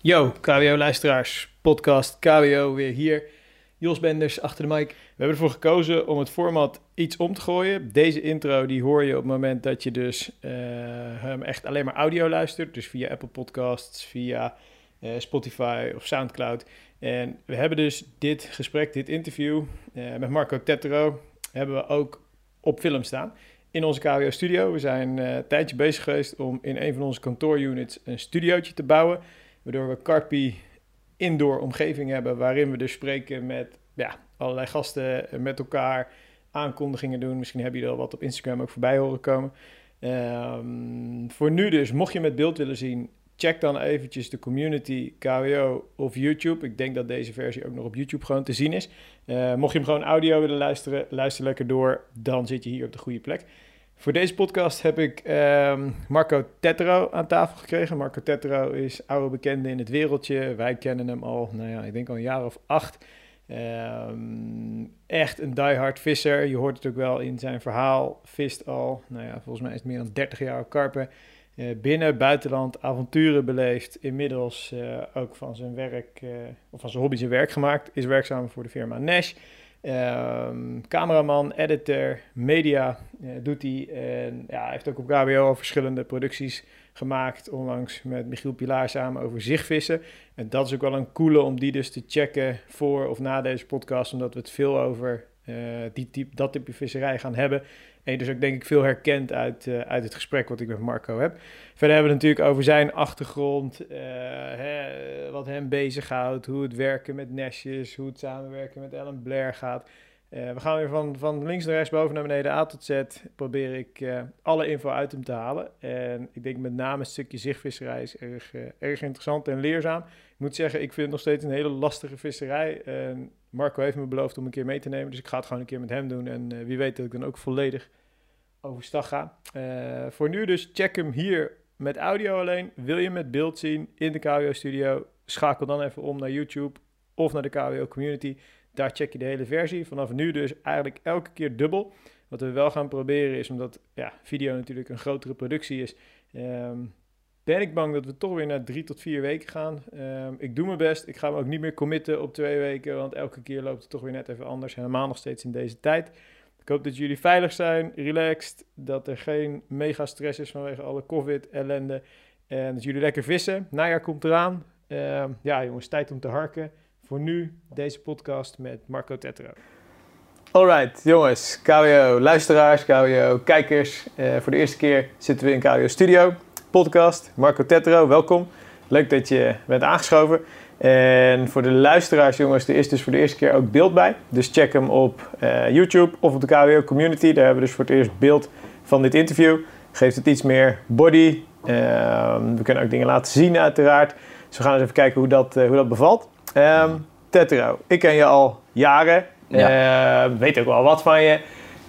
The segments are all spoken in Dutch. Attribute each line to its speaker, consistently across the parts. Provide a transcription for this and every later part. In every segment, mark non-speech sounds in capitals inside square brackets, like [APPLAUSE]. Speaker 1: Yo, KWO-luisteraars, podcast KWO weer hier. Jos Benders achter de mic. We hebben ervoor gekozen om het format iets om te gooien. Deze intro die hoor je op het moment dat je dus eh, hem echt alleen maar audio luistert. Dus via Apple Podcasts, via eh, Spotify of Soundcloud. En we hebben dus dit gesprek, dit interview eh, met Marco Tettero... hebben we ook op film staan in onze KWO-studio. We zijn eh, een tijdje bezig geweest om in een van onze kantoorunits een studiootje te bouwen... Waardoor we Carpi indoor omgeving hebben waarin we dus spreken met ja, allerlei gasten, eh, met elkaar aankondigingen doen. Misschien heb je er al wat op Instagram ook voorbij horen komen. Ehm, voor nu dus, mocht je met beeld willen zien, check dan eventjes de community, KWO of YouTube. Ik denk dat deze versie ook nog op YouTube gewoon te zien is. Eh, mocht je hem gewoon audio willen luisteren, luister lekker door. Dan zit je hier op de goede plek. Voor deze podcast heb ik ehm, Marco Tettero aan tafel gekregen. Marco Tettero is oude bekende in het wereldje. Wij kennen hem al, nou ja, ik denk al een jaar of acht. Ehm, echt een diehard visser. Je hoort het ook wel in zijn verhaal. Vist al, nou ja, volgens mij is het meer dan 30 jaar op karpen. Eh, binnen, buitenland, avonturen beleefd. Inmiddels eh, ook van zijn werk, eh, of van zijn hobby zijn werk gemaakt. Is werkzaam voor de firma Nash. Ehm, cameraman, editor, media eh, doet hij. En ja, hij heeft ook op KBO al verschillende producties gemaakt. Onlangs met Michiel Pilaar samen over zichtvissen. En dat is ook wel een coole om die dus te checken voor of na deze podcast. Omdat we het veel over eh, die type, dat type visserij gaan hebben. En je dus ook denk ik veel herkent uit, eh, uit het gesprek wat ik met Marco heb. Verder hebben we het natuurlijk over zijn achtergrond, eh, hè, wat hem bezighoudt, hoe het werken met Nesjes, hoe het samenwerken met Ellen Blair gaat. Eh, we gaan weer van, van links naar rechts, boven naar beneden, A tot Z. Probeer ik eh, alle info uit hem te halen. En ik denk met name het stukje zichtvisserij is erg, eh, erg interessant en leerzaam. Ik moet zeggen, ik vind het nog steeds een hele lastige visserij. En Marco heeft me beloofd om een keer mee te nemen, dus ik ga het gewoon een keer met hem doen. En eh, wie weet dat ik dan ook volledig overstag ga. Eh, voor nu dus, check hem hier met audio alleen. Wil je met beeld zien in de KWO Studio? Schakel dan even om naar YouTube of naar de KWO Community. Daar check je de hele versie. Vanaf nu dus eigenlijk elke keer dubbel. Wat we wel gaan proberen is, omdat ja, video natuurlijk een grotere productie is, ehm, ben ik bang dat we toch weer naar drie tot vier weken gaan. Ehm, ik doe mijn best. Ik ga me ook niet meer committen op twee weken, want elke keer loopt het toch weer net even anders. Helemaal nog steeds in deze tijd. Ik hoop dat jullie veilig zijn, relaxed, dat er geen mega stress is vanwege alle COVID-ellende en dat jullie lekker vissen. Najaar komt eraan. Eh, ja jongens, tijd om te harken. Voor nu deze podcast met Marco Tettero. Alright jongens, KWO luisteraars, KWO kijkers. Eh, voor de eerste keer zitten we in KWO Studio, podcast. Marco Tettero, welkom. Leuk dat je bent aangeschoven. En voor de luisteraars, jongens, er is dus voor de eerste keer ook beeld bij. Dus check hem op eh, YouTube of op de KWO Community. Daar hebben we dus voor het eerst beeld van dit interview. Geeft het iets meer body. Ehm, we kunnen ook dingen laten zien, uiteraard. Dus we gaan eens even kijken hoe dat, eh, hoe dat bevalt. Ehm Tetro, ik ken je al jaren. Eh, weet ook wel wat van je.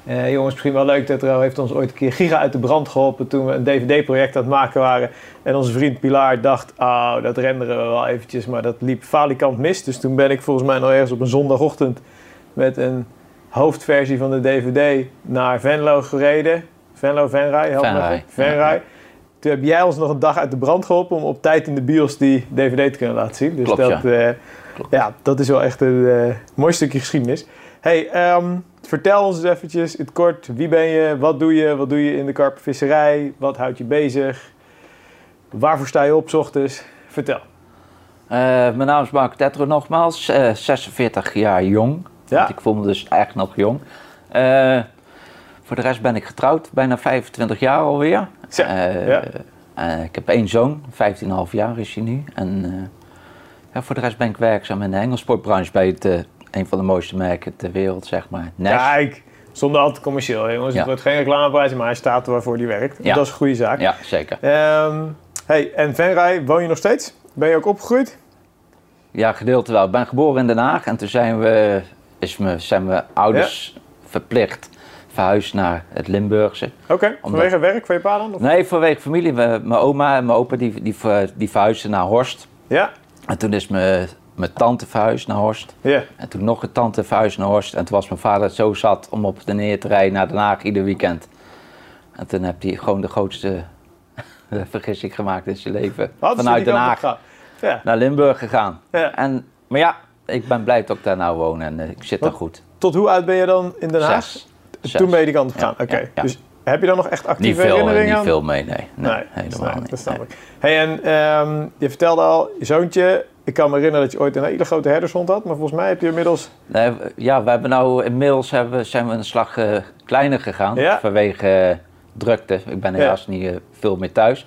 Speaker 1: Eh, jongens, misschien wel leuk. Tetro heeft ons ooit een keer giga uit de brand geholpen toen we een DVD-project aan het maken waren. En onze vriend Pilar dacht, oh, dat renderen we wel eventjes, maar dat liep falikant mis. Dus toen ben ik volgens mij nog ergens op een zondagochtend met een hoofdversie van de DVD naar Venlo gereden. Venlo, Venray, help me
Speaker 2: Venray,
Speaker 1: even. Venray. Toen heb jij ons nog een dag uit de brand geholpen om op tijd in de bios die DVD te kunnen laten zien. Dus
Speaker 2: Klopt,
Speaker 1: dat,
Speaker 2: ja.
Speaker 1: eh,
Speaker 2: Klopt.
Speaker 1: ja, dat is wel echt een eh, mooi stukje geschiedenis. Hey, ehm, vertel ons eens eventjes in het kort, wie ben je, wat doe je, wat doe je in de karpenvisserij, wat houdt je bezig, waarvoor sta je op 's ochtends? Vertel.
Speaker 2: Eh, mijn naam is Marco Tetro nogmaals, eh, 46 jaar jong.
Speaker 1: Ja.
Speaker 2: Want ik voel me dus echt nog jong. Eh, voor de rest ben ik getrouwd, bijna 25 jaar alweer.
Speaker 1: Zo,
Speaker 2: Eh,
Speaker 1: ja.
Speaker 2: eh, ik heb één zoon, 15,5 jaar is hij nu. En eh, ja, voor de rest ben ik werkzaam in de hengelsportbranche bij het, eh, een van de mooiste merken ter wereld, zeg maar. Nash.
Speaker 1: Kijk, zonder al te commercieel, hè, jongens.
Speaker 2: Ja.
Speaker 1: Het wordt geen reclameprijs, maar hij staat er waarvoor hij werkt.
Speaker 2: Ja.
Speaker 1: Dat is een goede zaak.
Speaker 2: Ja, zeker.
Speaker 1: Ehm, hey, en Venray, woon je nog steeds? Ben je ook opgegroeid?
Speaker 2: Ja, gedeelte wel. Ik ben geboren in Den Haag en toen zijn we, is me, zijn we ouders verplicht verhuisd naar het Limburgse.
Speaker 1: Oké, vanwege werk van je pa dan? Of?
Speaker 2: Nee, vanwege familie. We- Mijn oma en mijn opa die, die, ver- die verhuisden naar Horst.
Speaker 1: Ja,
Speaker 2: En toen is mijn, mijn tante verhuisd naar Horst.
Speaker 1: ja.
Speaker 2: En toen nog een tante verhuisd naar Horst. En toen was mijn vader zo zat om op de neer te rijden naar Den Haag ieder weekend. En toen heb hij gewoon de grootste [LAUGHS] vergissing gemaakt in zijn leven.
Speaker 1: Hadden ze
Speaker 2: Vanuit
Speaker 1: die
Speaker 2: Den
Speaker 1: kant op
Speaker 2: Haag.
Speaker 1: gegaan? Ja.
Speaker 2: naar Limburg gegaan.
Speaker 1: Ja.
Speaker 2: En, maar ja, ik ben blij dat ik daar nou woon en eh, ik zit daar
Speaker 1: Wat?
Speaker 2: goed.
Speaker 1: Tot hoe oud ben je dan in Den Haag?
Speaker 2: Zes.
Speaker 1: Toen
Speaker 2: Zes.
Speaker 1: ben je die kant op gegaan.
Speaker 2: Ja,
Speaker 1: Oké.
Speaker 2: ja, ja.
Speaker 1: Dus heb je dan nog echt
Speaker 2: Niet
Speaker 1: actieve
Speaker 2: veel, eh,
Speaker 1: herinneringen
Speaker 2: niet
Speaker 1: aan?
Speaker 2: veel mee, nee. Nee,
Speaker 1: dat
Speaker 2: helemaal
Speaker 1: snap ik,
Speaker 2: niet.
Speaker 1: Dat
Speaker 2: nee.
Speaker 1: snap ik. Hey, en ehm, je vertelde al, je zoontje. Ik kan me herinneren dat je ooit een hele grote herdershond had. Maar volgens mij heb je inmiddels...
Speaker 2: Nee, w- ja, we hebben nou inmiddels hebben, we- zijn we een slag eh, kleiner gegaan
Speaker 1: Ja.
Speaker 2: vanwege eh, drukte. Ik ben helaas niet eh, veel meer thuis.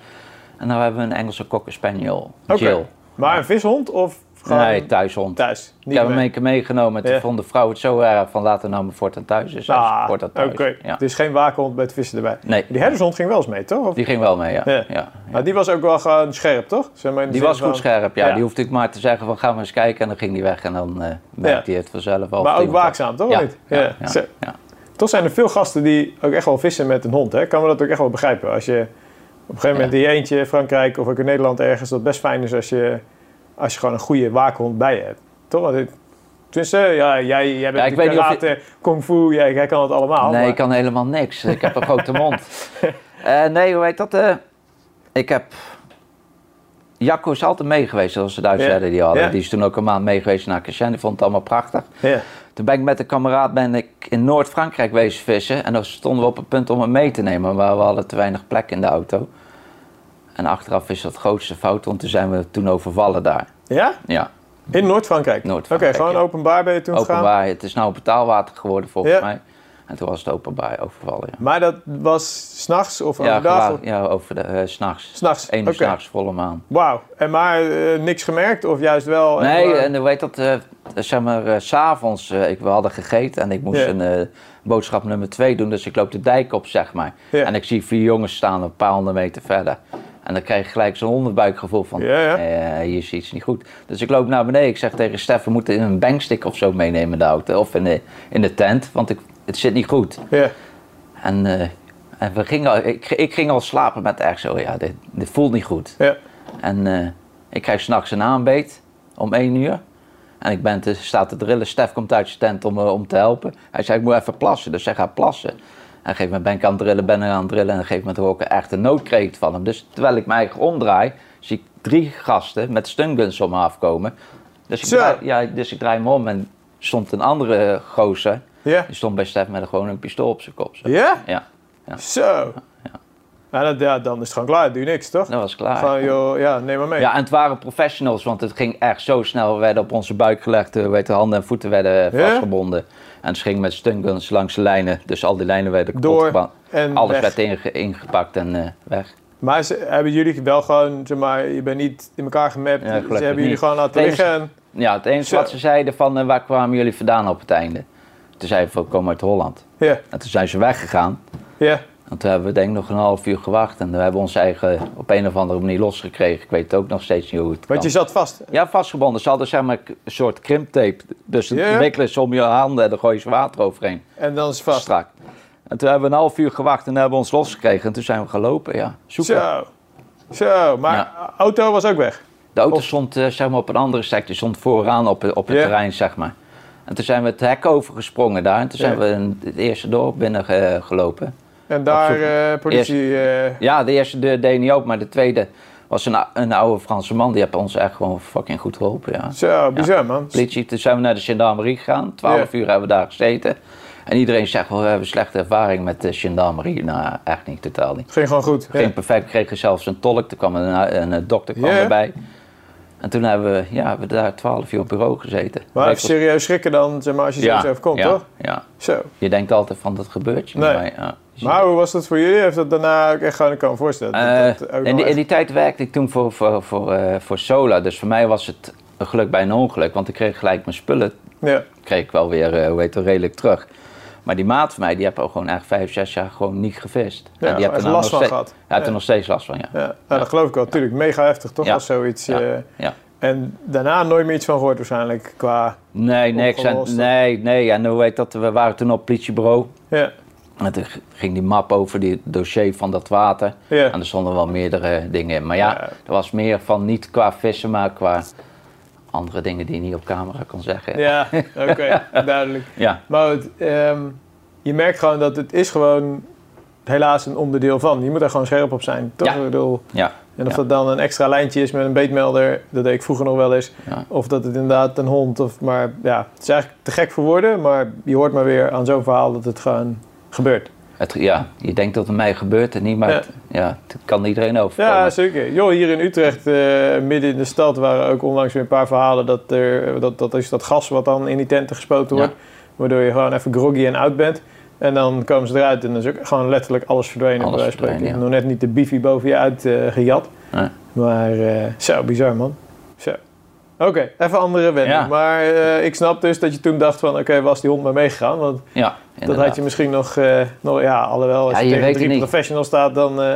Speaker 2: En nou hebben we een Engelse cocker spaniel,
Speaker 1: Oké.
Speaker 2: Jill.
Speaker 1: Maar een vishond of gewoon
Speaker 2: Nee, thuishond.
Speaker 1: thuis?
Speaker 2: ik heb hem
Speaker 1: mee.
Speaker 2: een keer meegenomen. Toen
Speaker 1: Ja.
Speaker 2: vond de vrouw het zo erg van laten nou maar voortaan thuis. Dus
Speaker 1: Ah,
Speaker 2: ah, voortaan thuis.
Speaker 1: oké.
Speaker 2: Ja.
Speaker 1: Dus geen waakhond bij het vissen erbij.
Speaker 2: Nee,
Speaker 1: Die herdershond ging wel eens mee, toch? Of-
Speaker 2: die ging wel mee, ja.
Speaker 1: Ja.
Speaker 2: ja. ja.
Speaker 1: Nou, die was ook wel gewoon scherp, toch? Zeg maar in de
Speaker 2: Die
Speaker 1: zin
Speaker 2: was
Speaker 1: van-
Speaker 2: goed scherp, ja.
Speaker 1: Ja.
Speaker 2: Die hoefde ik maar te zeggen van ga maar eens kijken. En dan ging die weg en dan eh merkte hij het vanzelf al.
Speaker 1: Maar
Speaker 2: of
Speaker 1: ook
Speaker 2: die hond-
Speaker 1: waakzaam, toch?
Speaker 2: Ja,
Speaker 1: Niet?
Speaker 2: ja, ja,
Speaker 1: Zo.
Speaker 2: ja.
Speaker 1: Toch zijn er veel gasten die ook echt wel vissen met een hond. Hè? Ik Kan me dat ook echt wel begrijpen. Als je op een gegeven moment in je eentje, Frankrijk of ook in Nederland ergens, dat best fijn is als je, als je gewoon een goede waakhond bij je hebt. Toch? Want het- Tenminste, ja, jij, jij bent
Speaker 2: Ja, ik weet niet of
Speaker 1: karate, kung fu, jij, jij kan het allemaal.
Speaker 2: Nee,
Speaker 1: maar-
Speaker 2: ik kan helemaal niks. Ik heb een grote
Speaker 1: [LAUGHS]
Speaker 2: mond. Eh, nee, hoe heet dat? eh? ik heb... Jacco is altijd mee geweest, zoals de Duitsers
Speaker 1: Ja.
Speaker 2: zeiden die hadden.
Speaker 1: Ja.
Speaker 2: Die is toen ook een maand mee geweest naar Cassien. Die vond het allemaal prachtig.
Speaker 1: Ja.
Speaker 2: Toen ben ik met een kameraad ben ik in Noord-Frankrijk wezen vissen. En dan stonden we op het punt om hem mee te nemen. Maar we hadden te weinig plek in de auto. En achteraf is dat de grootste fout, want toen zijn we toen overvallen daar.
Speaker 1: ja?
Speaker 2: Ja,
Speaker 1: In Noord-Frankrijk?
Speaker 2: Noord-Frankrijk,
Speaker 1: Oké, gewoon
Speaker 2: ja.
Speaker 1: openbaar ben je toen gegaan.
Speaker 2: openbaar. Het is nou betaalwater geworden volgens
Speaker 1: Ja.
Speaker 2: mij. En toen was het openbaar overvallen, ja.
Speaker 1: Maar dat was s'nachts of
Speaker 2: Ja,
Speaker 1: overdag?
Speaker 2: gewa-
Speaker 1: of-
Speaker 2: ja over de, eh, s'nachts.
Speaker 1: S'nachts?
Speaker 2: Eén uur
Speaker 1: Oké.
Speaker 2: s'nachts, volle maan.
Speaker 1: Wauw. En maar eh, niks gemerkt of juist wel? En
Speaker 2: Nee,
Speaker 1: Oh, maar-
Speaker 2: en hoe heet dat? eh, zeg maar, eh, s s'avonds, ik we hadden gegeten en ik moest
Speaker 1: Ja.
Speaker 2: een eh, boodschap nummer twee doen. Dus ik loop de dijk op, zeg maar.
Speaker 1: Ja.
Speaker 2: En ik zie vier jongens staan een paar honderd meter verder. En dan krijg je gelijk zo'n onderbuikgevoel van,
Speaker 1: Ja, ja.
Speaker 2: eh, hier is iets niet goed. Dus ik loop naar beneden. Ik zeg tegen Stef, we moeten een bankstick of zo meenemen in de auto. Of in de, in de tent, want ik, het zit niet goed.
Speaker 1: Ja.
Speaker 2: En, eh, en we gingen, al- ik, ik ging al slapen met echt zo, ja, dit, dit voelt niet goed.
Speaker 1: Ja.
Speaker 2: En eh, ik krijg s'nachts een aanbeet om 1 uur. En ik ben te, sta te drillen. Stef komt uit zijn tent om, eh, om te helpen. Hij zei, ik moet even plassen. Dus hij gaat plassen. En op een gegeven moment ben ik aan het drillen, ben ik aan het drillen. En op een gegeven moment hoor ik echt een noodkreet van hem. Dus terwijl ik mij eigen omdraai, zie ik drie gasten met stunguns om me afkomen. Dus ik,
Speaker 1: Zo.
Speaker 2: draai, ja, dus ik draai me om en stond een andere eh, gozer.
Speaker 1: Ja.
Speaker 2: Die stond bij Stef met gewoon een pistool op zijn kop. Zo.
Speaker 1: Ja?
Speaker 2: Ja,
Speaker 1: Zo. Ja, dat, ja, dan is het gewoon klaar. Doe je niks, toch?
Speaker 2: dat was klaar.
Speaker 1: Van, joh, ja, neem maar mee.
Speaker 2: Nou, Ja, en het waren professionals, want het ging echt zo snel. We werden op onze buik gelegd, eh, weet, je, handen en voeten werden eh,
Speaker 1: Ja?
Speaker 2: vastgebonden. En ze gingen met stunguns langs de lijnen, dus al die lijnen werden kapot
Speaker 1: Door
Speaker 2: geband.
Speaker 1: en
Speaker 2: Alles
Speaker 1: weg.
Speaker 2: werd inge- ingepakt en eh, weg.
Speaker 1: Maar ze, hebben jullie wel gewoon, zeg maar, je bent niet in elkaar gemapt.
Speaker 2: Ja,
Speaker 1: ze
Speaker 2: gelukkig
Speaker 1: hebben jullie
Speaker 2: niet.
Speaker 1: gewoon laten
Speaker 2: Het enige-
Speaker 1: liggen. en-
Speaker 2: Ja, het enige
Speaker 1: Zo.
Speaker 2: wat ze zeiden van, eh, waar kwamen jullie vandaan op het einde? Toen zeiden we, we komen uit Holland.
Speaker 1: Ja,
Speaker 2: En toen zijn ze weggegaan.
Speaker 1: ja.
Speaker 2: En toen hebben we denk ik nog een half uur gewacht. En we hebben ons eigen op een of andere manier losgekregen. Ik weet het ook nog steeds niet hoe het
Speaker 1: Want
Speaker 2: kan.
Speaker 1: je zat vast.
Speaker 2: Ja, vastgebonden. Ze hadden zeg maar k- een soort krimptape. Dus
Speaker 1: Ja, ja.
Speaker 2: de wikkel is om je handen en dan gooi je ze water overheen.
Speaker 1: En dan is het vast.
Speaker 2: Strak. En toen hebben we een half uur gewacht en hebben we ons losgekregen. En toen zijn we gelopen, ja. Zoeken.
Speaker 1: Zo. Zo. Maar
Speaker 2: Ja.
Speaker 1: auto was ook weg.
Speaker 2: De auto
Speaker 1: Of-
Speaker 2: stond eh, zeg maar, op een andere sector, stond vooraan op, eh, op het
Speaker 1: Ja.
Speaker 2: terrein, zeg maar. En toen zijn we het hek overgesprongen daar. En toen zijn
Speaker 1: Ja.
Speaker 2: we in het eerste dorp binnen eh, gelopen.
Speaker 1: En daar
Speaker 2: Op zoek.
Speaker 1: eh, politie... eh,
Speaker 2: Ja, de eerste deur deed niet open, maar de tweede was een, ou- een oude Franse man. Die heeft ons echt gewoon fucking goed geholpen, ja.
Speaker 1: Zo, bizar, man.
Speaker 2: politie. Toen zijn we naar de gendarmerie gegaan. Twaalf uur hebben we daar gezeten. En iedereen zegt, wel, we hebben slechte ervaring met de gendarmerie. Nou, echt niet, totaal niet.
Speaker 1: Ging gewoon goed.
Speaker 2: Geen perfect, kregen zelfs een tolk. Toen kwam een, een, een dokter kwam
Speaker 1: Ja.
Speaker 2: erbij. En toen hebben we, ja, hebben we daar twaalf uur op bureau gezeten.
Speaker 1: Maar even
Speaker 2: Regels-
Speaker 1: serieus schrikken dan, zeg maar, als je
Speaker 2: ja,
Speaker 1: zoiets overkomt,
Speaker 2: ja,
Speaker 1: toch?
Speaker 2: Ja.
Speaker 1: Zo.
Speaker 2: Je denkt altijd van, dat gebeurt je
Speaker 1: Nee.
Speaker 2: niet. Maar, ja, je ziet
Speaker 1: Dus- Maar hoe was dat voor jullie? Heeft dat daarna ook echt gewoon, ik kan me voorstellen. dat dat
Speaker 2: Eh,
Speaker 1: ook wel
Speaker 2: in, die, in
Speaker 1: echt-
Speaker 2: die tijd werkte ik toen voor, voor, voor, eh, voor Sola. Dus voor mij was het een geluk bij een ongeluk. Want ik kreeg gelijk mijn spullen
Speaker 1: Ja,
Speaker 2: kreeg ik wel weer, eh, hoe heet het, redelijk terug. Maar die maat van mij, die heb ook gewoon echt vijf, zes jaar gewoon niet gevist.
Speaker 1: Ja,
Speaker 2: die
Speaker 1: echt last
Speaker 2: nou nog
Speaker 1: van
Speaker 2: steeds-
Speaker 1: gehad.
Speaker 2: Ja, heeft
Speaker 1: Ja.
Speaker 2: er nog steeds last van, ja.
Speaker 1: ja. Nou, dat geloof ik wel. Tuurlijk, mega heftig toch?
Speaker 2: Ja.
Speaker 1: Als zoiets...
Speaker 2: Ja.
Speaker 1: eh,
Speaker 2: ja.
Speaker 1: En daarna nooit meer iets van gehoord waarschijnlijk qua...
Speaker 2: Nee, niks.
Speaker 1: Opgelost,
Speaker 2: En, nee, nee. En hoe heet dat, we waren toen op het politiebureau.
Speaker 1: Ja,
Speaker 2: En toen g- ging die map over die dossier van dat water.
Speaker 1: ja.
Speaker 2: En er stonden wel meerdere dingen in. Maar ja,
Speaker 1: Ja.
Speaker 2: er was meer van niet qua vissen, maar qua andere dingen die je niet op camera kon zeggen.
Speaker 1: Ja, oké,
Speaker 2: [LAUGHS]
Speaker 1: duidelijk.
Speaker 2: ja.
Speaker 1: Maar het, ehm, je merkt gewoon dat het is gewoon helaas een onderdeel van. Je moet er gewoon scherp op zijn. Toch?
Speaker 2: Ja.
Speaker 1: Ik bedoel,
Speaker 2: ja.
Speaker 1: En of
Speaker 2: Ja.
Speaker 1: dat dan een extra lijntje is met een beetmelder, dat deed ik vroeger nog wel eens.
Speaker 2: Ja.
Speaker 1: Of dat het inderdaad een hond of maar ja, het is eigenlijk te gek voor woorden, maar je hoort maar weer aan zo'n verhaal dat het gewoon gebeurt.
Speaker 2: Het, ja, je denkt dat het mij gebeurt en niet, maar
Speaker 1: Ja.
Speaker 2: het, ja, het kan iedereen overkomen.
Speaker 1: Ja, zeker. Joh, hier in Utrecht, eh, midden in de stad, waren ook onlangs weer een paar verhalen dat er dat, dat is dat gas wat dan in die tenten gespoten
Speaker 2: Ja.
Speaker 1: wordt, waardoor je gewoon even groggy en oud bent. En dan komen ze eruit en dan is ook gewoon letterlijk alles verdwenen.
Speaker 2: Alles
Speaker 1: bij wijze van spreken.
Speaker 2: verdwenen,
Speaker 1: Nog net niet de bifi boven je uit eh, gejat.
Speaker 2: Ja.
Speaker 1: Maar eh, zo, bizar man. Zo. Oké, even andere wending.
Speaker 2: Ja.
Speaker 1: Maar eh, ik snap dus dat je toen dacht van, oké, was die hond maar meegegaan? Want
Speaker 2: Ja,
Speaker 1: dat
Speaker 2: inderdaad.
Speaker 1: had je misschien nog, eh, nog ja, alhoewel als
Speaker 2: Ja,
Speaker 1: je,
Speaker 2: je
Speaker 1: tegen
Speaker 2: weet het
Speaker 1: drie
Speaker 2: niet.
Speaker 1: professionals staat, dan... eh,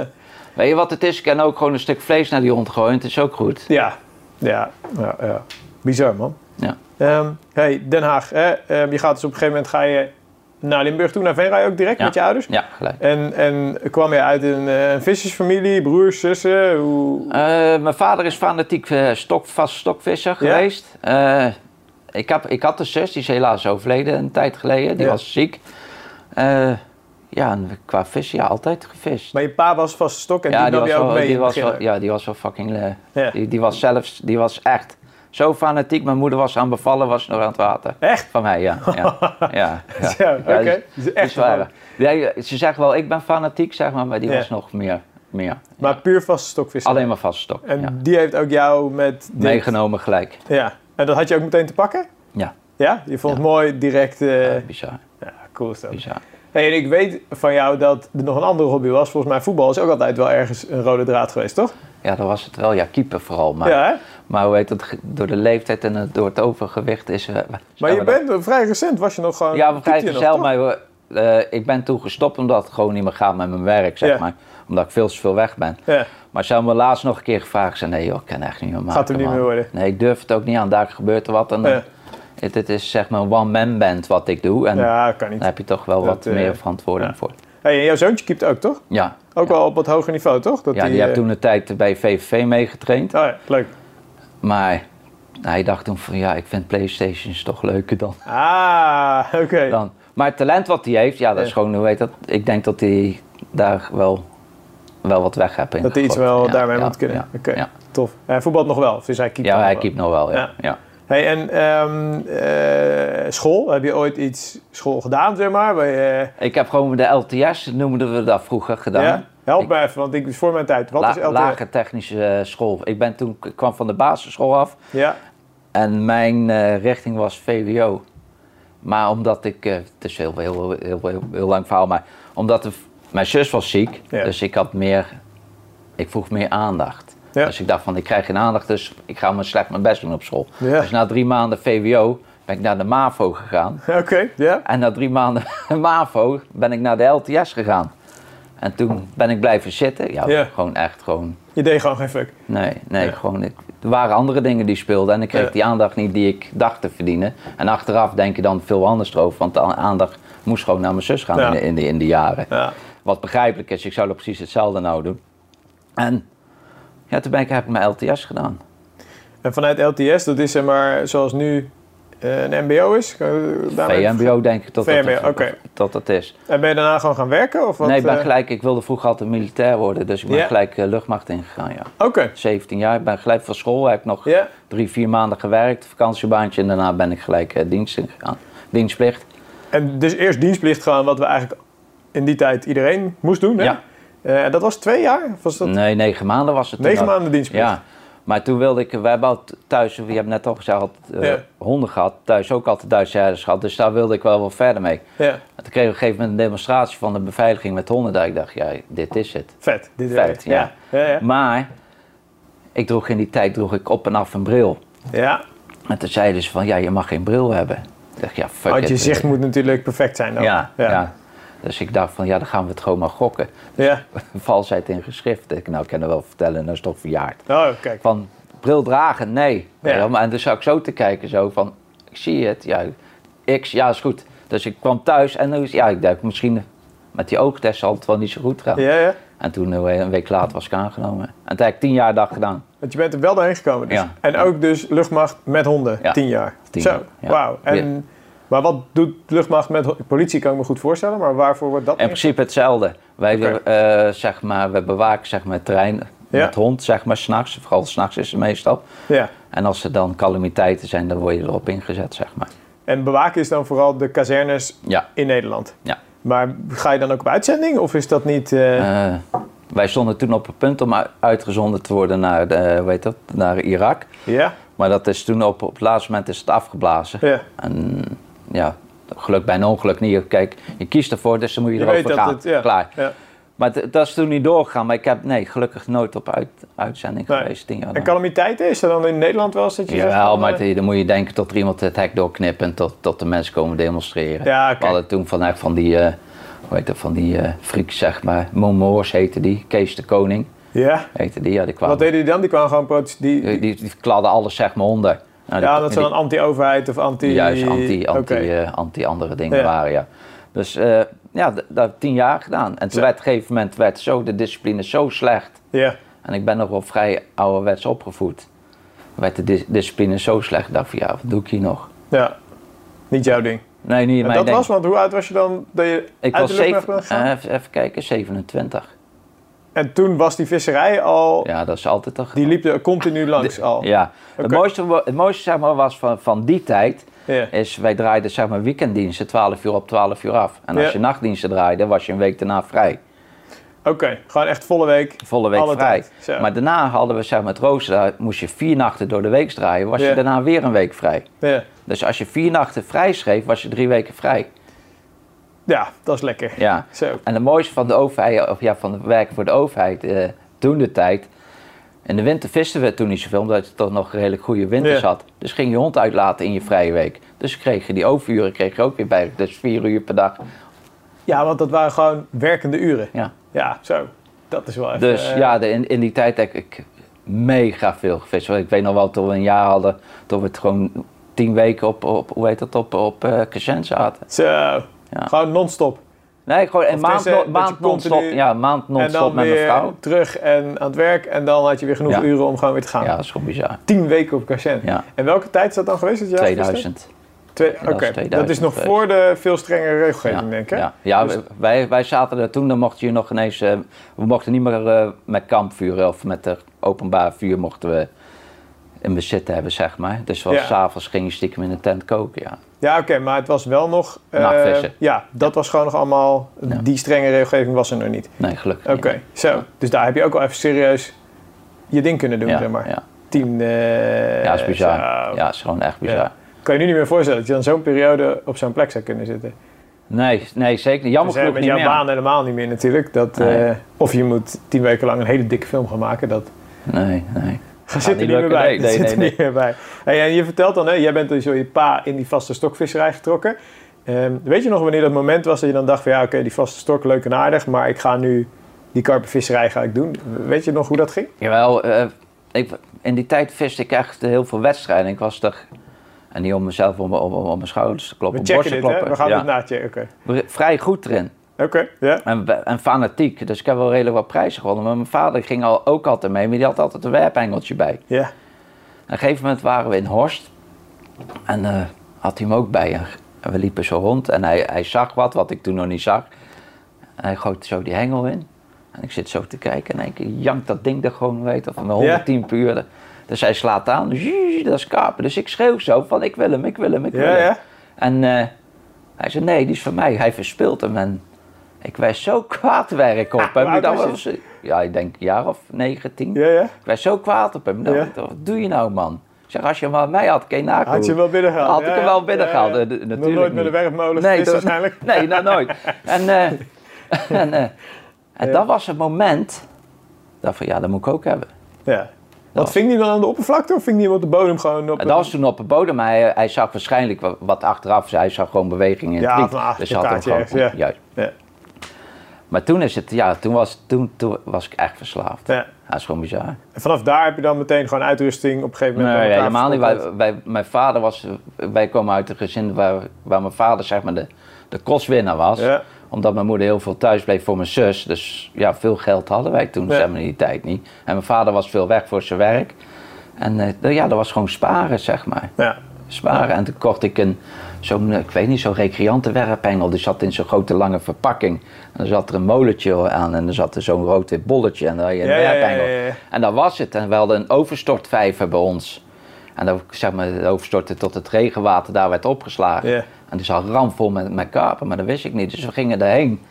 Speaker 2: Weet je wat het is? Ik kan ook gewoon een stuk vlees naar die hond gooien. Het is ook goed.
Speaker 1: Ja, ja, ja, ja. bizar man.
Speaker 2: Ja.
Speaker 1: Ehm, hey, Den Haag, hè? Ehm, je gaat dus op een gegeven moment ga je naar Limburg toe, naar Venray ook direct
Speaker 2: Ja.
Speaker 1: met je ouders.
Speaker 2: Ja, gelijk.
Speaker 1: En, en kwam je uit een, eh, een vissersfamilie, broers, zussen? Hoe...
Speaker 2: Eh, mijn vader is fanatiek eh, stok, vast stokvisser
Speaker 1: Ja.
Speaker 2: geweest. Eh, ik, heb, ik had een zus, die is helaas overleden een tijd geleden. Die
Speaker 1: Ja.
Speaker 2: was ziek. Eh, ja, en qua vissen, ja, altijd gevist.
Speaker 1: Maar je pa was vast stok en
Speaker 2: ja,
Speaker 1: die nam je ook
Speaker 2: wel,
Speaker 1: mee
Speaker 2: die
Speaker 1: in het
Speaker 2: was wel,
Speaker 1: begin.
Speaker 2: ja, die was wel fucking... eh,
Speaker 1: Ja.
Speaker 2: die, die was zelfs, die was echt zo fanatiek. Mijn moeder was aan bevallen, was nog aan het water.
Speaker 1: Echt?
Speaker 2: Van mij, ja. ja,
Speaker 1: [LAUGHS]
Speaker 2: ja, [LAUGHS] ja.
Speaker 1: Zo, oké.
Speaker 2: die is-
Speaker 1: Dus
Speaker 2: Die is
Speaker 1: echt
Speaker 2: waar.
Speaker 1: waar.
Speaker 2: Ja, ze zegt wel, ik ben fanatiek, zeg maar, maar die
Speaker 1: Ja.
Speaker 2: was nog meer. meer.
Speaker 1: Maar puur vaste stokvisser.
Speaker 2: Alleen maar vaste stok.
Speaker 1: En
Speaker 2: ja.
Speaker 1: die heeft ook jou met dit-
Speaker 2: Meegenomen gelijk.
Speaker 1: Ja, en dat had je ook meteen te pakken?
Speaker 2: Ja.
Speaker 1: Ja, je vond
Speaker 2: Ja.
Speaker 1: het mooi, direct. eh,
Speaker 2: bizar,
Speaker 1: ja, cool is dat.
Speaker 2: bizar.
Speaker 1: Hey, en ik weet van jou dat er nog een andere hobby was. Volgens mij voetbal is ook altijd wel ergens een rode draad geweest, toch?
Speaker 2: Ja, dat was het wel. Ja, keeper vooral. Maar,
Speaker 1: ja, hè?
Speaker 2: maar hoe heet dat? ge- Door de leeftijd en het- door het overgewicht is... eh,
Speaker 1: Maar
Speaker 2: zijn
Speaker 1: je
Speaker 2: we dat-
Speaker 1: bent vrij recent, was je nog gewoon...
Speaker 2: Ja, we
Speaker 1: typte
Speaker 2: krijgen
Speaker 1: je nog,
Speaker 2: zelf,
Speaker 1: toch?
Speaker 2: maar we- eh, ik ben toen gestopt omdat het gewoon niet meer gaat met mijn werk, zeg
Speaker 1: Ja.
Speaker 2: maar. Omdat ik veel te veel weg ben.
Speaker 1: Ja,
Speaker 2: Maar ze hebben me laatst nog een keer gevraagd. Ik zei, nee joh, ik kan echt niet meer maken.
Speaker 1: gaat er niet
Speaker 2: man.
Speaker 1: meer worden.
Speaker 2: Nee, ik durf het ook niet aan. Daar gebeurt er wat. En, eh,
Speaker 1: Ja.
Speaker 2: het, het is zeg maar een one-man band wat ik doe. En
Speaker 1: Ja, dat kan
Speaker 2: daar
Speaker 1: niet.
Speaker 2: heb je toch wel
Speaker 1: Dat,
Speaker 2: wat
Speaker 1: eh,
Speaker 2: meer verantwoording
Speaker 1: ja.
Speaker 2: voor.
Speaker 1: Hey, en jouw zoontje keept ook, toch?
Speaker 2: Ja,
Speaker 1: Ook
Speaker 2: Ja.
Speaker 1: wel op wat hoger niveau, toch? Dat
Speaker 2: ja die
Speaker 1: eh,
Speaker 2: heeft toen een tijd bij VVV meegetraind.
Speaker 1: Oh ja, leuk.
Speaker 2: Maar hij dacht toen van ja, ik vind Playstations toch leuker dan.
Speaker 1: Ah, [LAUGHS] oké.
Speaker 2: dan. Maar het talent wat hij heeft, ja, dat is
Speaker 1: Ja.
Speaker 2: gewoon, hoe heet dat? Ik denk dat hij daar wel, wel wat weg heeft in.
Speaker 1: Dat hij iets
Speaker 2: gegooid.
Speaker 1: wel
Speaker 2: Ja,
Speaker 1: daarmee
Speaker 2: ja,
Speaker 1: moet kunnen.
Speaker 2: Ja,
Speaker 1: Oké,
Speaker 2: ja.
Speaker 1: tof. Hij voetbalt nog wel, of is hij keept
Speaker 2: Ja,
Speaker 1: dan
Speaker 2: hij
Speaker 1: nog
Speaker 2: keept nog wel. Ja.
Speaker 1: Ja.
Speaker 2: Ja.
Speaker 1: wel? Hey, en ehm, eh, school? Heb je ooit iets school gedaan, zeg maar? Bij, eh,
Speaker 2: Ik heb gewoon de LTS, noemden we dat vroeger, gedaan.
Speaker 1: ja? Help
Speaker 2: Ik-
Speaker 1: me even, want ik is voor mijn tijd. Wat
Speaker 2: La-
Speaker 1: is LTS?
Speaker 2: Lage technische eh, school. Ik ben toen, ik kwam van de basisschool af
Speaker 1: Ja, [LAUGHS]
Speaker 2: en mijn eh, richting was VWO. Maar omdat ik, eh, het is heel, heel, heel, heel, heel, lang verhaal, maar omdat de v- mijn zus was ziek,
Speaker 1: Ja.
Speaker 2: dus ik had meer, ik vroeg meer aandacht.
Speaker 1: Ja.
Speaker 2: Dus ik dacht van, ik krijg geen aandacht, dus ik ga maar slecht mijn best doen op school.
Speaker 1: Ja.
Speaker 2: Dus na drie maanden VWO ben ik naar de MAVO gegaan.
Speaker 1: oké. Ja?
Speaker 2: En na drie maanden [LAUGHS] MAVO ben ik naar de LTS gegaan. En toen ben ik blijven zitten. Ja,
Speaker 1: Ja.
Speaker 2: gewoon echt gewoon...
Speaker 1: Je deed gewoon geen fuck.
Speaker 2: Nee, nee,
Speaker 1: Ja.
Speaker 2: gewoon... ik- er waren andere dingen die speelden en ik kreeg
Speaker 1: Ja.
Speaker 2: die aandacht niet die ik dacht te verdienen. En achteraf denk je dan veel anders erover, want de a- aandacht moest gewoon naar mijn zus gaan
Speaker 1: Ja.
Speaker 2: in, de, in, de, in de jaren.
Speaker 1: Ja.
Speaker 2: Wat begrijpelijk is, ik zou er precies hetzelfde nou doen. En ja, toen ben ik, heb ik mijn LTS gedaan.
Speaker 1: En vanuit LTS, dat is zeg maar zoals nu eh, een MBO is. Kan je daarmee-
Speaker 2: VMBO denk ik dat dat-
Speaker 1: VMBO, oké.
Speaker 2: dat, dat is.
Speaker 1: En ben je daarna gewoon gaan werken? Of wat,
Speaker 2: nee, ik ben
Speaker 1: eh,
Speaker 2: gelijk, ik wilde vroeger altijd militair worden, dus ik ben
Speaker 1: Ja.
Speaker 2: gelijk eh, luchtmacht ingegaan, ja.
Speaker 1: Oké.
Speaker 2: 17 jaar, ik ben gelijk van school, heb ik nog
Speaker 1: Ja.
Speaker 2: drie, vier maanden gewerkt, vakantiebaantje en daarna ben ik gelijk eh, dienst ingegaan. Dienstplicht.
Speaker 1: En dus eerst dienstplicht gaan, wat we eigenlijk in die tijd iedereen moest doen. Hè?
Speaker 2: Ja.
Speaker 1: Eh, en dat was twee jaar? Of was dat
Speaker 2: Nee, negen maanden was het. toen
Speaker 1: negen
Speaker 2: al.
Speaker 1: maanden dienstplicht?
Speaker 2: Ja, maar toen wilde ik, we hebben al t- thuis, je hebt net al gezegd, altijd, eh,
Speaker 1: Ja.
Speaker 2: honden gehad, thuis ook altijd Duitse herders gehad, dus daar wilde ik wel wat verder mee.
Speaker 1: Ja,
Speaker 2: En toen kreeg ik op een gegeven moment een demonstratie van de beveiliging met honden, daar ik dacht, ja, dit is het.
Speaker 1: Vet. Dit is-
Speaker 2: Vet, ja.
Speaker 1: Ja, ja, ja.
Speaker 2: Maar ik droeg in die tijd droeg ik op en af een bril.
Speaker 1: Ja,
Speaker 2: En toen zeiden ze van, ja, je mag geen bril hebben. Ik dacht, ja, fuck
Speaker 1: want je
Speaker 2: it.
Speaker 1: zicht moet natuurlijk perfect zijn dan.
Speaker 2: Ja, ja.
Speaker 1: Ja. ja.
Speaker 2: Dus ik dacht van, ja, dan gaan we het gewoon maar gokken. [LAUGHS] Valsheid in geschrift. Ik, nou, ik kan er wel vertellen, dat is toch verjaard.
Speaker 1: Oh, kijk.
Speaker 2: Van, bril dragen? Nee.
Speaker 1: Ja.
Speaker 2: Ja, maar- En toen zat ik zo te kijken, zo van, ik zie het, ja, x, ja, is goed. Dus ik kwam thuis en toen, is- ja, ik dacht, misschien met die oogtest zal het wel niet zo goed gaan.
Speaker 1: Ja, ja.
Speaker 2: En toen, eh, een week later, was ik aangenomen. En toen heb ik tien jaar dag gedaan.
Speaker 1: Want je bent er wel doorheen gekomen. Dus.
Speaker 2: Ja.
Speaker 1: En ook dus luchtmacht met honden,
Speaker 2: Ja.
Speaker 1: tien jaar.
Speaker 2: Tien
Speaker 1: Zo,
Speaker 2: jaar, ja.
Speaker 1: wauw. En, Maar wat doet luchtmacht met ho- politie? Kan ik me goed voorstellen, maar waarvoor wordt dat?
Speaker 2: In principe hetzelfde. Wij
Speaker 1: Oké.
Speaker 2: eh, zeg maar, we bewaken zeg maar, het terrein
Speaker 1: Ja.
Speaker 2: met hond, zeg maar, s'nachts. Vooral s'nachts is het meestal.
Speaker 1: Ja.
Speaker 2: En als er dan calamiteiten zijn, dan word je erop ingezet, zeg maar.
Speaker 1: En bewaken is dan vooral de kazernes
Speaker 2: Ja.
Speaker 1: in Nederland.
Speaker 2: Ja.
Speaker 1: Maar ga je dan ook op uitzending of is dat niet... eh,
Speaker 2: Eh, wij stonden toen op het punt om u- uitgezonden te worden naar, de, eh, hoe heet dat, naar Irak.
Speaker 1: ja?
Speaker 2: Maar dat is toen op, op het laatste moment is het afgeblazen.
Speaker 1: Ja.
Speaker 2: En ja, geluk bij een ongeluk niet. Kijk, je kiest ervoor, dus dan moet je,
Speaker 1: Je weet
Speaker 2: erover
Speaker 1: dat
Speaker 2: gaan.
Speaker 1: het... Ja.
Speaker 2: Klaar.
Speaker 1: Ja.
Speaker 2: Maar d- dat is toen niet doorgegaan. Maar ik heb nee, gelukkig nooit op uit, uitzending
Speaker 1: Nee.
Speaker 2: geweest. Tien jaar
Speaker 1: En
Speaker 2: lang.
Speaker 1: calamiteiten, is er dan in Nederland wel eens dat je zegt
Speaker 2: Jawel,
Speaker 1: van,
Speaker 2: maar
Speaker 1: eh,
Speaker 2: het- dan moet je denken tot er iemand het hek doorknipt en tot, tot de mensen komen demonstreren.
Speaker 1: Ja, oké.
Speaker 2: We hadden toen van, echt van die, eh hoe heet dat, van die eh freaks, zeg maar. Momoors heette die, Kees de Koning
Speaker 1: Ja?
Speaker 2: heette die. Ja, die kwamen,
Speaker 1: Wat deden die dan? Die kwamen gewoon protesteren.
Speaker 2: die, die, die kladden alles zeg maar onder. Nou, die-
Speaker 1: ja, dat ze
Speaker 2: die-
Speaker 1: dan anti-overheid of anti...
Speaker 2: Juist, anti, anti,
Speaker 1: Oké.
Speaker 2: eh, anti andere dingen
Speaker 1: Ja.
Speaker 2: waren, ja. Dus eh, ja, d- dat heb ik tien jaar gedaan. En toen
Speaker 1: Zo.
Speaker 2: werd op een gegeven moment werd zo de discipline zo slecht.
Speaker 1: Ja.
Speaker 2: En ik ben nog wel vrij ouderwets opgevoed. Werd de dis- discipline zo slecht. Ik dacht van ja, wat doe ik hier nog?
Speaker 1: ja, niet jouw ding.
Speaker 2: Nee, niet in
Speaker 1: En
Speaker 2: mijn
Speaker 1: dat
Speaker 2: denk.
Speaker 1: was, want hoe oud was je dan dat je
Speaker 2: Ik
Speaker 1: uit
Speaker 2: was
Speaker 1: de lucht werd
Speaker 2: zeven,
Speaker 1: gegaan?
Speaker 2: eh, even, even kijken, 27.
Speaker 1: En toen was die visserij al...
Speaker 2: Ja, dat is altijd toch.
Speaker 1: Die liep er continu langs al.
Speaker 2: Ja, het
Speaker 1: Oké.
Speaker 2: mooiste, wo- het mooiste zeg maar, was van, van die tijd.
Speaker 1: Ja.
Speaker 2: Is, wij draaiden zeg maar, weekenddiensten 12 uur op 12 uur af. En als
Speaker 1: Ja.
Speaker 2: je nachtdiensten draaide, was je een week daarna vrij.
Speaker 1: Oké, gewoon echt volle week.
Speaker 2: Volle week
Speaker 1: Alle
Speaker 2: vrij.
Speaker 1: tijd, zo.
Speaker 2: Maar daarna hadden we zeg maar, het rooster, daar moest je vier nachten door de week draaien, was
Speaker 1: Ja.
Speaker 2: je daarna weer een week vrij.
Speaker 1: Ja.
Speaker 2: Dus als je vier nachten vrij schreef, was je drie weken vrij.
Speaker 1: ja, dat is lekker.
Speaker 2: Ja.
Speaker 1: Zo.
Speaker 2: En het mooiste van de overheid, of ja, van het werk voor de overheid eh, toen de tijd. In de winter visten we toen niet zoveel, omdat het toch nog redelijk goede winter
Speaker 1: Ja.
Speaker 2: zat. Dus ging je hond uitlaten in je vrije week. Dus kreeg je die overuren kreeg je ook weer bij. Dus vier uur per dag.
Speaker 1: Ja, want dat waren gewoon werkende uren.
Speaker 2: Ja.
Speaker 1: Ja, zo. Dat is wel even...
Speaker 2: Dus
Speaker 1: eh,
Speaker 2: ja, de- in, in die tijd heb ik mega veel gevist. Want Ik weet nog wel, toen we een jaar hadden, toen we het gewoon tien weken op, op hoe heet dat, op, op eh Crescent zaten.
Speaker 1: Zo. Gewoon non-stop.
Speaker 2: Nee, gewoon een
Speaker 1: Of
Speaker 2: maand,
Speaker 1: tussen-
Speaker 2: no-
Speaker 1: dat je
Speaker 2: maand non-stop.
Speaker 1: continu-
Speaker 2: Ja, een maand
Speaker 1: en
Speaker 2: non-stop
Speaker 1: dan
Speaker 2: met mijn
Speaker 1: weer
Speaker 2: vrouw.
Speaker 1: terug en aan het werk. En dan had je weer genoeg
Speaker 2: Ja.
Speaker 1: uren om gewoon weer te gaan.
Speaker 2: Ja, dat is gewoon bizar.
Speaker 1: Tien weken op Crescent.
Speaker 2: Ja.
Speaker 1: En welke tijd Ah. is dat dan geweest? Dat je
Speaker 2: 2000.
Speaker 1: Twee, Oké,
Speaker 2: was
Speaker 1: dat is
Speaker 2: 2000
Speaker 1: nog voor de veel strengere regelgeving,
Speaker 2: ja,
Speaker 1: denk ik. hè?
Speaker 2: Ja, ja
Speaker 1: Dus-
Speaker 2: wij, wij zaten er toen, dan mochten je nog ineens... eh, we mochten niet meer eh, met kampvuur of met eh, openbaar vuur mochten we in bezit hebben, zeg maar. Dus was
Speaker 1: Ja.
Speaker 2: s'avonds ging je stiekem in de tent koken, ja.
Speaker 1: Ja, oké, maar het was wel nog... eh,
Speaker 2: Nachtvissen.
Speaker 1: ja, dat was gewoon nog allemaal... Die strenge regelgeving was er nog niet.
Speaker 2: Nee, gelukkig
Speaker 1: Oké, zo. Dus daar heb je ook wel even serieus je ding kunnen doen,
Speaker 2: niet. Ja,
Speaker 1: zeg maar.
Speaker 2: ja.
Speaker 1: Tien... eh,
Speaker 2: ja, is bizar.
Speaker 1: zo.
Speaker 2: Ja, is gewoon echt bizar.
Speaker 1: Ja. Kan je nu niet meer voorstellen dat je dan zo'n periode op zo'n plek zou kunnen zitten.
Speaker 2: Nee, nee, zeker niet. Jammer
Speaker 1: Dus, hè,
Speaker 2: genoeg
Speaker 1: met
Speaker 2: niet
Speaker 1: jouw
Speaker 2: meer.
Speaker 1: baan helemaal niet meer natuurlijk. Dat,
Speaker 2: Nee.
Speaker 1: eh, of je moet tien weken lang een hele dikke film gaan maken. Dat
Speaker 2: Nee, nee.
Speaker 1: Dat zit er niet
Speaker 2: niet
Speaker 1: meer
Speaker 2: lukken,
Speaker 1: bij.
Speaker 2: nee,
Speaker 1: Dat [LAUGHS] zit
Speaker 2: nee, nee,
Speaker 1: er
Speaker 2: nee.
Speaker 1: niet meer bij. Hey, en je vertelt dan, hè, jij bent dus door je pa in die vaste stokvisserij getrokken. Ehm, weet je nog wanneer dat moment was dat je dan dacht van ja, oké, die vaste stok, leuk en aardig, maar ik ga nu die karpenvisserij ga ik doen. Weet je nog hoe dat ging?
Speaker 2: Jawel, eh, ik, in die tijd viste ik echt heel veel wedstrijden. Ik was er, en niet om mezelf om, om, om mijn schouders te
Speaker 1: We
Speaker 2: kloppen,
Speaker 1: checken
Speaker 2: borst te
Speaker 1: dit, hè?
Speaker 2: kloppen.
Speaker 1: We gaan
Speaker 2: ja.
Speaker 1: dit naatje. Oké,
Speaker 2: We- Vrij goed erin.
Speaker 1: oké, ja.
Speaker 2: En, be- en fanatiek, dus ik heb wel redelijk wat prijzen gewonnen. Maar mijn vader ging al, ook altijd mee, maar die had altijd een werpengeltje bij.
Speaker 1: Ja,
Speaker 2: Op een gegeven moment waren we in Horst en eh, had hij hem ook bij. En we liepen zo rond en hij, hij zag wat, wat ik toen nog niet zag. En hij gooit zo die hengel in. En ik zit zo te kijken en ik jankt dat ding er gewoon, weet of van 110 per uur. Dus hij slaat aan, zzz, dat is kapen. Dus ik schreeuw zo van ik wil hem, ik wil hem, ik wil
Speaker 1: ja,
Speaker 2: hem.
Speaker 1: ja.
Speaker 2: En eh, hij zei, nee, die is van mij. Hij verspeelt hem. En ik werd zo kwaad
Speaker 1: [LAUGHS]
Speaker 2: werk op
Speaker 1: hoe
Speaker 2: hem.
Speaker 1: oud
Speaker 2: Dat
Speaker 1: was je?
Speaker 2: was, ja, ik denk een jaar of 19.
Speaker 1: ja, ja.
Speaker 2: Ik werd zo kwaad op hem. Dan
Speaker 1: Ja.
Speaker 2: dacht ik, Wat doe je nou, man? Ik zeg, als je hem aan mij had, kun je nakomen.
Speaker 1: Had je hem wel binnengehaald?
Speaker 2: Had ik
Speaker 1: Ja,
Speaker 2: hem
Speaker 1: ja.
Speaker 2: wel binnengehaald.
Speaker 1: Ja, ja.
Speaker 2: eh, d-
Speaker 1: Nog
Speaker 2: Natuurlijk
Speaker 1: nooit met
Speaker 2: niet.
Speaker 1: een werpmolen
Speaker 2: Nee,
Speaker 1: gevist
Speaker 2: dat-
Speaker 1: waarschijnlijk?
Speaker 2: [LAUGHS] Nee, nou nooit. En, eh,
Speaker 1: [LAUGHS]
Speaker 2: [LAUGHS] en, eh, en dat was het moment. Ik dacht van, ja, dat moet ik ook hebben.
Speaker 1: Ja. Wat
Speaker 2: was-
Speaker 1: ving die dan aan de oppervlakte of ving die hem op de bodem gewoon op?
Speaker 2: En dat was toen op de bodem. maar Hij, hij zag waarschijnlijk wa- wat achteraf. Hij zag gewoon beweging in het
Speaker 1: Ja,
Speaker 2: riet.
Speaker 1: van, ah,
Speaker 2: Dus
Speaker 1: een
Speaker 2: hij had hem
Speaker 1: kaartje
Speaker 2: gewoon...
Speaker 1: ergens, ja.
Speaker 2: Juist.
Speaker 1: Ja.
Speaker 2: Maar toen is het, ja, toen was, toen, toen was ik echt verslaafd.
Speaker 1: Ja.
Speaker 2: Dat is gewoon bizar.
Speaker 1: En vanaf daar heb je dan meteen gewoon uitrusting op een gegeven moment.
Speaker 2: Nee,
Speaker 1: bij elkaar
Speaker 2: helemaal niet.
Speaker 1: versprokkeld.
Speaker 2: Wij, wij- mijn vader was, wij komen uit een gezin waar, waar mijn vader zeg maar de, de kostwinnaar was.
Speaker 1: Ja.
Speaker 2: Omdat mijn moeder heel veel thuis bleef voor mijn zus. Dus ja, veel geld hadden wij toen
Speaker 1: Ja.
Speaker 2: zeg maar, in die tijd niet. En mijn vader was veel weg voor zijn werk. En eh, nou ja, dat was gewoon sparen, zeg maar.
Speaker 1: Ja.
Speaker 2: sparen. En toen kocht ik een, zo'n, eh, ik weet niet, zo'n recreantenwerpengel. Die zat in zo'n grote lange verpakking. En dan zat er een moletje aan en er zat er zo'n rood-wit bolletje. En dan had je een
Speaker 1: Ja, ja, ja,
Speaker 2: werpengel.
Speaker 1: ja, ja.
Speaker 2: En dat was het. En we hadden een overstortvijver bij ons. En dat zeg maar, overstortte tot het regenwater daar werd opgeslagen.
Speaker 1: Ja.
Speaker 2: En die zat ramvol met, met kapen, maar dat wist ik niet. Dus we gingen daarheen.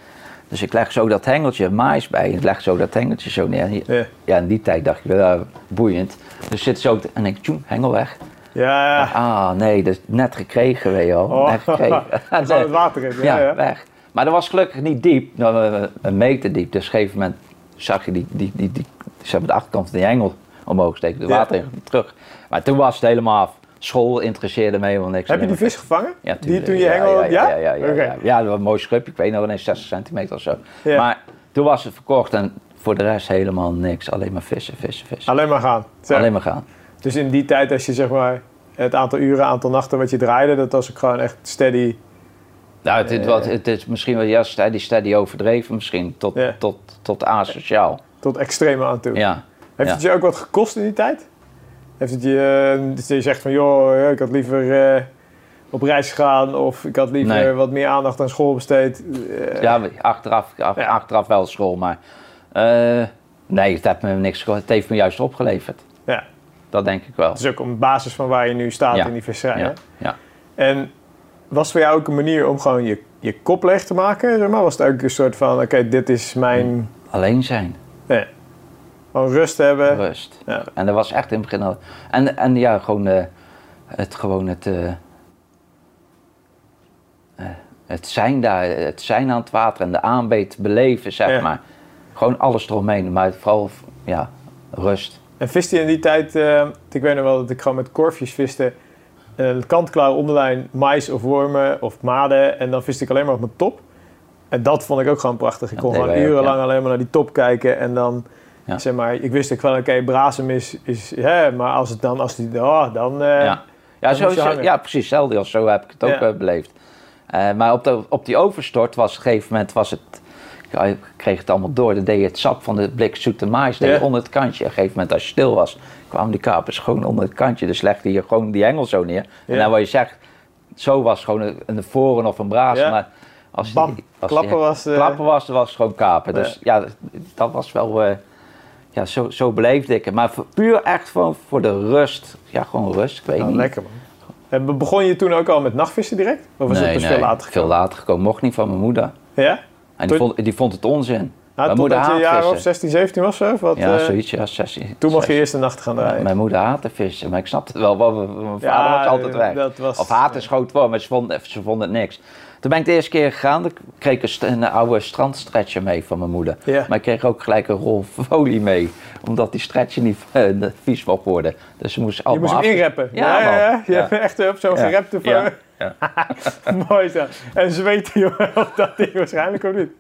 Speaker 2: Dus ik leg zo dat hengeltje mais bij. Ik leg zo dat hengeltje zo neer. En je-
Speaker 1: Ja.
Speaker 2: Ja, in die tijd dacht ik, ja, boeiend. Dus zit zo te- en ik, tjoem, hengel weg.
Speaker 1: Ja,
Speaker 2: Ah, nee, dat is net gekregen, weet je wel.
Speaker 1: Oh.
Speaker 2: Net gekregen.
Speaker 1: [LAUGHS]
Speaker 2: [LAUGHS]
Speaker 1: dat zou het water in. Ja,
Speaker 2: ja,
Speaker 1: ja.
Speaker 2: weg. Maar dat was gelukkig niet diep, nou, eh, een meter diep. Dus op een gegeven moment zag je die, die, die, die, ze hebben de achterkant van die engel omhoog steken, de
Speaker 1: Ja.
Speaker 2: water in- terug. Maar toen was het helemaal af. School interesseerde me helemaal niks.
Speaker 1: Heb je die vis gevangen?
Speaker 2: Ja,
Speaker 1: die
Speaker 2: tuurlijk.
Speaker 1: toen je hengel...
Speaker 2: Ja,
Speaker 1: Ja?
Speaker 2: ja, ja. ja, ja,
Speaker 1: Oké.
Speaker 2: ja. Ja, dat was een mooi schubje. Ik weet nog ineens 60 centimeter of zo.
Speaker 1: Ja.
Speaker 2: Maar toen was het verkocht en voor de rest helemaal niks. Alleen maar vissen, vissen, vissen.
Speaker 1: Alleen maar gaan. Ah, Zeg.
Speaker 2: Alleen maar gaan.
Speaker 1: Dus in die tijd, als je zeg maar het aantal uren, aantal nachten wat je draaide, dat was ook gewoon echt steady.
Speaker 2: Nou, het, het,
Speaker 1: Eh.
Speaker 2: was- het is misschien wel juist hè, die steady overdreven misschien. Tot,
Speaker 1: Ja.
Speaker 2: tot, tot asociaal.
Speaker 1: tot extreme aan toe.
Speaker 2: Ja.
Speaker 1: Heeft
Speaker 2: ja.
Speaker 1: het je ook wat gekost in die tijd? Heeft het je, eh, dat je zegt van joh, eh, ik had liever eh, op reis gegaan of ik had liever
Speaker 2: Nee.
Speaker 1: wat meer aandacht aan school besteed? Eh,
Speaker 2: Ja, we- achteraf, ach-
Speaker 1: Ja.
Speaker 2: achteraf wel school, maar... eh, nee, het heeft me niks gekost. Het heeft me juist opgeleverd.
Speaker 1: ja.
Speaker 2: Dat denk ik wel.
Speaker 1: Het is ook een basis van waar je nu staat
Speaker 2: Ja.
Speaker 1: in die visserij. hè?
Speaker 2: Ja, ja.
Speaker 1: En was het voor jou ook een manier om gewoon je, je kop leeg te maken? Zeg maar was het ook een soort van oké, dit is mijn.
Speaker 2: Mm. Alleen zijn.
Speaker 1: Nee. Gewoon rust hebben.
Speaker 2: Rust.
Speaker 1: Ja.
Speaker 2: En dat was echt in het begin al. En, en ja, gewoon eh, het, gewoon het, eh, eh, het zijn daar, het zijn aan het water en de aanbeet beleven, zeg
Speaker 1: Ja.
Speaker 2: maar. Gewoon alles eromheen, maar vooral ja, rust.
Speaker 1: En viste je in die tijd, eh, ik weet nog wel dat ik gewoon met korfjes viste, eh kantklaar onderlijn mais of wormen of maden. En dan viste ik alleen maar op mijn top. En dat vond ik ook gewoon prachtig. Ik
Speaker 2: Dat
Speaker 1: kon
Speaker 2: deden
Speaker 1: gewoon
Speaker 2: wij ook,
Speaker 1: urenlang alleen maar naar die top kijken. En dan,
Speaker 2: Ja.
Speaker 1: zeg maar, ik wist ook wel, oké, brazem is, is hè, maar als het dan, als die, oh, dan, eh,
Speaker 2: ja. Ja,
Speaker 1: dat moet je
Speaker 2: sowieso,
Speaker 1: hangen.
Speaker 2: ja, precies, hetzelfde als zo heb ik het
Speaker 1: Ja.
Speaker 2: ook eh, beleefd. Eh, maar op, de, op die overstort was op een gegeven moment was het. Ik kreeg het allemaal door. Dan deed je het sap van de blik zoete mais deed je
Speaker 1: Ja.
Speaker 2: onder het kantje. Op een gegeven moment, als je stil was, kwamen die kapers gewoon onder het kantje. Dus legde je gewoon die engel zo neer. En
Speaker 1: Ja.
Speaker 2: dan wat je zegt, zo was gewoon een, een voren of een braas.
Speaker 1: Ja.
Speaker 2: Maar als
Speaker 1: bam,
Speaker 2: die, als
Speaker 1: klappen
Speaker 2: die,
Speaker 1: was... eh,
Speaker 2: klappen was, dan was het gewoon kapen. Dus ja, dat was wel. eh, ja, zo, zo beleefde ik het. Maar voor- puur echt gewoon voor de rust. Ja, gewoon rust. Ik weet
Speaker 1: nou,
Speaker 2: niet.
Speaker 1: lekker man. En be- begon je toen ook al met nachtvissen direct? Of was het pas veel later
Speaker 2: veel
Speaker 1: gekomen?
Speaker 2: later gekomen. Mocht niet van mijn moeder.
Speaker 1: Ja?
Speaker 2: En
Speaker 1: Toen-
Speaker 2: die vond, die vond het onzin.
Speaker 1: Nou,
Speaker 2: mijn
Speaker 1: totdat
Speaker 2: moeder
Speaker 1: je een jaar
Speaker 2: haat
Speaker 1: of
Speaker 2: vissen.
Speaker 1: 16, 17 was zo? of Wat,
Speaker 2: Ja,
Speaker 1: eh,
Speaker 2: zoiets, ja, 16.
Speaker 1: toen mocht je eerst de nacht gaan draaien.
Speaker 2: Mijn moeder haatte vissen, maar ik snapte het wel, want mijn mijn vader was altijd weg.
Speaker 1: dat was-
Speaker 2: Of haatte schoot voor, maar ze vonden, ze vonden het niks. Toen ben ik de eerste keer gegaan, dan kreeg ik een, st- een oude strandstretcher mee van mijn moeder.
Speaker 1: Ja.
Speaker 2: Maar ik kreeg ook gelijk een rol folie mee, omdat die stretcher niet eh, vies mocht worden. Dus ze moest
Speaker 1: Je
Speaker 2: allemaal
Speaker 1: moest hem
Speaker 2: af-
Speaker 1: inreppen.
Speaker 2: Ja,
Speaker 1: ja, ja.
Speaker 2: man.
Speaker 1: Je
Speaker 2: Ja.
Speaker 1: hebt echt eh, op zo'n
Speaker 2: Ja.
Speaker 1: gerepte
Speaker 2: Ja.
Speaker 1: voor. [LAUGHS] Mooi zo. En zweten, jongen, op [LAUGHS] dat ding waarschijnlijk ook niet.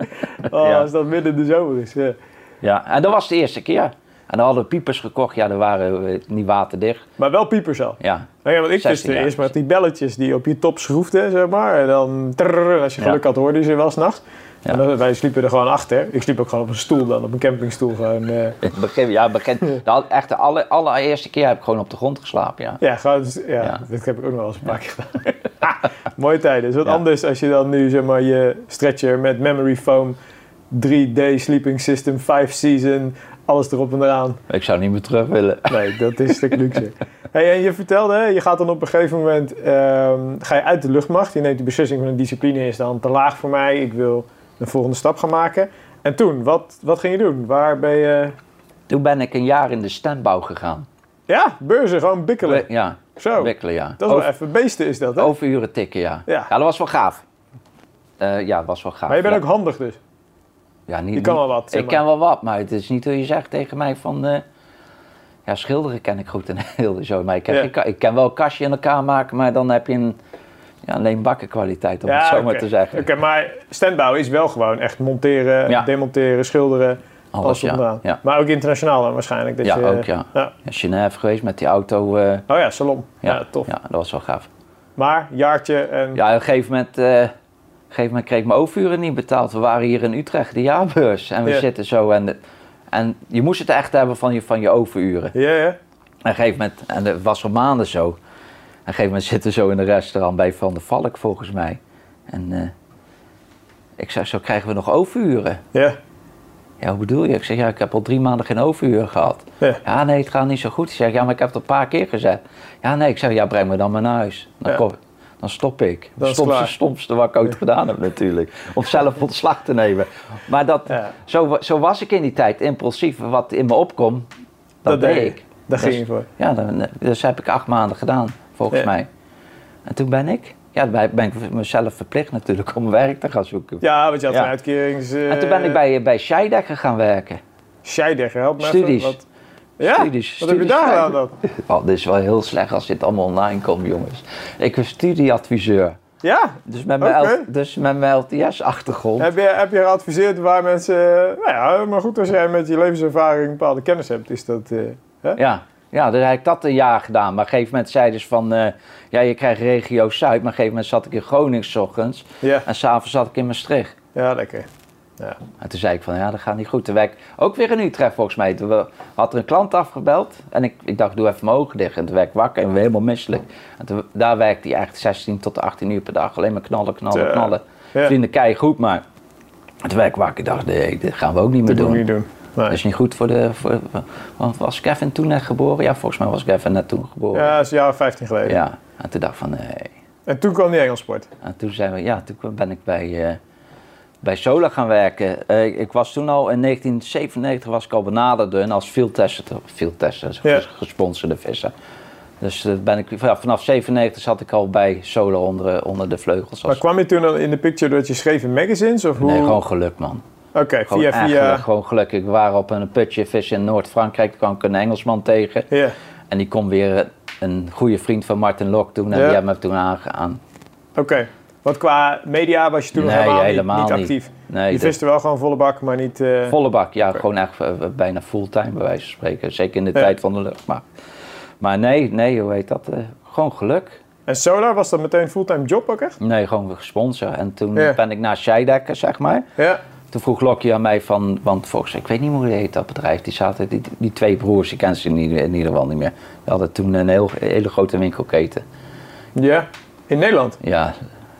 Speaker 1: Oh,
Speaker 2: Ja.
Speaker 1: Als dat midden in de zomer is. Ja.
Speaker 2: Ja, en dat was de eerste keer. En dan hadden we piepers gekocht, ja, die waren eh, niet waterdicht.
Speaker 1: Maar wel piepers al.
Speaker 2: Ja, [LAUGHS]
Speaker 1: Nou ja, want ik
Speaker 2: 16
Speaker 1: wist
Speaker 2: jaar.
Speaker 1: eerst met die belletjes die op je top schroefden, zeg maar. En dan, trrr, en als je geluk
Speaker 2: Ja.
Speaker 1: had, hoorde je ze wel s'nachts.
Speaker 2: Ja.
Speaker 1: En dan, wij sliepen er gewoon achter. Ik sliep ook gewoon op een stoel dan, op een campingstoel. Gewoon, eh,
Speaker 2: in het begin, ja, in het
Speaker 1: [LAUGHS]
Speaker 2: begin, de, al- echt de aller, allereerste keer heb ik gewoon op de grond geslapen, ja.
Speaker 1: ja, gewoon, dus, ja,
Speaker 2: Ja.
Speaker 1: dat heb ik ook nog wel eens een paar keer gedaan. [LAUGHS] Mooie tijden. Is wat
Speaker 2: Ja.
Speaker 1: anders als je dan nu, zeg maar, je stretcher met memory foam, 3D sleeping system, 5 season, alles erop en eraan.
Speaker 2: Ik zou niet meer terug willen.
Speaker 1: Nee, dat is een stuk
Speaker 2: [LAUGHS]
Speaker 1: luxe. Hey, en je vertelde, hè, je gaat dan op een gegeven moment ehm, ga je uit de luchtmacht. Je neemt die beslissing van een discipline is dan te laag voor mij. Ik wil een volgende stap gaan maken. En toen, wat, wat ging je doen? Waar ben je...
Speaker 2: Toen ben ik een jaar in de stembouw gegaan.
Speaker 1: Ja, beurzen, gewoon bikkelen.
Speaker 2: Ja,
Speaker 1: Zo,
Speaker 2: wikkelen, ja.
Speaker 1: Oh. dat is wel
Speaker 2: Over-
Speaker 1: even beesten is dat, hè?
Speaker 2: Overuren tikken, ja.
Speaker 1: Ja.
Speaker 2: dat was wel gaaf. Eh, ja, dat was wel gaaf.
Speaker 1: Maar je bent
Speaker 2: Ja.
Speaker 1: ook handig dus.
Speaker 2: Ja, niet,
Speaker 1: Je kan
Speaker 2: niet-
Speaker 1: wel wat, zeg
Speaker 2: Mhm. Ik
Speaker 1: maar.
Speaker 2: ken wel wat, maar het is niet hoe je zegt tegen mij van... eh, ja, schilderen ken ik goed [LAUGHS] en heel zo. Maar ik, heb
Speaker 1: Ja.
Speaker 2: geen ka- ik kan wel een kastje in elkaar maken, maar dan heb je een... Ja, alleen bakkenkwaliteit, om het zo maar
Speaker 1: oké.
Speaker 2: te zeggen.
Speaker 1: Oké, maar standbouw is wel gewoon echt monteren,
Speaker 2: Ja.
Speaker 1: demonteren, schilderen,
Speaker 2: Alles,
Speaker 1: alles
Speaker 2: ja.
Speaker 1: onderaan.
Speaker 2: Ja.
Speaker 1: Maar ook internationaal dan waarschijnlijk. Dat
Speaker 2: Ja,
Speaker 1: je,
Speaker 2: ook, ja. Ja, Genève geweest met die auto. eh,
Speaker 1: Oh ja, salon. Ja, tof.
Speaker 2: Ja, dat was wel gaaf.
Speaker 1: Maar, jaartje en...
Speaker 2: Ja, op een gegeven moment, eh, op een gegeven moment kreeg ik mijn overuren niet betaald. We waren hier in Utrecht, de jaarbeurs. En we
Speaker 1: Ja.
Speaker 2: zitten zo. En, de- en je moest het echt hebben van je, van je overuren.
Speaker 1: Ja, ja.
Speaker 2: En op een gegeven moment, en dat was al maanden zo. een gegeven moment zitten we zo in een restaurant bij Van der Valk, volgens mij. En eh, ik zei, zo krijgen we nog overuren.
Speaker 1: Ja.
Speaker 2: Ja, hoe bedoel je? Ik zeg, ja, ik heb al drie maanden geen overuur gehad.
Speaker 1: Ja.
Speaker 2: Ja, nee, het gaat niet zo goed. Ik zeg, ja, maar ik heb het een paar keer gezet. Ja, nee, ik zeg, ja, breng me dan maar naar huis. Dan,
Speaker 1: Ja.
Speaker 2: kom, dan stop ik.
Speaker 1: Dan
Speaker 2: Dat
Speaker 1: is
Speaker 2: stomste,
Speaker 1: klaar.
Speaker 2: stomste wat ik ooit gedaan heb natuurlijk. Om zelf ontslag te nemen. Maar dat,
Speaker 1: Ja.
Speaker 2: zo, wa- zo was ik in die tijd. Impulsief, wat in me opkwam,
Speaker 1: Dat
Speaker 2: dat, deed
Speaker 1: deed je.
Speaker 2: ik.
Speaker 1: Daar
Speaker 2: Dus-
Speaker 1: ging je voor.
Speaker 2: Ja, dan, dus heb ik acht maanden gedaan, volgens
Speaker 1: Ja.
Speaker 2: mij. En toen ben ik, ja, ben ben ik mezelf verplicht natuurlijk om werk te gaan zoeken.
Speaker 1: Ja, want je had
Speaker 2: Ja.
Speaker 1: een uitkerings... eh,
Speaker 2: En toen ben ik bij, bij Scheidegger gaan werken.
Speaker 1: Scheidegger, help me even.
Speaker 2: Studies.
Speaker 1: Wat- Ja?
Speaker 2: Studies,
Speaker 1: Wat heb je
Speaker 2: studies
Speaker 1: daar gedaan
Speaker 2: schrijven.
Speaker 1: dan?
Speaker 2: Oh, dit is wel heel slecht als dit allemaal online komt, jongens. Ik was studieadviseur.
Speaker 1: Ja?
Speaker 2: Dus met mijn,
Speaker 1: Oké.
Speaker 2: L- dus met mijn LTS-achtergrond.
Speaker 1: Heb je, heb je geadviseerd waar mensen... eh, Nou ja, maar goed, als jij met je levenservaring bepaalde kennis hebt, is dat... eh, hè?
Speaker 2: Ja, ja, dus heb ik dat een jaar gedaan. Maar op een gegeven moment zeiden ze van... eh, ja, je krijgt regio Zuid. Maar op een gegeven moment zat ik in Groningen 's ochtends.
Speaker 1: Ja.
Speaker 2: En s'avonds zat ik in Maastricht.
Speaker 1: Ja, lekker.
Speaker 2: En toen zei ik van, ja, dat gaat niet goed. Toen werd ik ook weer in Utrecht volgens mij. Toen we- had er een klant afgebeld. En ik, ik dacht, doe even mijn ogen dicht. En toen werd ik wakker en weer helemaal misselijk. En toen, daar werkte hij echt 16 tot 18 uur per dag. Alleen maar knallen, knallen,
Speaker 1: Zo.
Speaker 2: knallen.
Speaker 1: Ja.
Speaker 2: Vrienden, kei goed, maar... En toen werd ik wakker. Ik dacht, nee, dit gaan we ook niet meer
Speaker 1: Dat moet
Speaker 2: doen.
Speaker 1: je niet doen.
Speaker 2: Dat
Speaker 1: Nee.
Speaker 2: is niet goed voor de... Voor, want was Kevin toen net geboren? Ja, volgens mij was Kevin net toen geboren.
Speaker 1: Ja, dat is een jaar of 15 geleden.
Speaker 2: Ja. En toen dacht ik van, nee...
Speaker 1: En toen kwam die Engelsport.
Speaker 2: En toen, zijn we, ja, toen ben ik bij, eh, bij Sola gaan werken. Eh, ik was toen al in 1997 was ik al benaderd door hun als fieldtester, fieldtester
Speaker 1: Ja.
Speaker 2: ges- gesponsorde visser. Dus eh, ben ik, ja, vanaf 97 zat ik al bij Sola onder, onder de vleugels.
Speaker 1: Maar
Speaker 2: Als,
Speaker 1: kwam je toen dan in de picture dat je schreef in magazines? Of hoe?
Speaker 2: nee, gewoon geluk man.
Speaker 1: Oké,
Speaker 2: Gewoon,
Speaker 1: via...
Speaker 2: eigenlijk
Speaker 1: via...
Speaker 2: gewoon geluk. Ik was op een putje vissen in Noord-Frankrijk. Toen kwam ik een Engelsman tegen.
Speaker 1: Ja,
Speaker 2: En die kon weer een goede vriend van Martin Lok toen. En
Speaker 1: Ja.
Speaker 2: die hebben me toen aangegaan.
Speaker 1: oké. Want qua media was je toen nog
Speaker 2: Nee,
Speaker 1: helemaal, niet-
Speaker 2: helemaal
Speaker 1: niet,
Speaker 2: niet.
Speaker 1: actief.
Speaker 2: Nee,
Speaker 1: je
Speaker 2: dus- dat-
Speaker 1: viste wel gewoon volle bak, maar niet... eh,
Speaker 2: Volle bak, ja, gewoon echt eh, bijna fulltime bij wijze van spreken. Zeker in de
Speaker 1: Ja.
Speaker 2: tijd van de luchtmacht. Maar nee, nee, hoe heet dat? eh, gewoon geluk.
Speaker 1: En Solar, was dat meteen een fulltime job ook echt?
Speaker 2: Nee, gewoon weer gesponsord. En toen
Speaker 1: Ja.
Speaker 2: ben ik naar Scheidekker, zeg maar.
Speaker 1: Ja.
Speaker 2: Toen vroeg Lokje aan mij van, want volgens ik weet niet meer hoe die heet dat bedrijf. Die, zaten, die, die twee broers, ik ken ze in ieder, in ieder geval niet meer. Die hadden toen een heel, hele grote winkelketen.
Speaker 1: Ja. In Nederland?
Speaker 2: Ja,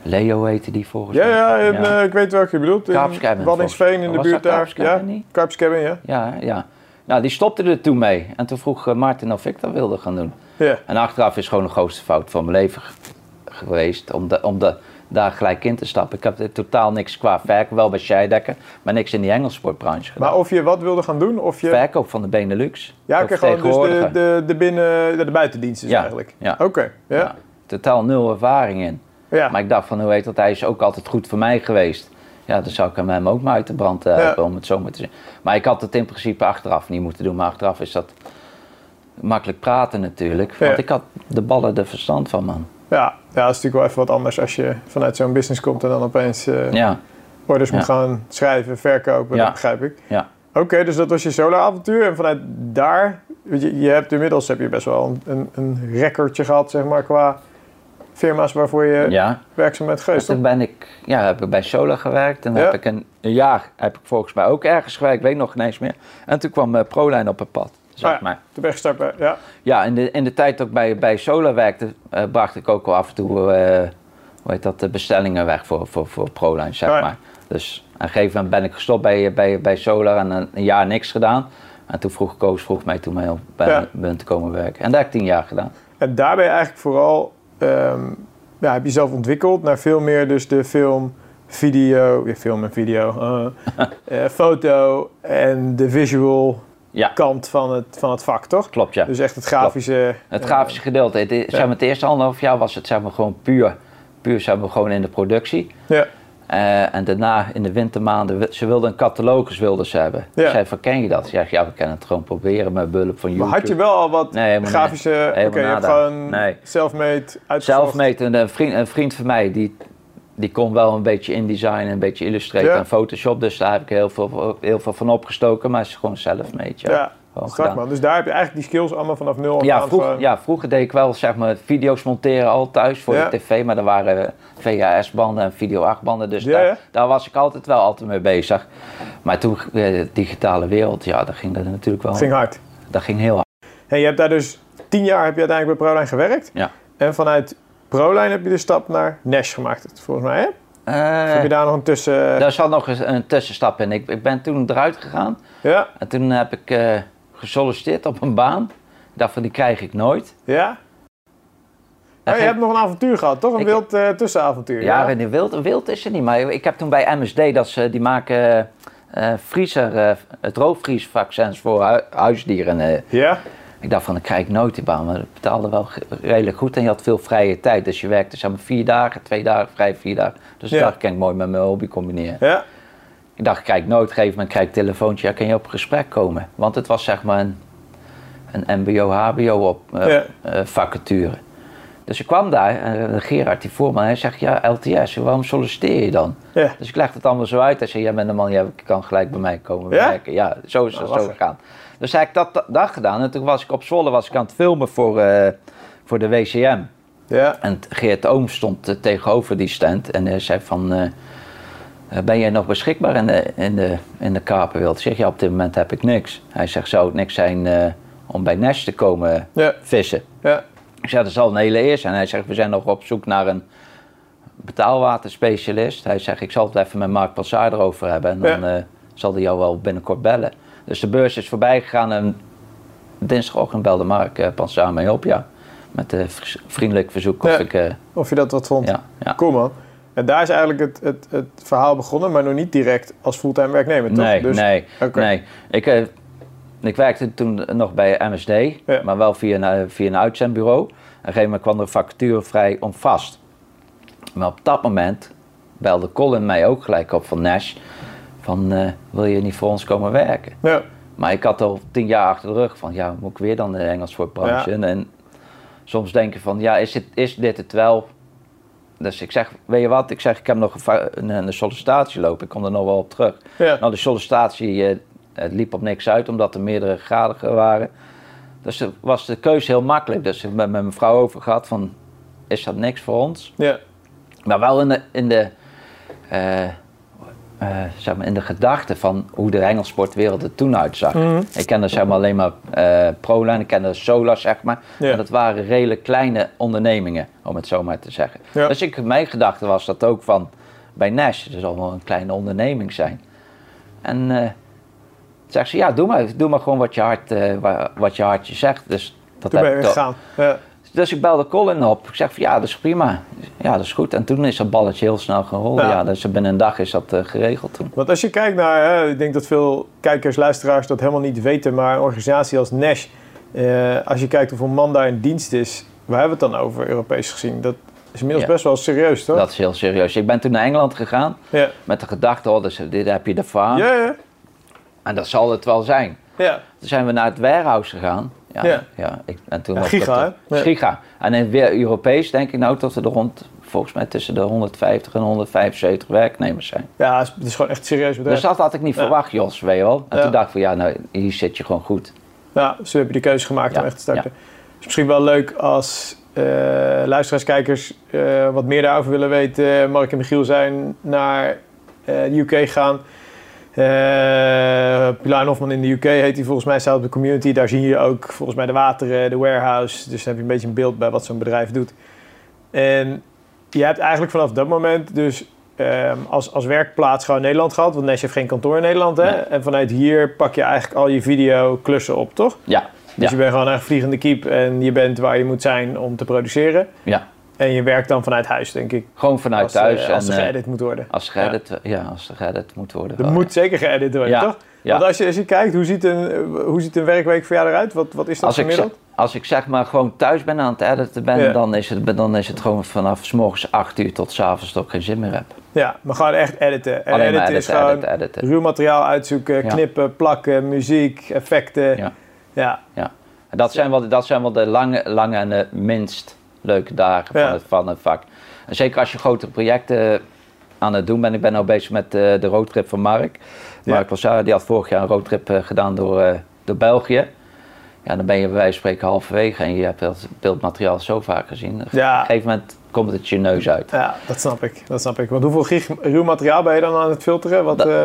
Speaker 2: Leo heette die volgens
Speaker 1: Ja,
Speaker 2: mij.
Speaker 1: ja, en, eh, ik weet welke je bedoelt. In
Speaker 2: Kaapskermen,
Speaker 1: Waddingsveen in de
Speaker 2: volgens-
Speaker 1: buurt
Speaker 2: was dat
Speaker 1: daar. Ja,
Speaker 2: Kaapskermen niet?
Speaker 1: Kaapskermen, ja.
Speaker 2: ja, ja. Nou, die stopte er toen mee. En toen vroeg eh, Martin of ik dat wilde gaan doen.
Speaker 1: Ja,
Speaker 2: En achteraf is gewoon de grootste fout van mijn leven ge- geweest. Om, de, om de, daar gelijk in te stappen. Ik heb er totaal niks qua verkoop. Wel bij Scheidekker, maar niks in die Engelsportbranche gedaan.
Speaker 1: Maar of je wat wilde gaan doen, of je...
Speaker 2: Verkoop van de Benelux.
Speaker 1: eh, ja,
Speaker 2: Ook
Speaker 1: ik heb gewoon dus de,
Speaker 2: vertegenwoordiger.
Speaker 1: de, de binnen... De, de buitendienst is
Speaker 2: Ja,
Speaker 1: eigenlijk.
Speaker 2: ja.
Speaker 1: Oké, ja.
Speaker 2: Ja, Totaal nul ervaring in.
Speaker 1: Ja.
Speaker 2: Maar ik dacht van, hoe heet dat? Hij is ook altijd goed voor mij geweest. Ja, dan zou ik hem, hem ook maar uit de brand eh,
Speaker 1: Ja.
Speaker 2: helpen, om het zo maar te zeggen. Maar ik had het in principe achteraf niet moeten doen. Maar achteraf is dat makkelijk praten natuurlijk. Want
Speaker 1: Ja.
Speaker 2: ik had de ballen er verstand van, man.
Speaker 1: Ja, ja, dat is natuurlijk wel even wat anders als je vanuit zo'n business komt en dan opeens eh,
Speaker 2: Ja,
Speaker 1: orders moet
Speaker 2: Ja.
Speaker 1: gaan schrijven, verkopen,
Speaker 2: Ja.
Speaker 1: dat begrijp ik.
Speaker 2: ja.
Speaker 1: Oké, dus dat was je solo-avontuur en vanuit daar, weet je, je hebt inmiddels heb je best wel een, een, een recordje gehad, zeg maar, qua firma's waarvoor je
Speaker 2: ja.
Speaker 1: werkzaam bent geweest.
Speaker 2: Dus Toen
Speaker 1: toch?
Speaker 2: ben ik, ja, heb ik bij Sola gewerkt. En
Speaker 1: Ja.
Speaker 2: heb ik een, een jaar heb ik volgens mij ook ergens gewerkt. Weet nog geen eens meer. En toen kwam eh, Proline op het pad, zeg
Speaker 1: Ah ja.
Speaker 2: maar.
Speaker 1: Toen ben je gestart bij, ja.
Speaker 2: Ja, in de, in de tijd dat ik bij, bij Sola werkte, eh, bracht ik ook wel af en toe, eh hoe heet dat, de bestellingen weg voor, voor, voor Proline, zeg
Speaker 1: Ah ja.
Speaker 2: maar. Dus aan een gegeven moment ben ik gestopt bij, eh, bij, bij Sola en een, een jaar niks gedaan. En toen vroeg Koos vroeg mij toen mij om bij
Speaker 1: Ja.
Speaker 2: ben te komen werken. En dat heb ik tien jaar gedaan.
Speaker 1: En daar ben je eigenlijk vooral, ehm, ja, heb je zelf ontwikkeld naar veel meer dus de film, video, ja, film en video, [LAUGHS] eh, eh, foto en de visual
Speaker 2: Ja,
Speaker 1: kant van het, van het vak, toch?
Speaker 2: klopt ja.
Speaker 1: Dus echt het grafische.
Speaker 2: Het grafische gedeelte. Het, zeg maar, het eerste anderhalf jaar was het zeg maar, gewoon puur, puur zeg maar, gewoon in de productie.
Speaker 1: Ja,
Speaker 2: Eh, en daarna in de wintermaanden, wi- ze wilden een catalogus wilden ze hebben.
Speaker 1: Ja.
Speaker 2: Ik zei van, ken je dat? Ze zegt, ja, we kunnen het gewoon proberen met behulp van
Speaker 1: maar
Speaker 2: YouTube.
Speaker 1: had je wel al wat
Speaker 2: Nee, helemaal niet.
Speaker 1: grafische. Oké,
Speaker 2: Helemaal
Speaker 1: je hebt
Speaker 2: nada.
Speaker 1: gewoon
Speaker 2: Nee.
Speaker 1: self-made uitgezocht.
Speaker 2: Zelf meten. En Een vriend, een vriend van mij, die, die kon wel een beetje InDesign, een beetje Illustrator
Speaker 1: Ja.
Speaker 2: en Photoshop. Dus daar heb ik heel veel, heel veel van opgestoken. Maar het is gewoon zelf meten.
Speaker 1: Ja,
Speaker 2: Gewoon
Speaker 1: strak
Speaker 2: gedaan.
Speaker 1: man. Dus daar heb je eigenlijk die skills allemaal vanaf nul
Speaker 2: Ja,
Speaker 1: gedaan,
Speaker 2: vroeg,
Speaker 1: gewoon-
Speaker 2: ja, vroeger deed ik wel zeg maar, video's monteren al thuis voor
Speaker 1: Ja.
Speaker 2: de tv, maar er waren VHS-banden en video 8-banden, dus
Speaker 1: Ja,
Speaker 2: daar,
Speaker 1: ja.
Speaker 2: daar was ik altijd wel altijd mee bezig. Maar toen, eh, digitale wereld, ja, daar ging dat natuurlijk wel.
Speaker 1: Ging hard.
Speaker 2: Dat ging heel hard.
Speaker 1: Hey, je hebt daar dus tien jaar heb je uiteindelijk bij ProLine gewerkt.
Speaker 2: Ja.
Speaker 1: En vanuit ProLine heb je de stap naar Nash gemaakt, volgens mij. Hè? Of heb
Speaker 2: Eh
Speaker 1: je daar nog een tussen...
Speaker 2: daar zat nog eens een tussenstap in. Ik, ik ben toen eruit gegaan.
Speaker 1: Ja,
Speaker 2: En toen heb ik eh, gesolliciteerd op een baan. Ik dacht van, die krijg ik nooit.
Speaker 1: ja.
Speaker 2: En
Speaker 1: Maar je
Speaker 2: ging-
Speaker 1: hebt nog een avontuur gehad, toch? Een
Speaker 2: Ik-
Speaker 1: wild eh, tussenavontuur.
Speaker 2: Ja, in de wild, wild is er niet. Maar ik heb toen bij MSD, dat ze, die maken eh eh, vriezer, eh, droogvriesvaccins voor hu- huisdieren. eh.
Speaker 1: Ja?
Speaker 2: Ik dacht van, dan krijg ik nooit die baan. Maar dat betaalde wel ge- redelijk goed en je had veel vrije tijd. Dus je werkte zeg maar vier dagen, twee dagen, vrij vier dagen. Dus
Speaker 1: Ja.
Speaker 2: dat kan ik mooi met mijn hobby combineren.
Speaker 1: Ja.
Speaker 2: Ik dacht, ik krijg nooit. Op een gegeven moment krijg ik een telefoontje, ja, kan je op gesprek komen? Want het was zeg maar een, een mbo-hbo op eh,
Speaker 1: Ja.
Speaker 2: eh, vacature. Dus ik kwam daar, en Gerard die voorman, hij zegt, ja LTS, waarom solliciteer je dan?
Speaker 1: Ja.
Speaker 2: Dus ik legde het allemaal zo uit. Hij zei, jij bent een man, jij kan gelijk bij mij komen
Speaker 1: Ja?
Speaker 2: werken. Ja, zo is
Speaker 1: Nou,
Speaker 2: het zo
Speaker 1: lachen.
Speaker 2: gegaan. Dus heb ik dat, dat, dat gedaan en toen was ik op Zwolle was ik aan het filmen voor, eh, voor de WCM.
Speaker 1: Ja.
Speaker 2: En Geert Oom stond eh, tegenover die stand en hij zei van... eh, eh, ben jij nog beschikbaar in de, in de, in de kaperwereld? Ik zeg, ja, op dit moment heb ik niks. Hij zegt, zou het niks zijn eh, om bij Nash te komen
Speaker 1: Ja.
Speaker 2: vissen?
Speaker 1: Ja.
Speaker 2: Ik zeg, dat zal een hele eer zijn. Hij zegt, we zijn nog op zoek naar een betaalwaterspecialist. Hij zegt, ik zal het even met Mark Passaar erover hebben. En
Speaker 1: Ja.
Speaker 2: dan eh, zal hij jou wel binnenkort bellen. Dus de beurs is voorbij gegaan en dinsdagochtend belde Mark eh Passaar mij op, ja. Met een vriendelijk verzoek of
Speaker 1: Ja.
Speaker 2: ik... eh,
Speaker 1: Of je dat wat vond.
Speaker 2: ja, ja.
Speaker 1: Cool man. En daar is eigenlijk het, het, het verhaal begonnen, maar nog niet direct als fulltime werknemer, toch?
Speaker 2: Nee,
Speaker 1: Dus-
Speaker 2: nee,
Speaker 1: Oké.
Speaker 2: nee. Ik, eh, ik werkte toen nog bij MSD,
Speaker 1: Ja.
Speaker 2: maar wel via een, eh, via een uitzendbureau. Op een gegeven moment kwam er een vacature vrij om vast. Maar op dat moment belde Colin mij ook gelijk op van Nash. Van, eh, wil je niet voor ons komen werken?
Speaker 1: Ja.
Speaker 2: Maar ik had al tien jaar achter de rug van, ja, moet ik weer dan in Engels voor branche? En soms denk je van, ja, is dit, is dit het wel? Dus ik zeg, weet je wat? Ik zeg, ik heb nog een, va- een, een sollicitatie lopen. Ik kom er nog wel op terug.
Speaker 1: Ja.
Speaker 2: Nou, de sollicitatie eh, het liep op niks uit, omdat er meerdere gradigen waren. Dus er was de keuze heel makkelijk. Dus ik heb met mijn vrouw over gehad van, is dat niks voor ons?
Speaker 1: ja.
Speaker 2: Maar wel in de, in de, eh, eh, zeg maar, in de gedachte van hoe de hengelsportwereld er toen uitzag.
Speaker 1: Mhm.
Speaker 2: Ik kende zeg maar, alleen maar eh ProLine, ik kende Solar, zeg maar.
Speaker 1: Ja.
Speaker 2: En dat waren redelijk kleine ondernemingen, om het zo maar te zeggen.
Speaker 1: Ja.
Speaker 2: Dus ik, mijn gedachte was dat ook van, bij Nash, dat zal wel een kleine onderneming zijn. En eh zeg ze, ja, doe maar, doe maar gewoon wat je, hart, eh, wa- wat je hartje zegt. Dus dat
Speaker 1: Toen
Speaker 2: heb
Speaker 1: ben je
Speaker 2: ik to-
Speaker 1: weggegaan. Ja.
Speaker 2: dus ik belde Colin op. Ik zeg van ja, dat is prima. Ja, dat is goed. En toen is dat balletje heel snel gerold.
Speaker 1: Ja.
Speaker 2: Ja, dus binnen een dag is dat eh, geregeld toen.
Speaker 1: Want als je kijkt naar, hè, ik denk dat veel kijkers, luisteraars dat helemaal niet weten, maar een organisatie als Nash, eh, als je kijkt hoeveel man daar in dienst is, waar hebben we het dan over Europees gezien? Dat is inmiddels
Speaker 2: Ja.
Speaker 1: best wel serieus, toch?
Speaker 2: Dat is heel serieus. Ik ben toen naar Engeland gegaan
Speaker 1: Ja.
Speaker 2: met de gedachte, oh, dus, dit heb je de farm.
Speaker 1: Ja, ja,
Speaker 2: En dat zal het wel zijn.
Speaker 1: ja.
Speaker 2: Toen zijn we naar het warehouse gegaan. Ja,
Speaker 1: Ja.
Speaker 2: ja. ik, en toen
Speaker 1: Ja,
Speaker 2: was dat
Speaker 1: giga,
Speaker 2: de-
Speaker 1: hè? Ja.
Speaker 2: giga. En in weer Europees denk ik nou dat er rond, volgens mij tussen de 150 en 175 werknemers zijn.
Speaker 1: Ja, het is- het is gewoon echt een serieus bedrijf.
Speaker 2: Dus dat had ik niet
Speaker 1: Ja.
Speaker 2: verwacht, Jos, weet je wel. En
Speaker 1: Ja.
Speaker 2: toen dacht ik van ja, nou, hier zit je gewoon goed.
Speaker 1: Ja, zo heb je de keuze gemaakt om
Speaker 2: Ja,
Speaker 1: echt te starten. is misschien wel leuk als eh, luisteraars, kijkers eh, wat meer daarover willen weten. Mark en Michiel zijn naar eh, de UK gegaan. Eh Pilar Hofman in de UK heet hij volgens mij, staat op de community. Daar zie je ook volgens mij de wateren, de warehouse. Dus dan heb je een beetje een beeld bij wat zo'n bedrijf doet. En je hebt eigenlijk vanaf dat moment dus ehm, als, als werkplaats gewoon Nederland gehad. Want Nash heeft geen kantoor in Nederland. Hè?
Speaker 2: Nee.
Speaker 1: En vanuit hier pak je eigenlijk al je videoclussen op, toch?
Speaker 2: Ja,
Speaker 1: Dus
Speaker 2: Ja.
Speaker 1: je bent gewoon echt vliegende kiep en je bent waar je moet zijn om te produceren.
Speaker 2: ja.
Speaker 1: En je werkt dan vanuit huis, denk ik.
Speaker 2: Gewoon vanuit
Speaker 1: als,
Speaker 2: thuis.
Speaker 1: eh, als
Speaker 2: en,
Speaker 1: er
Speaker 2: eh,
Speaker 1: geëdit moet worden.
Speaker 2: Als geëdit, ja. als er geëdit moet worden.
Speaker 1: Er
Speaker 2: wel,
Speaker 1: moet zeker geëdit worden,
Speaker 2: Ja,
Speaker 1: toch?
Speaker 2: ja.
Speaker 1: Want als je, als je kijkt, hoe ziet, een, eh, hoe ziet een werkweek voor jou eruit? Wat, wat is
Speaker 2: ja.
Speaker 1: dat
Speaker 2: als, ik,
Speaker 1: gemiddeld?
Speaker 2: zeg- als ik zeg maar gewoon thuis ben aan het editen ben,
Speaker 1: Ja.
Speaker 2: dan, is het, dan is het gewoon vanaf s morgens 8 uur tot s avonds dat ik geen zin meer heb.
Speaker 1: Ja, maar gewoon echt editen. En
Speaker 2: Alleen
Speaker 1: editen
Speaker 2: maar
Speaker 1: is
Speaker 2: editen,
Speaker 1: gewoon
Speaker 2: editen, editen.
Speaker 1: ruw materiaal uitzoeken,
Speaker 2: Ja.
Speaker 1: knippen, plakken, muziek, effecten.
Speaker 2: Ja.
Speaker 1: ja.
Speaker 2: En dat zijn wel, dat zijn wel de lange, lange en de minst leuke dagen
Speaker 1: Ja.
Speaker 2: van, het, van het vak. En zeker als je grotere projecten aan het doen bent. Ik ben nou bezig met eh, de roadtrip van Mark.
Speaker 1: Ja.
Speaker 2: Mark Lassard, die had vorig jaar een roadtrip eh, gedaan door, eh, door België. Ja, dan ben je bij wijze van spreken halverwege en je hebt dat beeldmateriaal zo vaak gezien. Op
Speaker 1: Ja,
Speaker 2: een gegeven moment komt het je neus uit.
Speaker 1: ja, dat snap ik. Dat snap ik. Want hoeveel gig ruw materiaal ben je dan aan het filteren? Wat,
Speaker 2: Dat-
Speaker 1: eh,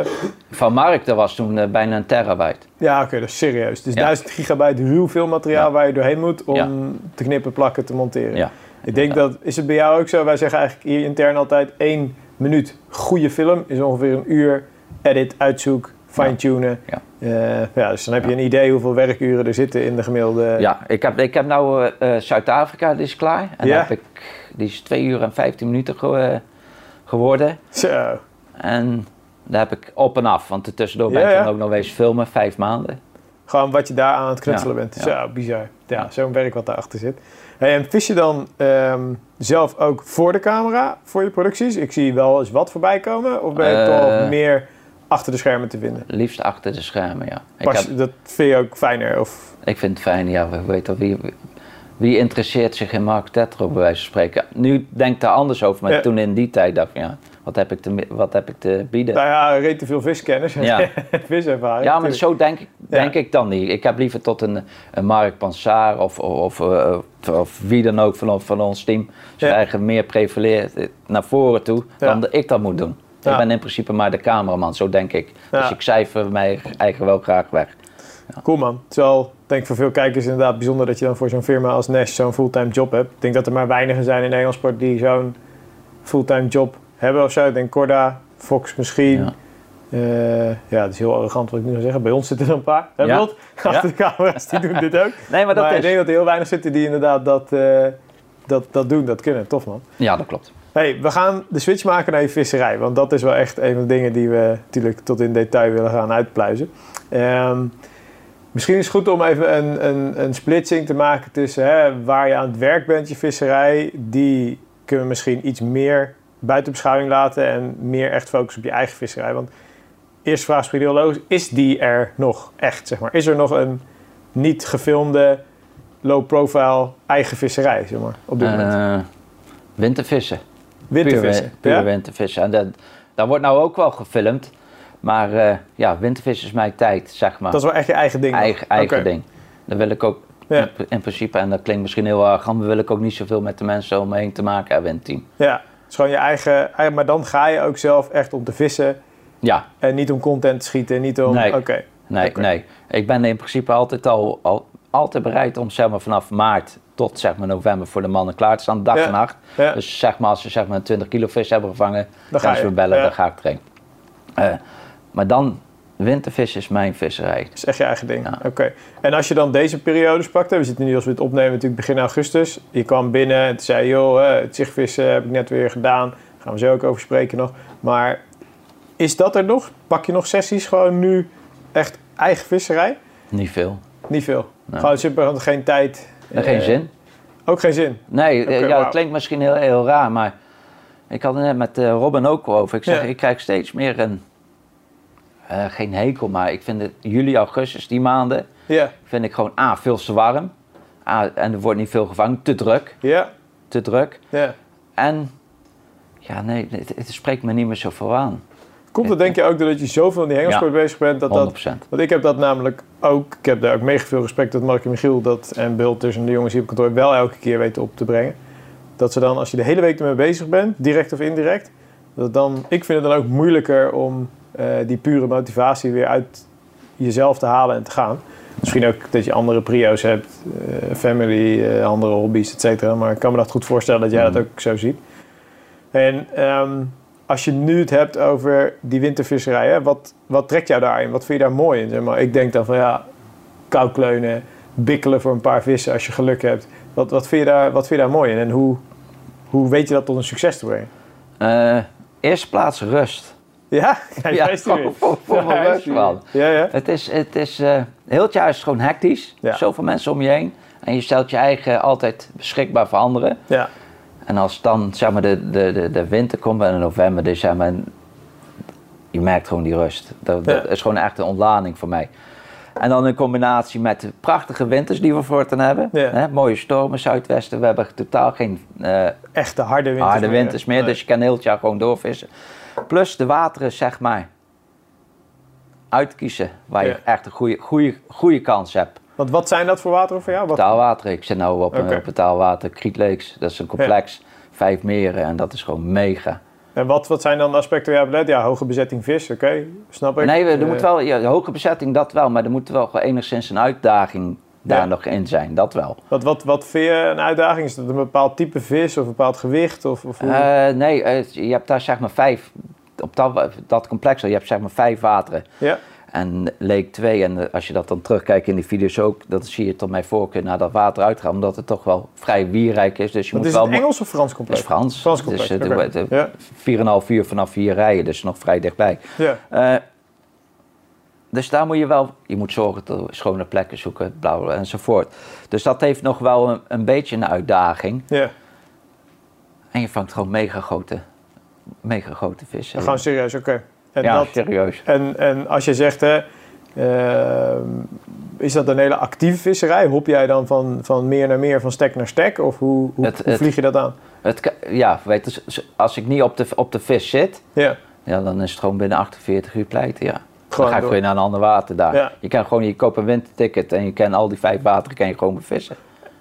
Speaker 2: Van Mark, dat was toen eh, bijna een terabyte.
Speaker 1: ja, oké, dat is serieus. Dus
Speaker 2: Ja.
Speaker 1: 1000 gigabyte ruw veel materiaal
Speaker 2: Ja.
Speaker 1: waar je doorheen moet om
Speaker 2: Ja.
Speaker 1: te knippen, plakken, te monteren.
Speaker 2: Ja.
Speaker 1: Ik denk dat, is het bij jou ook zo? Wij zeggen eigenlijk hier intern altijd één minuut goede film is ongeveer een uur edit, uitzoek, fine-tunen.
Speaker 2: Ja.
Speaker 1: Eh, ja, dus dan heb je een idee hoeveel werkuren er zitten in de gemiddelde...
Speaker 2: Ja, ik heb, ik heb nou eh, eh, Zuid-Afrika, die is klaar. En
Speaker 1: Ja.
Speaker 2: heb ik, die is 2 uur en 15 minuten ge- eh, geworden.
Speaker 1: Zo.
Speaker 2: En daar heb ik op en af, want tussendoor ben
Speaker 1: Ja,
Speaker 2: ik
Speaker 1: ja.
Speaker 2: dan ook nog wezen filmen, vijf maanden.
Speaker 1: Gewoon wat je daar aan het knutselen
Speaker 2: Ja,
Speaker 1: bent.
Speaker 2: ja.
Speaker 1: Zo, bizar. Ja,
Speaker 2: Ja.
Speaker 1: zo'n werk wat daarachter zit. Hey, en vis je dan ehm, zelf ook voor de camera voor je producties? Ik zie wel eens wat voorbij komen. Of ben je
Speaker 2: Eh.
Speaker 1: toch meer achter de schermen te vinden?
Speaker 2: Liefst achter de schermen, ja. Ik,
Speaker 1: Pas,
Speaker 2: heb,
Speaker 1: Dat vind je ook fijner? Of...
Speaker 2: ik vind het fijn, ja, we weten wie, wie interesseert zich in Mark Tetro, bij wijze van spreken. Nu denk ik daar anders over, maar
Speaker 1: Ja.
Speaker 2: toen in die tijd dacht ik, ja, wat heb ik te, mi- wat heb ik te bieden?
Speaker 1: Nou ja, reet te veel viskennis.
Speaker 2: Ja.
Speaker 1: [LAUGHS] Viservaring.
Speaker 2: Ja, maar
Speaker 1: tuurlijk.
Speaker 2: zo denk, ik-
Speaker 1: Ja.
Speaker 2: denk ik dan niet. Ik heb liever tot een, een Mark Pansaar of, of, eh, of wie dan ook van, van ons team zijn
Speaker 1: Ja.
Speaker 2: eigen meer prefereert eh, naar voren toe
Speaker 1: Ja.
Speaker 2: dan dat ik dat moet doen.
Speaker 1: Ja.
Speaker 2: Ik ben in principe maar de cameraman, zo denk ik. Dus
Speaker 1: Ja.
Speaker 2: ik cijfer mij eigen wel graag weg.
Speaker 1: Cool man. Het is wel, denk ik, voor veel kijkers inderdaad bijzonder dat je dan voor zo'n firma als Nash zo'n fulltime job hebt. Ik denk dat er maar weinigen zijn in Nederland sport die zo'n fulltime job hebben of zo. Ik denk Corda, Fox misschien.
Speaker 2: Ja.
Speaker 1: Eh, ja, het is heel arrogant wat ik nu ga zeggen. Bij ons zitten er een paar. Hè,
Speaker 2: Ja.
Speaker 1: Wilt? Achter de camera's, die doen dit ook.
Speaker 2: Nee, maar
Speaker 1: Maar,
Speaker 2: dat
Speaker 1: ik
Speaker 2: is...
Speaker 1: denk dat er heel weinig zitten die inderdaad dat, eh, dat, dat doen, dat kunnen. Tof man.
Speaker 2: Ja, dat klopt.
Speaker 1: hey, we gaan de switch maken naar je visserij. Want dat is wel echt een van de dingen die we natuurlijk tot in detail willen gaan uitpluizen. Ehm, misschien is het goed om even een, een, een splitsing te maken tussen hè, waar je aan het werk bent, je visserij. Die kunnen we misschien iets meer buiten beschouwing laten en meer echt focussen op je eigen visserij. Want eerste vraag is misschien heel logisch. Is die er nog echt, zeg maar? Is er nog een niet gefilmde, low-profile eigen visserij, zeg maar, op dit moment?
Speaker 2: Eh, wintervissen.
Speaker 1: Wintervissen.
Speaker 2: Puur,
Speaker 1: ja?
Speaker 2: puur wintervissen. En dat, dat wordt nou ook wel gefilmd. Maar eh, ja, wintervissen is mijn tijd, zeg maar.
Speaker 1: Dat is wel echt je eigen ding.
Speaker 2: eigen,
Speaker 1: dan?
Speaker 2: eigen
Speaker 1: Oké.
Speaker 2: ding. Dan wil ik ook
Speaker 1: Ja.
Speaker 2: in, in principe, en dat klinkt misschien heel erg, maar wil ik ook niet zoveel met de mensen om me heen te maken hebben in het team.
Speaker 1: Ja, het is gewoon je eigen, eigen- Maar dan ga je ook zelf echt om te vissen
Speaker 2: Ja,
Speaker 1: en niet om content te schieten. Niet om.
Speaker 2: Nee.
Speaker 1: Oké.
Speaker 2: nee,
Speaker 1: Oké.
Speaker 2: nee. Ik ben in principe altijd al, al altijd bereid om zeg maar, vanaf maart tot zeg maar, november voor de mannen klaar te staan, dag
Speaker 1: Ja.
Speaker 2: en nacht.
Speaker 1: Ja.
Speaker 2: Dus zeg maar, als ze zeg maar, een 20 kilo vis hebben gevangen,
Speaker 1: ga
Speaker 2: dan gaan ze
Speaker 1: je.
Speaker 2: me bellen,
Speaker 1: Ja.
Speaker 2: dan ga ik erheen. Eh, maar dan, wintervis is mijn visserij.
Speaker 1: Dat is echt je eigen ding.
Speaker 2: Ja.
Speaker 1: Oké. En als je dan deze periodes pakt, hè, we zitten nu als we het opnemen natuurlijk begin augustus. Je kwam binnen en toen zei je, joh, hè, het zichtvissen heb ik net weer gedaan. Daar gaan we zo ook over spreken nog. Maar is dat er nog? Pak je nog sessies gewoon nu echt eigen visserij?
Speaker 2: Niet veel.
Speaker 1: Niet veel.
Speaker 2: Nee.
Speaker 1: Gewoon simpelweg geen tijd.
Speaker 2: En geen
Speaker 1: Eh,
Speaker 2: zin.
Speaker 1: Ook geen zin.
Speaker 2: Nee, eh,
Speaker 1: Oké,
Speaker 2: ja,
Speaker 1: wauw.
Speaker 2: dat klinkt misschien heel, heel raar, maar ik had het net met eh, Robin ook over. Ik zeg,
Speaker 1: Ja.
Speaker 2: ik krijg steeds meer een, eh, geen hekel, maar ik vind het juli, augustus, die maanden,
Speaker 1: Ja.
Speaker 2: vind ik gewoon A, veel te warm. A, en er wordt niet veel gevangen, te druk,
Speaker 1: Ja.
Speaker 2: te druk.
Speaker 1: Ja.
Speaker 2: En ja, nee, het, het spreekt me niet meer zoveel aan,
Speaker 1: Komt het denk je ook doordat je zoveel in die hengelsport bezig bent? Dat
Speaker 2: 100%.
Speaker 1: dat, want ik heb dat namelijk ook, ik heb daar ook mega veel respect dat Mark en Michiel dat, en Bill tussen de jongens hier op kantoor wel elke keer weten op te brengen. Dat ze dan, als je de hele week ermee bezig bent, direct of indirect, dat dan, ik vind het dan ook moeilijker om eh, die pure motivatie weer uit jezelf te halen en te gaan. Misschien ook dat je andere prio's hebt, eh, family, eh, andere hobby's, et cetera. Maar ik kan me dat goed voorstellen dat jij dat ook zo ziet. En ehm, als je nu het hebt over die wintervisserij, hè, wat, wat trekt jou daarin? Wat vind je daar mooi in? Zeg maar? Ik denk dan van ja, koukleunen, bikkelen voor een paar vissen als je geluk hebt. Wat, wat, vind, je daar, wat vind je daar mooi in? En hoe, hoe weet je dat tot een succes te brengen?
Speaker 2: Eh, eerste plaats rust.
Speaker 1: Ja, [LAUGHS] Kijk, daar is die weer.
Speaker 2: [LAUGHS] voor, voor, voor
Speaker 1: Daar
Speaker 2: mijn
Speaker 1: is
Speaker 2: rust,
Speaker 1: die
Speaker 2: oh, man.
Speaker 1: weer. Ja, ja.
Speaker 2: Het is, het is, eh, heel het jaar is het gewoon hectisch.
Speaker 1: Ja.
Speaker 2: Zoveel mensen om je heen. En je stelt je eigen altijd beschikbaar voor anderen.
Speaker 1: ja.
Speaker 2: En als dan zeg maar, de, de, de, de winter komt, en in november, december, en je merkt gewoon die rust. Dat, dat
Speaker 1: Ja.
Speaker 2: is gewoon echt een ontlading voor mij. En dan in combinatie met de prachtige winters die we voortaan hebben.
Speaker 1: Ja.
Speaker 2: Hè, mooie stormen, zuidwesten. We hebben totaal geen eh,
Speaker 1: Echte harde winters.
Speaker 2: harde winters meer.
Speaker 1: Nee.
Speaker 2: Dus je kan heel het jaar gewoon doorvissen. Plus de wateren, zeg maar, uitkiezen waar
Speaker 1: Ja.
Speaker 2: je echt een goede, goede, goede kans hebt.
Speaker 1: Want wat zijn dat voor wateren voor jou? Wat...
Speaker 2: Taalwater. Ik zit nu op, een-
Speaker 1: Oké.
Speaker 2: op het Taalwater Creek Lakes. Dat is een complex. Vijf meren en dat is gewoon mega.
Speaker 1: En wat, wat zijn dan de aspecten waar je op let? Ja, hoge bezetting vis, oké, snap ik.
Speaker 2: Nee, we- er
Speaker 1: Eh,
Speaker 2: moet wel, ja, de hoge bezetting, dat wel. Maar er moet wel gewoon enigszins een uitdaging daar
Speaker 1: Ja.
Speaker 2: nog in zijn. Dat wel.
Speaker 1: Wat, wat, wat vind je een uitdaging? Is dat een bepaald type vis of een bepaald gewicht? Of, of hoe-
Speaker 2: Eh, nee, eh, je hebt daar zeg maar vijf, op dat, dat complex, al, je hebt zeg maar vijf wateren.
Speaker 1: Ja,
Speaker 2: En leek 2, en eh, als je dat dan terugkijkt in die video's ook, dan zie je tot mijn voorkeur naar dat water uitgaan, omdat het toch wel vrij wierrijk is. Dus je
Speaker 1: wat
Speaker 2: moet
Speaker 1: is
Speaker 2: wel.
Speaker 1: het Engels of Frans
Speaker 2: Het
Speaker 1: complex?
Speaker 2: is Frans.
Speaker 1: Frans
Speaker 2: Dus
Speaker 1: complex,
Speaker 2: het-
Speaker 1: oké.
Speaker 2: het- het-
Speaker 1: ja,
Speaker 2: 4,5 uur vanaf vier rijden, dus nog vrij dichtbij.
Speaker 1: ja.
Speaker 2: Eh, dus daar moet je wel, je moet zorgen dat er schone plekken zoeken, bla bla bla, enzovoort. Dus dat heeft nog wel een, een beetje een uitdaging.
Speaker 1: ja.
Speaker 2: En je vangt gewoon mega grote, mega grote vissen.
Speaker 1: Gewoon serieus, oké. En,
Speaker 2: ja,
Speaker 1: dat-
Speaker 2: serieus.
Speaker 1: en, en als je zegt, hè, ehm, is dat een hele actieve visserij? Hop jij dan van, van meer naar meer, van stek naar stek? Of hoe, hoe,
Speaker 2: Het-
Speaker 1: hoe
Speaker 2: het-
Speaker 1: vlieg je dat aan?
Speaker 2: Het, ka- ja, weet je, s- als ik niet op de, op de vis zit,
Speaker 1: Ja,
Speaker 2: ja, dan is het gewoon binnen 48 uur pleiten, ja. Dan
Speaker 1: Gewoon
Speaker 2: ga ik
Speaker 1: door.
Speaker 2: gewoon naar een ander water daar.
Speaker 1: Ja.
Speaker 2: Je kan gewoon, je koopt een winterticket en je kan al die vijf wateren kan je gewoon bevissen.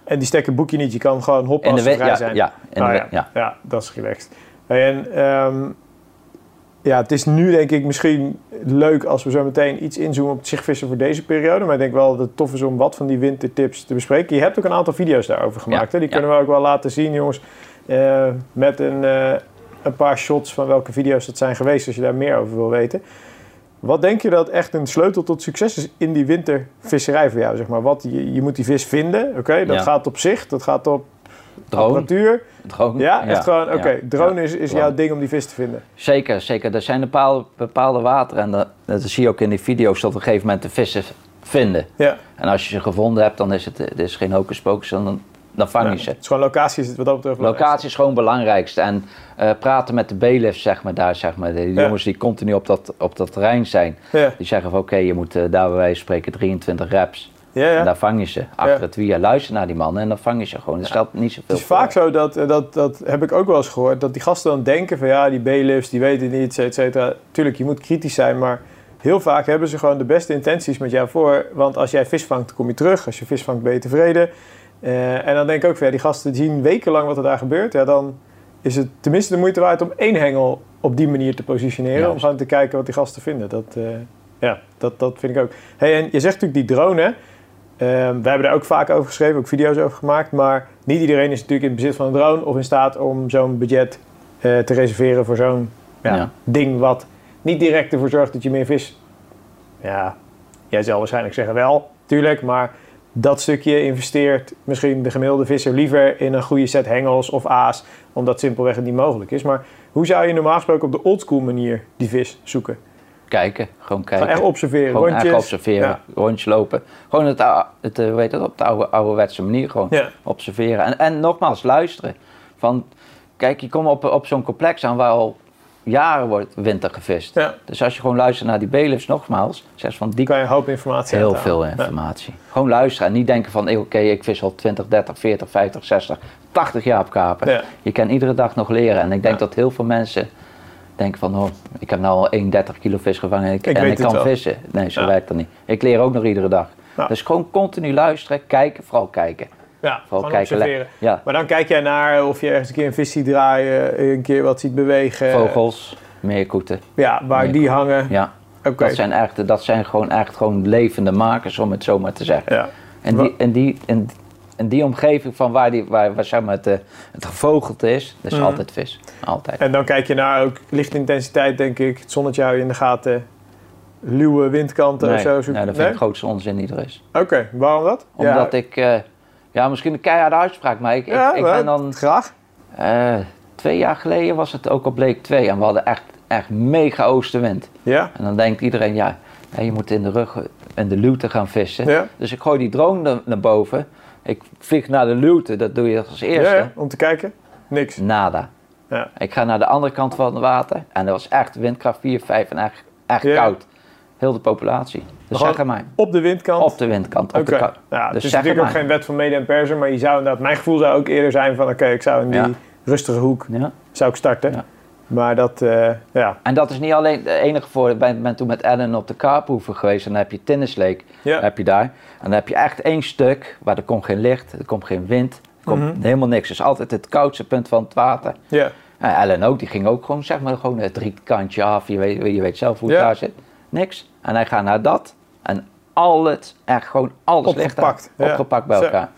Speaker 1: en die stekken boek je niet. Je kan gewoon hoppen
Speaker 2: In de
Speaker 1: als ze
Speaker 2: win-
Speaker 1: vrij
Speaker 2: ja,
Speaker 1: zijn.
Speaker 2: ja, in
Speaker 1: Nou
Speaker 2: de
Speaker 1: ja,
Speaker 2: win-
Speaker 1: ja.
Speaker 2: ja.
Speaker 1: dat is relaxed. En ehm, ja, het is nu denk ik misschien leuk als we zo meteen iets inzoomen op het zichtvissen voor deze periode. Maar ik denk wel dat het tof is om wat van die wintertips te bespreken. Je hebt ook een aantal video's daarover gemaakt. hè?
Speaker 2: Ja,
Speaker 1: Die
Speaker 2: ja.
Speaker 1: kunnen we ook wel laten zien, jongens. eh, met een, eh, een paar shots van welke video's dat zijn geweest, als je daar meer over wil weten. Wat denk je dat echt een sleutel tot succes is in die wintervisserij voor jou? Zeg maar? Wat, je, je moet die vis vinden, oké, dat
Speaker 2: Ja.
Speaker 1: gaat op zicht, dat gaat op
Speaker 2: Drone,
Speaker 1: apparatuur.
Speaker 2: drone.
Speaker 1: Ja, echt gewoon, oké,
Speaker 2: ja,
Speaker 1: drone
Speaker 2: ja.
Speaker 1: is, is
Speaker 2: drone.
Speaker 1: jouw ding om die vis te vinden.
Speaker 2: Zeker, zeker. Er zijn bepaalde, bepaalde wateren en dat, dat zie je ook in die video's dat op een gegeven moment de vissen vinden.
Speaker 1: Ja,
Speaker 2: En als je ze gevonden hebt, dan is het, het is geen hocus pocus, dan, dan vang je
Speaker 1: Ja,
Speaker 2: ze.
Speaker 1: het is gewoon locatie is het wat dat betreft belangrijk.
Speaker 2: Locatie is gewoon het belangrijkste. En eh, praten met de bailiffs, zeg maar, daar, zeg maar. De
Speaker 1: Ja.
Speaker 2: jongens die continu op dat, op dat terrein zijn.
Speaker 1: Ja,
Speaker 2: Die zeggen van, oké, je moet eh, daar bij wijze van spreken 23 reps.
Speaker 1: ja,
Speaker 2: En
Speaker 1: ja.
Speaker 2: daar vang je ze. Achter het wiel. Luister naar die mannen en dan vang je ze gewoon. Dat stelt niet zoveel
Speaker 1: Het is vaak zo dat, eh, dat, dat heb ik ook wel eens gehoord, dat die gasten dan denken van ja, die bailiffs, die weten niet, et cetera. Tuurlijk, je moet kritisch zijn, maar heel vaak hebben ze gewoon de beste intenties met jou voor. Want als jij vis vangt, kom je terug. Als je vis vangt, ben je tevreden. Eh, en dan denk ik ook van ja, die gasten zien wekenlang wat er daar gebeurt. Ja, dan is het tenminste de moeite waard om één hengel op die manier te positioneren. Om
Speaker 2: Juist.
Speaker 1: gewoon te kijken wat die gasten vinden. Dat, eh, ja, dat, dat vind ik ook. Hey, en je zegt natuurlijk die drone, hè? Ehm, we hebben daar ook vaak over geschreven, ook video's over gemaakt. Maar niet iedereen is natuurlijk in het bezit van een drone of in staat om zo'n budget eh, te reserveren voor zo'n ja,
Speaker 2: Ja.
Speaker 1: ding. Wat niet direct ervoor zorgt dat je meer vis. Ja, jij zal waarschijnlijk zeggen wel, tuurlijk. Maar dat stukje investeert misschien de gemiddelde visser liever in een goede set hengels of aas. Omdat simpelweg het niet mogelijk is. Maar hoe zou je normaal gesproken op de oldschool manier die vis zoeken?
Speaker 2: Kijken, gewoon kijken.
Speaker 1: Gewoon echt observeren,
Speaker 2: Gewoon
Speaker 1: rondjes.
Speaker 2: eigenlijk observeren,
Speaker 1: Ja.
Speaker 2: rondjes lopen. Gewoon het, ou- het, eh, hoe heet dat, op de oude, ouderwetse manier gewoon
Speaker 1: Ja.
Speaker 2: observeren. En, en nogmaals, luisteren. Van, kijk, je komt op, op zo'n complex aan waar al jaren wordt winter gevist.
Speaker 1: Ja.
Speaker 2: Dus als je gewoon luistert naar die bailiffs nogmaals, zeg ze van die
Speaker 1: Dan kan je een hoop informatie
Speaker 2: heel
Speaker 1: uithalen.
Speaker 2: veel
Speaker 1: Ja.
Speaker 2: informatie. Gewoon luisteren en niet denken van, eh, oké, ik vis al 20, 30, 40, 50, 60, 80 jaar op kapen.
Speaker 1: Ja.
Speaker 2: Je kan iedere dag nog leren. En ik denk
Speaker 1: Ja.
Speaker 2: dat heel veel mensen denken van, oh, ik heb nou al 31 kilo vis gevangen en ik,
Speaker 1: Ik
Speaker 2: en
Speaker 1: weet
Speaker 2: ik
Speaker 1: het
Speaker 2: kan
Speaker 1: wel.
Speaker 2: vissen. Nee, zo
Speaker 1: Ja.
Speaker 2: werkt dat niet. Ik leer ook nog iedere dag.
Speaker 1: Ja.
Speaker 2: Dus gewoon continu luisteren, kijken, vooral kijken.
Speaker 1: Ja,
Speaker 2: Vooral
Speaker 1: gewoon
Speaker 2: kijken.
Speaker 1: observeren.
Speaker 2: le- Ja,
Speaker 1: Maar dan kijk jij naar eh, of je ergens een keer een vis ziet draaien, eh, een keer wat ziet bewegen.
Speaker 2: vogels, meerkoeten.
Speaker 1: Ja, waar
Speaker 2: Nee,
Speaker 1: die hangen.
Speaker 2: Ja,
Speaker 1: Oké.
Speaker 2: dat zijn, echt, dat zijn gewoon echt gewoon levende makers, om het zo maar te zeggen.
Speaker 1: Ja.
Speaker 2: En die, en die, en, en die omgeving van waar, die, waar, waar zeg maar het, eh, het gevogeld is, dat is
Speaker 1: Mhm.
Speaker 2: altijd vis. Altijd.
Speaker 1: En dan kijk je naar ook lichtintensiteit, denk ik. Het zonnetje hou je in de gaten. Luwe windkanten of
Speaker 2: nee,
Speaker 1: eh, zo. zoek-
Speaker 2: nee, dat vind ik
Speaker 1: Nee?
Speaker 2: het grootste onzin die er is.
Speaker 1: Oké, waarom dat?
Speaker 2: Omdat ik, eh, ja, misschien een keiharde uitspraak, maar ik, ik-
Speaker 1: ja,
Speaker 2: ik,
Speaker 1: maar
Speaker 2: ben dan.
Speaker 1: Graag.
Speaker 2: eh, twee jaar geleden was het ook op Leek 2 en we hadden echt, echt mega oostenwind.
Speaker 1: Ja,
Speaker 2: En dan denkt iedereen, ja, hè, je moet in de rug en de luwte gaan vissen.
Speaker 1: Ja.
Speaker 2: Dus ik gooi die drone er- naar boven. Ik vlieg naar de luwte, dat doe je als
Speaker 1: ja,
Speaker 2: eerste.
Speaker 1: ja, om te kijken. Niks.
Speaker 2: Nada.
Speaker 1: Ja.
Speaker 2: Ik ga naar de andere kant van het water en dat was echt windkracht 4, 5 en echt, echt
Speaker 1: Ja.
Speaker 2: koud. Heel de populatie. Dus
Speaker 1: Gewoon
Speaker 2: zeg aan mij.
Speaker 1: Op de windkant.
Speaker 2: Op de windkant. Op
Speaker 1: Oké.
Speaker 2: de kant.
Speaker 1: Ja,
Speaker 2: Dus
Speaker 1: het is
Speaker 2: zeg
Speaker 1: natuurlijk ook
Speaker 2: maar.
Speaker 1: geen wet van mede en persen, maar je zou inderdaad, mijn gevoel zou ook eerder zijn van oké, ik zou in die
Speaker 2: Ja.
Speaker 1: rustige hoek
Speaker 2: Ja.
Speaker 1: zou ik starten.
Speaker 2: Ja.
Speaker 1: Maar dat, eh, ja.
Speaker 2: En dat is niet alleen de enige voordeel. Ik ben, ben toen met Ellen op de Kaaphoeven geweest en dan heb je Tinnis Lake.
Speaker 1: ja.
Speaker 2: heb je daar. En dan heb je echt één stuk waar er komt geen licht, er komt geen wind, er komt
Speaker 1: Mhm.
Speaker 2: helemaal niks. Dus altijd het koudste punt van het water.
Speaker 1: Ja,
Speaker 2: En Ellen Nou, ook, die ging ook gewoon, zeg maar, gewoon het rietkantje af. Je weet, je weet zelf hoe het
Speaker 1: Ja.
Speaker 2: daar zit. Niks. En hij gaat naar dat en alles, echt gewoon alles ligt daar.
Speaker 1: Opgepakt, ja.
Speaker 2: Opgepakt bij
Speaker 1: Zo.
Speaker 2: elkaar.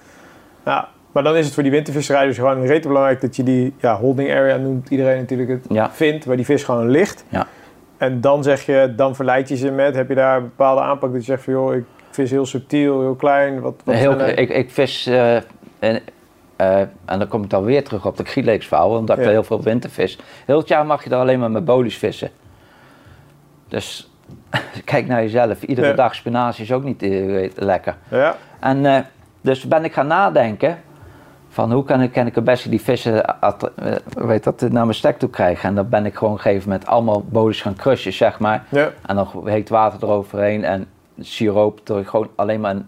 Speaker 1: ja. Maar dan is het voor die wintervisrijders gewoon rete belangrijk dat je die ja, holding area, noemt iedereen natuurlijk het,
Speaker 2: Ja.
Speaker 1: vindt, waar die vis gewoon ligt.
Speaker 2: Ja.
Speaker 1: En dan zeg je, dan verleid je ze met, heb je daar een bepaalde aanpak dat je zegt van joh, ik vis heel subtiel, heel klein. Wat, wat
Speaker 2: Heel,
Speaker 1: zijn er-
Speaker 2: ik, ik vis, eh, en, eh, en dan kom ik dan weer terug op de Grieleeks verhaal, omdat ik
Speaker 1: Ja.
Speaker 2: er heel veel wintervis. Heel het jaar mag je dan alleen maar met bolies vissen. Dus [LAUGHS] kijk naar jezelf. Iedere
Speaker 1: Ja.
Speaker 2: dag spinazie is ook niet eh, lekker.
Speaker 1: Ja,
Speaker 2: En eh, dus ben ik gaan nadenken van hoe kan ik, kan ik het beste die vissen att- eh, weet dat, naar mijn stek toe krijgen. En dan ben ik gewoon op een gegeven moment allemaal bolies gaan crushen, zeg maar.
Speaker 1: ja,
Speaker 2: En dan heet water eroverheen en siroop. Door gewoon alleen maar een,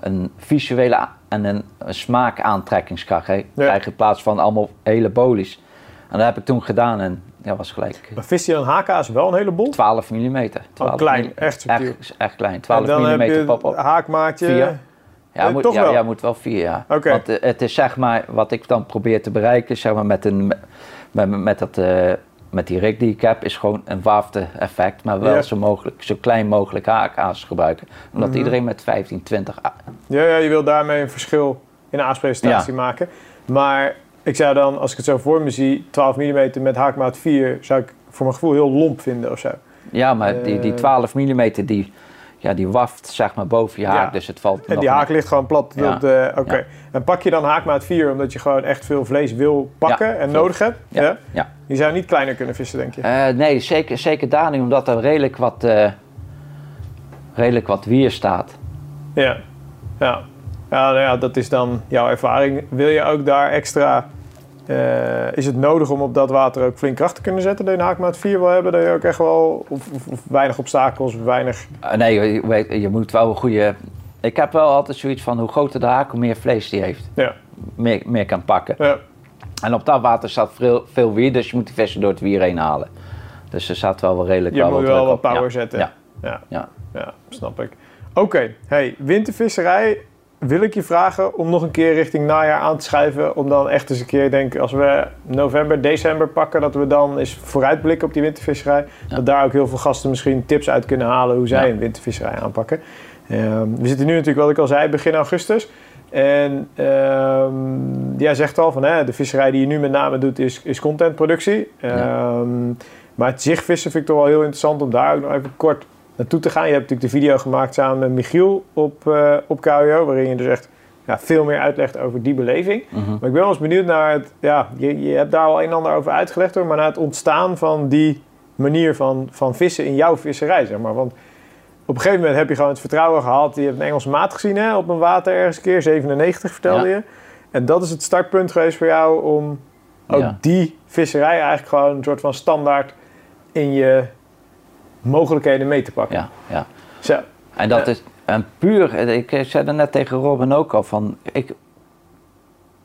Speaker 2: een visuele a- en een, een smaakaantrekkingskracht hè, krijg in plaats van allemaal hele bolies. En dat heb ik toen gedaan en dat was gelijk
Speaker 1: maar vis je dan haka's wel een heleboel?
Speaker 2: 12 mm. 12
Speaker 1: Oh, klein,
Speaker 2: milli-
Speaker 1: echt subtiel.
Speaker 2: Echt, is echt klein,
Speaker 1: En
Speaker 2: 12
Speaker 1: dan heb je
Speaker 2: mm
Speaker 1: het
Speaker 2: pop op.
Speaker 1: haakmaatje.
Speaker 2: Vier. Ja,
Speaker 1: eh,
Speaker 2: moet,
Speaker 1: toch
Speaker 2: ja,
Speaker 1: wel?
Speaker 2: ja, moet wel vier, ja.
Speaker 1: Oké.
Speaker 2: Want eh, het is zeg maar, wat ik dan probeer te bereiken, zeg maar, met, een, met, met, dat, eh, met die rig die ik heb, is gewoon een waafde effect. Maar wel
Speaker 1: Ja.
Speaker 2: zo, mogelijk, zo klein mogelijk haakaas gebruiken. Omdat
Speaker 1: Mhm.
Speaker 2: iedereen met 15, 20... a-
Speaker 1: Ja, ja, je wil daarmee een verschil in de aaspresentatie maken. Maar ik zou dan, als ik het zo voor me zie, 12 mm met haakmaat 4, zou ik voor mijn gevoel heel lomp vinden of zo.
Speaker 2: Ja, maar die, die
Speaker 1: Eh.
Speaker 2: 12 mm, die, ja, die waft zeg maar boven je haak,
Speaker 1: Ja.
Speaker 2: dus het valt
Speaker 1: En
Speaker 2: nog
Speaker 1: die haak ligt gewoon plat.
Speaker 2: Ja.
Speaker 1: op de- Oké. En pak je dan haakmaat 4 omdat je gewoon echt veel vlees wil pakken en
Speaker 2: veel.
Speaker 1: nodig hebt?
Speaker 2: Ja,
Speaker 1: Ja?
Speaker 2: ja.
Speaker 1: Die zou niet kleiner kunnen vissen, denk je?
Speaker 2: Eh, nee, zeker, zeker daar niet, omdat er redelijk wat, eh, redelijk wat wier staat.
Speaker 1: Ja. Ja. Ja, nou ja, dat is dan jouw ervaring. Wil je ook daar extra... eh, is het nodig om op dat water ook flink kracht te kunnen zetten? Dat je een haakmaat 4 wil hebben? Dat je ook echt wel... Of, of, of weinig obstakels, weinig...
Speaker 2: Eh, nee, je- je, weet- je moet wel een goede. Ik heb wel altijd zoiets van hoe groter de haak, hoe meer vlees die heeft.
Speaker 1: Ja.
Speaker 2: Meer, meer kan pakken.
Speaker 1: Ja.
Speaker 2: En op dat water staat veel, veel wier, dus je moet die vissen door het wier heen halen. Dus er staat wel wel redelijk
Speaker 1: Je
Speaker 2: wel
Speaker 1: moet
Speaker 2: wat
Speaker 1: wel
Speaker 2: druk
Speaker 1: wat
Speaker 2: op. Ja,
Speaker 1: power zetten.
Speaker 2: Ja.
Speaker 1: Ja.
Speaker 2: Ja.
Speaker 1: Ja, snap ik. Oké, hey, wintervisserij wil ik je vragen om nog een keer richting najaar aan te schuiven. Om dan echt eens een keer, denk ik, als we november, december pakken, dat we dan eens vooruitblikken op die wintervisserij.
Speaker 2: Ja.
Speaker 1: Dat daar ook heel veel gasten misschien tips uit kunnen halen hoe zij
Speaker 2: Ja.
Speaker 1: een wintervisserij aanpakken. Ehm, we zitten nu natuurlijk, wat ik al zei, begin augustus. En ehm, jij zegt al van hè, de visserij die je nu met name doet is, is contentproductie.
Speaker 2: Ja.
Speaker 1: Ehm, maar het zichtvissen vind ik toch wel heel interessant om daar ook nog even kort naartoe te gaan. Je hebt natuurlijk de video gemaakt samen met Michiel op, eh op KWO, waarin je dus echt ja, veel meer uitlegt over die beleving.
Speaker 2: Mhm.
Speaker 1: Maar ik ben wel eens benieuwd naar het, ja, je, je hebt daar al een en ander over uitgelegd hoor, maar naar het ontstaan van die manier van, van vissen in jouw visserij, zeg maar. Want op een gegeven moment heb je gewoon het vertrouwen gehad. Je hebt een Engelse maat gezien hè, op een water ergens een keer, 97 vertelde
Speaker 2: Ja.
Speaker 1: je. En dat is het startpunt geweest voor jou om ook
Speaker 2: Ja.
Speaker 1: die visserij eigenlijk gewoon een soort van standaard in je mogelijkheden mee te pakken.
Speaker 2: ja, ja.
Speaker 1: Zo.
Speaker 2: En dat
Speaker 1: Ja.
Speaker 2: is een puur. Ik zei dat net tegen Robin ook al van. Ik,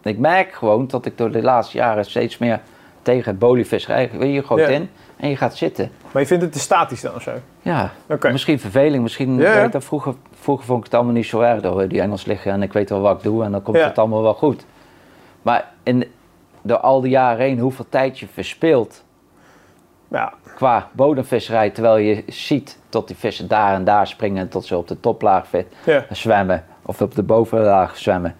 Speaker 2: ik merk gewoon dat ik door de laatste jaren steeds meer tegen het bolievisserij. Je gooit
Speaker 1: Ja.
Speaker 2: in en je gaat zitten.
Speaker 1: Maar je vindt het te statisch dan of zo? Oké.
Speaker 2: Ja, Misschien verveling, misschien
Speaker 1: Ja, ja.
Speaker 2: weet dat, vroeger, vroeger vond ik het allemaal niet zo erg door die Engels liggen en ik weet wel wat ik doe en dan komt
Speaker 1: Ja.
Speaker 2: het allemaal wel goed. Maar in, door al die jaren heen, hoeveel tijd je verspilt
Speaker 1: Ja.
Speaker 2: qua bodemvisserij, terwijl je ziet tot die vissen daar en daar springen en tot ze op de toplaag fit-
Speaker 1: Ja.
Speaker 2: zwemmen of op de bovenlaag zwemmen.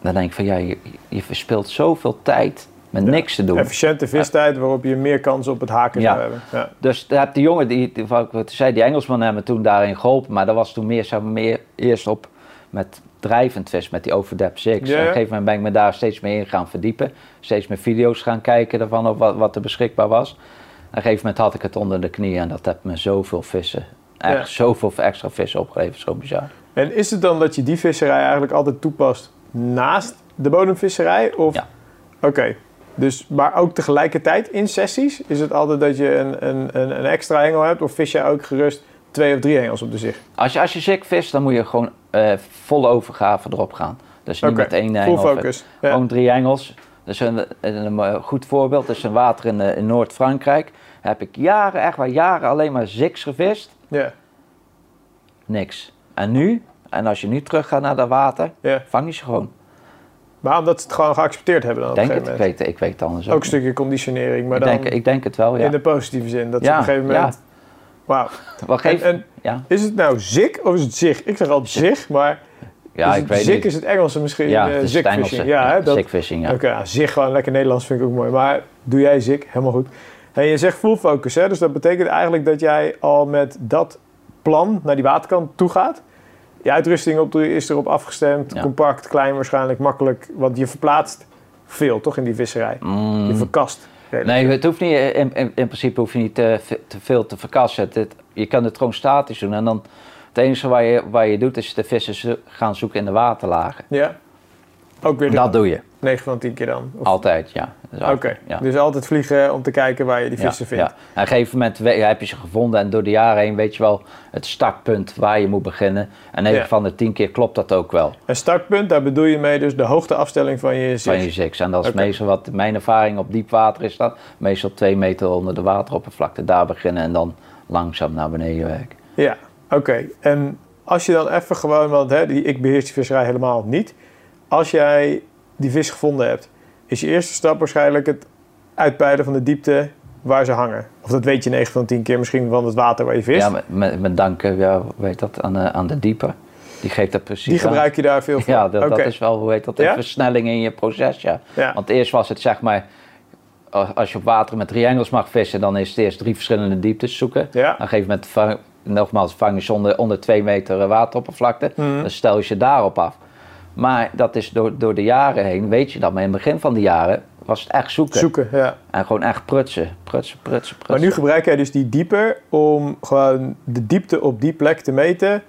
Speaker 2: Dan denk ik van ja, je, je verspilt zoveel tijd met
Speaker 1: Ja.
Speaker 2: niks te doen.
Speaker 1: Efficiënte vistijd waarop je meer kans op het haken
Speaker 2: Ja.
Speaker 1: zou hebben. Ja.
Speaker 2: Dus daar heb die jongen, die, die, wat ik wat zei, die Engelsman hebben me toen daarin geholpen. Maar dat was toen meer, zeg maar, meer eerst op met drijvend vis, met die overdep six.
Speaker 1: Ja,
Speaker 2: Op een
Speaker 1: ja.
Speaker 2: gegeven moment ben ik me daar steeds meer in gaan verdiepen. Steeds meer video's gaan kijken daarvan, op wat, wat er beschikbaar was. Op een gegeven moment had ik het onder de knie en dat heeft me zoveel vissen, echt
Speaker 1: Ja.
Speaker 2: zoveel extra vissen opgeleverd. Zo bizar.
Speaker 1: En is het dan dat je die visserij eigenlijk altijd toepast naast de bodemvisserij? Of...
Speaker 2: Ja.
Speaker 1: Oké. Dus, maar ook tegelijkertijd in sessies? Is het altijd dat je een, een, een, een extra hengel hebt? Of vis je ook gerust twee of drie hengels op de zicht?
Speaker 2: Als je, als je sick vist, dan moet je gewoon eh volle overgave erop gaan. Dus niet
Speaker 1: Oké,
Speaker 2: met één
Speaker 1: Full
Speaker 2: engel.
Speaker 1: focus. Ja.
Speaker 2: Gewoon drie engels. Dus een, een, een goed voorbeeld is een water in, eh, in Noord-Frankrijk. Daar heb ik jaren, echt waar jaren, alleen maar ziks gevist.
Speaker 1: Ja,
Speaker 2: Niks. En nu, en als je nu teruggaat naar dat water,
Speaker 1: ja.
Speaker 2: vang je ze gewoon.
Speaker 1: Maar omdat ze het gewoon geaccepteerd hebben dan op
Speaker 2: denk
Speaker 1: een
Speaker 2: het,
Speaker 1: gegeven
Speaker 2: ik
Speaker 1: moment.
Speaker 2: weet, ik weet het anders
Speaker 1: Ook een
Speaker 2: niet.
Speaker 1: stukje conditionering, maar
Speaker 2: ik,
Speaker 1: dan
Speaker 2: denk, ik denk het wel, ja.
Speaker 1: in de positieve zin. Dat ze
Speaker 2: Ja,
Speaker 1: op een gegeven moment... Wauw.
Speaker 2: Wat
Speaker 1: En,
Speaker 2: geeft...
Speaker 1: en
Speaker 2: ja,
Speaker 1: is het nou zik of is het zich? Ik zeg altijd zich, maar
Speaker 2: ja
Speaker 1: is
Speaker 2: ik
Speaker 1: het
Speaker 2: weet
Speaker 1: zik
Speaker 2: niet.
Speaker 1: is het Engelse misschien.
Speaker 2: ja,
Speaker 1: dus eh,
Speaker 2: het is het
Speaker 1: zikfishing.
Speaker 2: Engelse.
Speaker 1: Ja, hè, dat,
Speaker 2: Zikfishing, ja.
Speaker 1: Oké, ja, zich gewoon lekker Nederlands vind ik ook mooi. Maar doe jij zik, helemaal goed. En je zegt full focus, hè? dus dat betekent eigenlijk dat jij al met dat plan naar die waterkant toe gaat. Je uitrusting op, is erop afgestemd,
Speaker 2: Ja.
Speaker 1: compact, klein waarschijnlijk, makkelijk. Want je verplaatst veel, toch, in die visserij?
Speaker 2: Mm.
Speaker 1: Je verkast. redelijk.
Speaker 2: Nee, het hoeft niet, eh, in, in, in principe hoef je niet te, ve- te veel te verkassen. Het- het- je kan het gewoon statisch doen. En dan, het enige wat je, wat je doet, is de vissen zo- gaan zoeken in de waterlagen.
Speaker 1: Ja? Ook weer
Speaker 2: Dat doe je,
Speaker 1: 9 van 10 keer dan? Of-
Speaker 2: altijd, ja. Dus
Speaker 1: Oké,
Speaker 2: altijd, ja.
Speaker 1: dus altijd vliegen om te kijken waar je die vissen
Speaker 2: ja,
Speaker 1: vindt.
Speaker 2: ja. En op een gegeven moment we- heb je ze gevonden en door de jaren heen weet je wel het startpunt waar je moet beginnen. En 9
Speaker 1: Ja.
Speaker 2: van de 10 keer klopt dat ook wel
Speaker 1: Een startpunt, daar bedoel je mee dus de hoogteafstelling van je
Speaker 2: van je
Speaker 1: zicht.
Speaker 2: ziks. En dat is
Speaker 1: Oké.
Speaker 2: meestal wat mijn ervaring op diep water is dat. Meestal twee meter onder de wateroppervlakte daar beginnen en dan langzaam naar beneden werken.
Speaker 1: Ja, oké. En als je dan even gewoon, want hè, die, ik beheers die visserij helemaal niet. Als jij die vis gevonden hebt, is je eerste stap waarschijnlijk het uitpeilen van de diepte waar ze hangen. Of dat weet je 9 van 10 keer misschien van het water waar je vist.
Speaker 2: Ja, met- met, met dank eh, ja, hoe heet dat, aan, de- aan de dieper. Die geeft dat precies
Speaker 1: die
Speaker 2: aan.
Speaker 1: gebruik je daar veel voor.
Speaker 2: Ja, dat, dat
Speaker 1: Oké,
Speaker 2: is wel, hoe heet dat, een
Speaker 1: Ja?
Speaker 2: versnelling in je proces, ja.
Speaker 1: Ja.
Speaker 2: Want eerst was het zeg maar, a- als je op water met triangels mag vissen, dan is het eerst drie verschillende dieptes zoeken.
Speaker 1: Ja.
Speaker 2: Op een gegeven moment, vang, nogmaals, vang je ze onder, onder twee meter eh, wateroppervlakte,
Speaker 1: Mhm.
Speaker 2: dan stel je ze daarop af. Maar dat is door, door de jaren heen, weet je dat, maar in het begin van de jaren was het echt zoeken.
Speaker 1: Zoeken, ja.
Speaker 2: En gewoon echt prutsen, prutsen, prutsen, prutsen.
Speaker 1: Maar nu gebruik jij dus die dieper om gewoon de diepte op die plek te meten.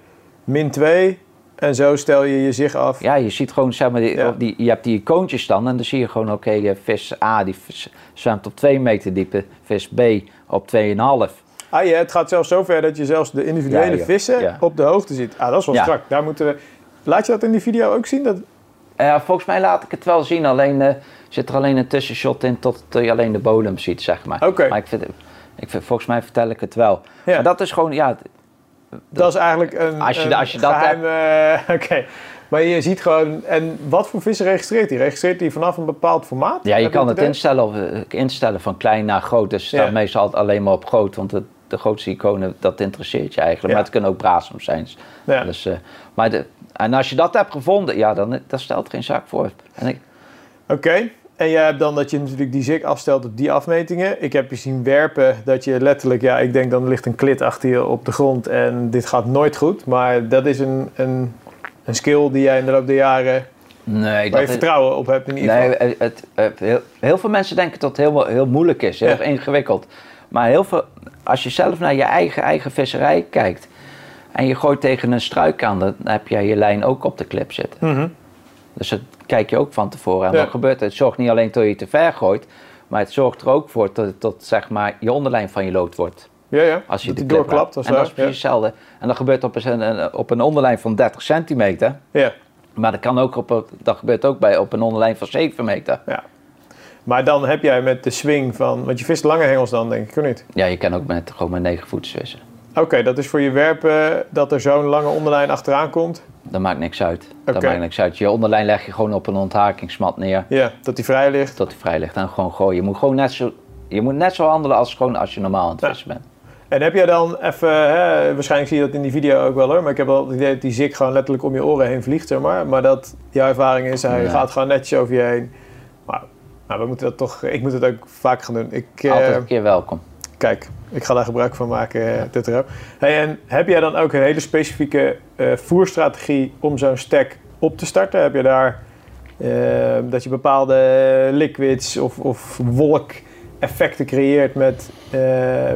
Speaker 1: Min 2. En zo stel je je zicht af.
Speaker 2: Ja, je ziet gewoon, zeg maar, die,
Speaker 1: Ja.
Speaker 2: die, je hebt die icoontjes dan en dan zie je gewoon, oké, eh, vis A die vis- zwemt op 2 meter diepte, vis B op 2,5.
Speaker 1: Ah, ja, het gaat zelfs zover dat je zelfs de individuele
Speaker 2: Ja, joh.
Speaker 1: vissen
Speaker 2: Ja.
Speaker 1: op de hoogte ziet. Ah, dat is wel
Speaker 2: Ja.
Speaker 1: strak. Daar moeten we... Laat je dat in die video ook zien? Dat...
Speaker 2: Eh, volgens mij laat ik het wel zien, alleen eh, zit er alleen een tussenshot in tot je alleen de bodem ziet, zeg maar.
Speaker 1: Oké.
Speaker 2: Maar ik vind, ik vind, volgens mij vertel ik het wel.
Speaker 1: Ja.
Speaker 2: Maar dat is gewoon, ja, het-
Speaker 1: Dat is eigenlijk een,
Speaker 2: Als je-
Speaker 1: een
Speaker 2: als je dat
Speaker 1: geheim, eh, [LAUGHS] Oké. Maar je ziet gewoon... En wat voor vissen registreert hij? Registreert hij vanaf een bepaald formaat?
Speaker 2: ja
Speaker 1: Heb
Speaker 2: je kan
Speaker 1: dat
Speaker 2: het
Speaker 1: idee?
Speaker 2: instellen, of, eh, instellen van klein naar groot. Dus het
Speaker 1: Ja.
Speaker 2: staat meestal altijd alleen maar op groot, want het- de grootste iconen, dat interesseert je eigenlijk.
Speaker 1: Ja.
Speaker 2: Maar het kunnen ook braasem zijn.
Speaker 1: Ja.
Speaker 2: Dus, eh, maar de, en als je dat hebt gevonden, ja, dan dat stelt geen zaak voor. En ik,
Speaker 1: Oké. En jij hebt dan dat je natuurlijk die zik afstelt op die afmetingen. Ik heb je zien werpen dat je letterlijk... Ja, ik denk dan ligt een klit achter je op de grond en dit gaat nooit goed. Maar dat is een, een, een skill die jij in de loop der jaren...
Speaker 2: nee,
Speaker 1: Waar
Speaker 2: dat
Speaker 1: je
Speaker 2: is,
Speaker 1: vertrouwen op hebt in ieder geval.
Speaker 2: nee het, het- heel, heel veel mensen denken dat het heel, heel moeilijk is, heel
Speaker 1: Ja.
Speaker 2: ingewikkeld. Maar heel veel, als je zelf naar je eigen, eigen visserij kijkt en je gooit tegen een struik aan, dan heb jij je lijn ook op de clip zitten.
Speaker 1: Mhm.
Speaker 2: Dus dat kijk je ook van tevoren. En
Speaker 1: Ja.
Speaker 2: wat gebeurt er? Het zorgt niet alleen dat je te ver gooit, maar het zorgt er ook voor dat, dat zeg maar, je onderlijn van je lood wordt.
Speaker 1: Ja, ja.
Speaker 2: Als je
Speaker 1: dat
Speaker 2: de
Speaker 1: die
Speaker 2: clip
Speaker 1: doorklapt.
Speaker 2: haalt.
Speaker 1: Als
Speaker 2: En dat is
Speaker 1: ja.
Speaker 2: precies hetzelfde. En dat gebeurt op een, een- op een onderlijn van 30 centimeter.
Speaker 1: Ja,
Speaker 2: Maar dat, kan ook op, een- dat gebeurt ook bij, op een onderlijn van 7 meter.
Speaker 1: ja. Maar dan heb jij met de swing van... Want je vist lange hengels dan, denk ik, of niet?
Speaker 2: Ja, je kan ook met, gewoon met 9 voet vissen.
Speaker 1: Oké, dat is voor je werpen dat er zo'n lange onderlijn achteraan komt.
Speaker 2: Dat maakt niks uit. Dat
Speaker 1: Oké.
Speaker 2: maakt niks uit. Je onderlijn leg je gewoon op een onthakingsmat neer.
Speaker 1: Ja, dat die vrij ligt.
Speaker 2: Tot die vrij ligt. En gewoon gooien. Je moet gewoon net zo, je moet net zo handelen als, gewoon als je normaal aan het
Speaker 1: Ja.
Speaker 2: vissen bent.
Speaker 1: En heb jij dan even... Hè, waarschijnlijk zie je dat in die video ook wel hoor. Maar ik heb wel het idee dat die zik gewoon letterlijk om je oren heen vliegt, zeg maar. Maar dat jouw ervaring is, hij
Speaker 2: Ja.
Speaker 1: gaat gewoon netjes over je heen. Maar nou, we moeten dat toch... Ik moet het ook vaak gaan doen. Ik, eh,
Speaker 2: Altijd een keer welkom.
Speaker 1: Kijk, ik ga daar gebruik van maken, eh, Tetro. Hey, en heb jij dan ook een hele specifieke eh, voerstrategie om zo'n stack op te starten? Heb je daar eh, dat je bepaalde liquids of, of wolk effecten creëert met, eh,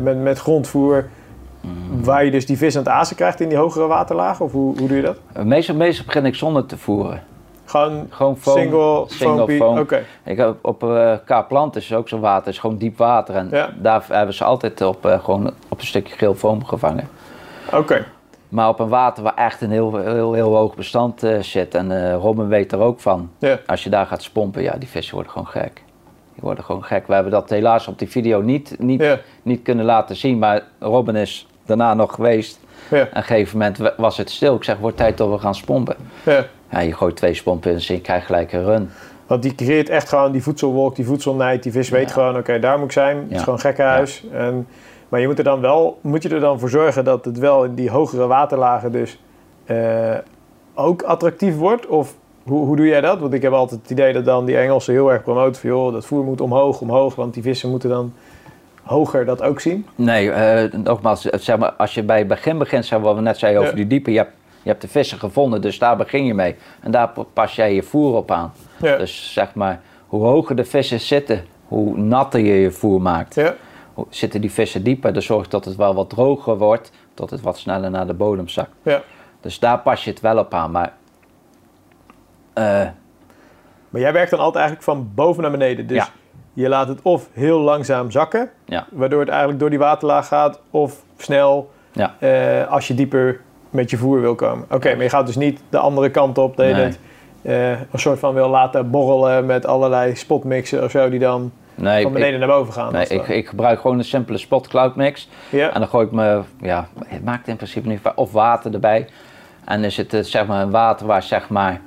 Speaker 1: met, met grondvoer...
Speaker 2: Mm.
Speaker 1: waar je dus die vis aan het azen krijgt in die hogere waterlagen? Of hoe, hoe doe je dat?
Speaker 2: Meestal, meestal begin ik zonder te voeren.
Speaker 1: Gewoon
Speaker 2: Gewoon foam.
Speaker 1: single,
Speaker 2: single
Speaker 1: foampie?
Speaker 2: foam.
Speaker 1: Oké,
Speaker 2: Ik heb op eh Kaapland is ook zo'n water, is gewoon diep water. En
Speaker 1: Ja.
Speaker 2: daar hebben ze altijd op, eh, gewoon op een stukje geel foam gevangen.
Speaker 1: oké.
Speaker 2: Maar op een water waar echt een heel, heel, heel hoog bestand eh, zit. En eh Robin weet er ook van.
Speaker 1: Ja.
Speaker 2: Als je daar gaat spompen, ja, die vissen worden gewoon gek. Die worden gewoon gek. We hebben dat helaas op die video niet, niet,
Speaker 1: Ja.
Speaker 2: niet kunnen laten zien. Maar Robin is daarna nog geweest.
Speaker 1: Ja.
Speaker 2: Op een gegeven moment wa- was het stil. Ik zeg, wordt tijd dat we gaan spompen.
Speaker 1: Ja.
Speaker 2: Ja, je gooit twee spompen in, dus je krijgt gelijk een run.
Speaker 1: Want die creëert echt gewoon die voedselwolk, die voedselnijd. Die vis weet
Speaker 2: Ja.
Speaker 1: gewoon, oké, daar moet ik zijn. Het is
Speaker 2: Ja.
Speaker 1: gewoon gekkenhuis. En, maar je moet er dan wel, moet je er dan voor zorgen dat het wel in die hogere waterlagen dus eh, ook attractief wordt? Of hoe, hoe doe jij dat? Want ik heb altijd het idee dat dan die Engelsen heel erg promoten van, joh, dat voer moet omhoog, omhoog. Want die vissen moeten dan hoger dat ook zien.
Speaker 2: Nee, eh, nogmaals, eh, zeg maar, als je bij het begin begint, zeg maar, wat we net zeiden over
Speaker 1: Ja.
Speaker 2: die diepe, je hebt, je hebt de vissen gevonden, dus daar begin je mee. En daar pa- pas jij je voer op aan.
Speaker 1: Ja.
Speaker 2: Dus zeg maar, hoe hoger de vissen zitten, hoe natter je je voer maakt.
Speaker 1: Ja.
Speaker 2: Hoe- Zitten die vissen dieper, dan zorgt dat het wel wat droger wordt, dat het wat sneller naar de bodem zakt.
Speaker 1: ja.
Speaker 2: Dus daar pas je het wel op aan, maar... eh,
Speaker 1: Maar jij werkt dan altijd eigenlijk van boven naar beneden. Dus
Speaker 2: Ja.
Speaker 1: je laat het of heel langzaam zakken,
Speaker 2: Ja.
Speaker 1: waardoor het eigenlijk door die waterlaag gaat, of snel
Speaker 2: Ja.
Speaker 1: eh, als je dieper met je voer wil komen. Oké, maar je gaat dus niet de andere kant op dat je
Speaker 2: Nee.
Speaker 1: het eh, een soort van wil laten borrelen met allerlei spotmixen of zo, die dan
Speaker 2: nee,
Speaker 1: van
Speaker 2: ik-
Speaker 1: beneden naar boven gaan.
Speaker 2: Nee,
Speaker 1: of zo.
Speaker 2: ik, ik gebruik gewoon een simpele spot cloud mix.
Speaker 1: Ja.
Speaker 2: En dan gooi ik me, ja, het maakt in principe niet uit, of water erbij. En is het eh, zeg maar een water waar zeg maar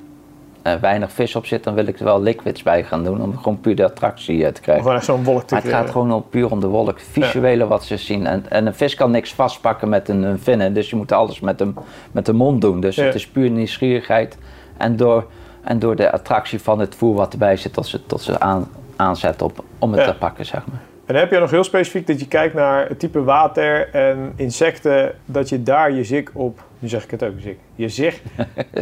Speaker 2: eh, weinig vis op zit, dan wil ik er wel liquids bij gaan doen om gewoon puur de attractie eh, te
Speaker 1: Om
Speaker 2: krijgen.
Speaker 1: gewoon echt zo'n wolk te
Speaker 2: Maar het gaat
Speaker 1: creëren.
Speaker 2: gewoon om, puur om de wolk, visuele wat ze zien. En, en een vis kan niks vastpakken met een, een vinnen, dus je moet alles met, een, met de mond doen. Dus
Speaker 1: Ja.
Speaker 2: het is puur nieuwsgierigheid en door, en door de attractie van het voer wat erbij zit, dat ze, dat ze aan, aanzetten op, om het
Speaker 1: Ja.
Speaker 2: te pakken, zeg maar.
Speaker 1: En dan heb je nog heel specifiek dat je kijkt naar het type water en insecten, dat je daar je ziek op, nu zeg ik het ook, ziek, je [LAUGHS] zicht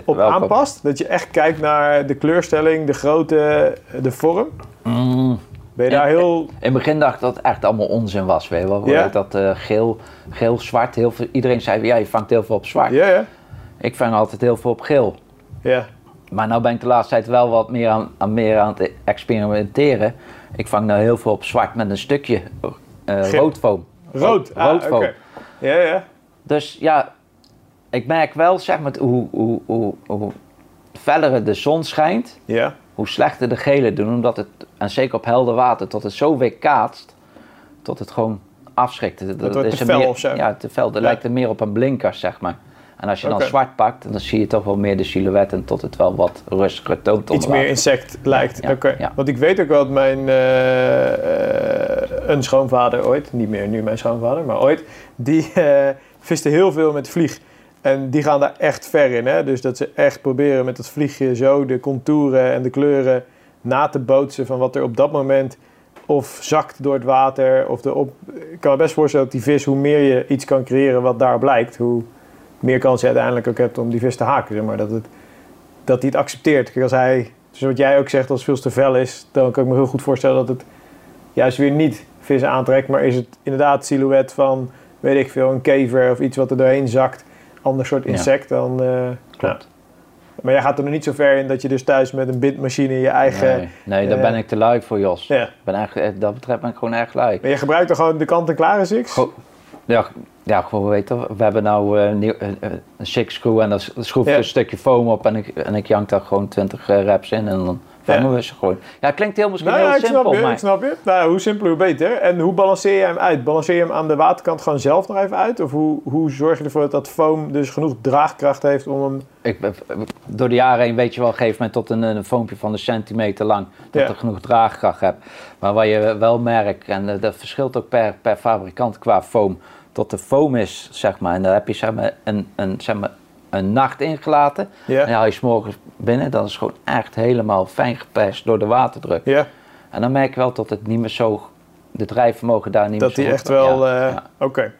Speaker 1: op
Speaker 2: Welkom.
Speaker 1: aanpast. Dat je echt kijkt naar de kleurstelling, de grootte, de vorm.
Speaker 2: Mm.
Speaker 1: Ben je [LAUGHS]
Speaker 2: Ja,
Speaker 1: daar heel...
Speaker 2: In het begin dacht ik dat het echt allemaal onzin was, weet je wel.
Speaker 1: Ja?
Speaker 2: Dat eh, geel, geel, zwart, heel veel, iedereen zei, ja, je vangt heel veel op zwart.
Speaker 1: Ja, ja.
Speaker 2: Ik vang altijd heel veel op geel.
Speaker 1: Ja,
Speaker 2: Maar nou ben ik de laatste tijd wel wat meer aan, aan, meer aan het experimenteren. Ik vang nou heel veel op zwart met een stukje eh
Speaker 1: Geel.
Speaker 2: roodfoam.
Speaker 1: rood. Ah,
Speaker 2: roodfoam.
Speaker 1: oké. Ja, ja.
Speaker 2: Dus ja, ik merk wel, zeg maar, hoe, hoe, hoe, hoe fellere de zon schijnt,
Speaker 1: Ja,
Speaker 2: hoe slechter de gele doen, omdat het, en zeker op helder water, tot het zo weer kaatst, tot het gewoon afschrikt. Dat,
Speaker 1: wordt te
Speaker 2: een
Speaker 1: fel
Speaker 2: meer,
Speaker 1: of zo.
Speaker 2: Ja, te fel. Dat
Speaker 1: Ja.
Speaker 2: lijkt er meer op een blinker, zeg maar. En als je dan
Speaker 1: Oké.
Speaker 2: zwart pakt, dan zie je toch wel meer de silhouet en tot het wel wat rustiger toont
Speaker 1: iets
Speaker 2: onder
Speaker 1: meer
Speaker 2: water.
Speaker 1: insect lijkt.
Speaker 2: ja,
Speaker 1: Oké.
Speaker 2: ja.
Speaker 1: Want ik weet ook wel dat mijn eh, eh, een schoonvader ooit, niet meer nu mijn schoonvader, maar ooit, die eh, viste heel veel met vlieg. En die gaan daar echt ver in. Hè? Dus dat ze echt proberen met dat vliegje zo de contouren en de kleuren na te bootsen van wat er op dat moment of zakt door het water. Of de op... Ik kan me best voorstellen dat die vis, hoe meer je iets kan creëren wat daar blijkt, hoe meer kans je uiteindelijk ook hebt om die vis te haken. Zeg maar. dat, het, dat hij het accepteert. Kijk, als hij, dus wat jij ook zegt, als het veel te fel is, dan kan ik me heel goed voorstellen dat het juist weer niet vissen aantrekt. Maar is het inderdaad silhouet van, weet ik veel, een kever of iets wat er doorheen zakt. Ander soort
Speaker 2: Ja.
Speaker 1: insect dan. eh,
Speaker 2: Klopt.
Speaker 1: ja. Maar jij gaat er nog niet zo ver in dat je dus thuis met een bindmachine je eigen.
Speaker 2: Nee, nee, daar
Speaker 1: eh,
Speaker 2: ben ik te lui voor, Jos.
Speaker 1: Ja.
Speaker 2: Ik Ben echt, eh, dat betreft ben ik gewoon erg lui.
Speaker 1: Maar je gebruikt er gewoon de kant-en-klare six?
Speaker 2: Goh. Ja, ja, gewoon weten. We hebben nou eh, nieuw- eh, eh, een six screw en dan s- schroef ik
Speaker 1: Ja.
Speaker 2: een stukje foam op en ik, en ik jank daar gewoon 20 eh, reps in en dan vangen we ze gewoon. Ja, het klinkt heel misschien
Speaker 1: Nou ja,
Speaker 2: heel
Speaker 1: ik
Speaker 2: simpel,
Speaker 1: snap je,
Speaker 2: maar
Speaker 1: ik snap je. Nou, ja, hoe simpeler, hoe beter. En hoe balanceer je hem uit? Balanceer je hem aan de waterkant gewoon zelf nog even uit? Of hoe, hoe zorg je ervoor dat dat foam dus genoeg draagkracht heeft om hem...
Speaker 2: ik, ben- door de jaren heen weet je wel, op een gegeven moment tot een, een foompje van een centimeter lang, dat
Speaker 1: Ja.
Speaker 2: er genoeg draagkracht hebt. Maar wat je wel merkt, en eh, dat verschilt ook per, per fabrikant qua foam, dat de foam is, zeg maar, en daar heb je zeg maar, een, een, zeg maar, een nacht ingelaten.
Speaker 1: Ja.
Speaker 2: En haal je s'morgens binnen, dan is het gewoon echt helemaal fijn geperst door de waterdruk.
Speaker 1: Ja,
Speaker 2: En dan merk je wel dat het niet meer zo, de drijfvermogen daar niet
Speaker 1: dat
Speaker 2: meer
Speaker 1: hij
Speaker 2: zo
Speaker 1: echt
Speaker 2: goed-
Speaker 1: wel...
Speaker 2: ja,
Speaker 1: eh,
Speaker 2: ja.
Speaker 1: Oké,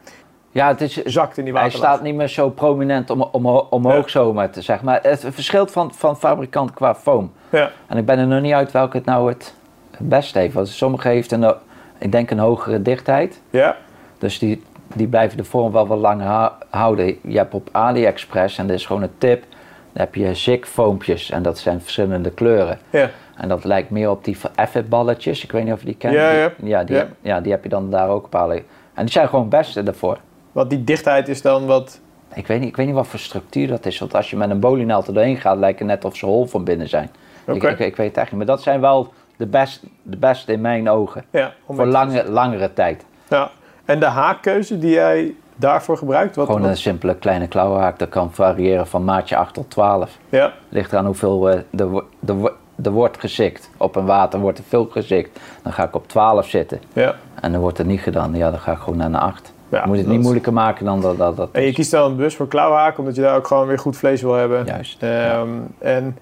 Speaker 2: Ja, het is,
Speaker 1: zakt in die
Speaker 2: hij
Speaker 1: waterlaag.
Speaker 2: staat niet meer zo prominent om, omho- omhoog,
Speaker 1: Ja.
Speaker 2: zomaar te zeggen. Maar het verschilt van, van fabrikant qua foam.
Speaker 1: Ja,
Speaker 2: En ik ben er nog niet uit welke het nou het, het beste heeft. Want sommige heeft een, ho- ik denk een hogere dichtheid.
Speaker 1: ja,
Speaker 2: Dus die, die blijven de vorm wel wat langer hou- houden. Je hebt op AliExpress, en dit is gewoon een tip, dan heb je zig foompjes. En dat zijn verschillende kleuren.
Speaker 1: ja.
Speaker 2: En dat lijkt meer op die effet balletjes. Ik weet niet of je die kent.
Speaker 1: Ja,
Speaker 2: Die-
Speaker 1: ja.
Speaker 2: die,
Speaker 1: Ja.
Speaker 2: ja, die heb je dan daar ook op Ali. En die zijn gewoon het beste daarvoor.
Speaker 1: Want die dichtheid is dan wat
Speaker 2: Ik weet, niet, ik weet niet wat voor structuur dat is. Want als je met een bolienaald er doorheen gaat, lijkt het net of ze hol van binnen zijn. Ik,
Speaker 1: Oké.
Speaker 2: ik, ik weet het echt niet. Maar dat zijn wel de beste de best in mijn ogen.
Speaker 1: Ja, om
Speaker 2: voor
Speaker 1: het-
Speaker 2: lange, langere tijd.
Speaker 1: Ja. En de haakkeuze die jij daarvoor gebruikt? Wat,
Speaker 2: Gewoon
Speaker 1: wat-
Speaker 2: een simpele kleine klauwhaak. Dat kan variëren van maatje 8 tot 12.
Speaker 1: Ja,
Speaker 2: Ligt eraan hoeveel eh, er, wo- er, wo- er wordt gezikt. Op een water wordt er veel gezikt. Dan ga ik op 12 zitten.
Speaker 1: ja.
Speaker 2: En dan wordt er niet gedaan. Ja, dan ga ik gewoon naar een 8.
Speaker 1: Ja,
Speaker 2: Moet het
Speaker 1: dat
Speaker 2: niet
Speaker 1: is-
Speaker 2: moeilijker maken dan dat. dat, dat
Speaker 1: En je
Speaker 2: is.
Speaker 1: kiest dan bewust voor klauwhaak, omdat je daar ook gewoon weer goed vlees wil hebben.
Speaker 2: Juist.
Speaker 1: Ehm, En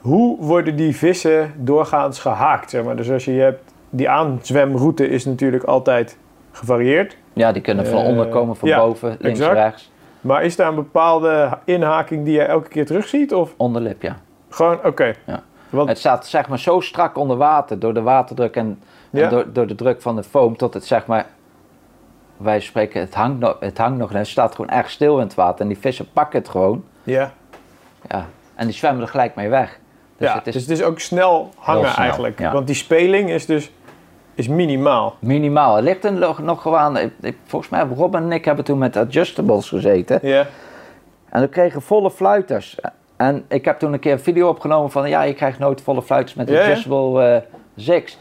Speaker 1: hoe worden die vissen doorgaans gehaakt? Zeg maar? Dus als je, je hebt, die aanzwemroute is natuurlijk altijd gevarieerd.
Speaker 2: Ja, die kunnen van
Speaker 1: Eh,
Speaker 2: onder komen, van
Speaker 1: ja,
Speaker 2: boven, links,
Speaker 1: exact.
Speaker 2: rechts.
Speaker 1: Maar is daar een bepaalde ha- inhaking die je elke keer terugziet? Of
Speaker 2: Onderlip, ja.
Speaker 1: gewoon, oké.
Speaker 2: Ja.
Speaker 1: Want,
Speaker 2: Het staat zeg maar zo strak onder water door de waterdruk en, en
Speaker 1: Ja.
Speaker 2: door, door de druk van de foam tot het zeg maar, wij spreken, het hangt, nog, het hangt nog en het staat gewoon erg stil in het water. En die vissen pakken het gewoon
Speaker 1: ja.
Speaker 2: ja, en die zwemmen er gelijk mee weg. Dus
Speaker 1: ja.
Speaker 2: het is
Speaker 1: dus het is ook snel hangen
Speaker 2: Heel snel,
Speaker 1: eigenlijk.
Speaker 2: ja.
Speaker 1: Want die speling is dus is
Speaker 2: [LAUGHS]
Speaker 1: minimaal.
Speaker 2: minimaal. Het ligt er nog, nog gewoon, ik- ik- volgens mij Rob en ik hebben toen met adjustables gezeten.
Speaker 1: Ja,
Speaker 2: En we kregen volle fluiters. En ik heb toen een keer een video opgenomen van... ja, je krijgt nooit volle fluiters met de
Speaker 1: Ja, ja.
Speaker 2: adjustable eh, zigs.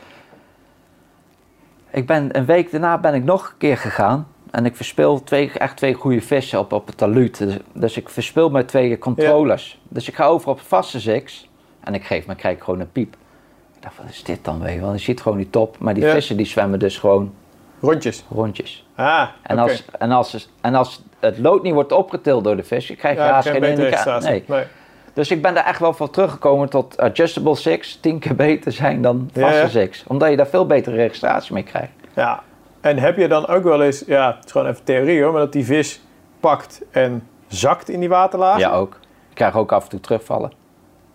Speaker 2: Ik ben, een week daarna ben ik nog een keer gegaan. En ik verspil twee, echt twee goede vissen op, op het taluut. Dus, dus ik verspil mijn twee controllers. Dus ik ga over op vaste zigs. En ik geef mijn krijg gewoon een piep. Ik dacht, wat is dit dan weer? Want je ziet gewoon die top. Maar die
Speaker 1: Ja.
Speaker 2: vissen die zwemmen dus gewoon
Speaker 1: rondjes.
Speaker 2: rondjes.
Speaker 1: Ah, oké.
Speaker 2: En, als, en, als, en als het lood niet wordt opgetild door de vis, je krijgt
Speaker 1: ja,
Speaker 2: haast
Speaker 1: geen
Speaker 2: geen
Speaker 1: betere
Speaker 2: indicatie.
Speaker 1: registratie.
Speaker 2: Nee. Dus ik ben daar echt wel van teruggekomen tot adjustable six tien keer beter zijn dan
Speaker 1: Ja,
Speaker 2: vaste
Speaker 1: ja.
Speaker 2: six. Omdat je daar veel betere registratie mee krijgt.
Speaker 1: Ja, en heb je dan ook wel eens, ja, het is gewoon even theorie hoor, maar dat die vis pakt en zakt in die waterlaag?
Speaker 2: Ja, ook. Ik krijg ook af en toe terugvallen.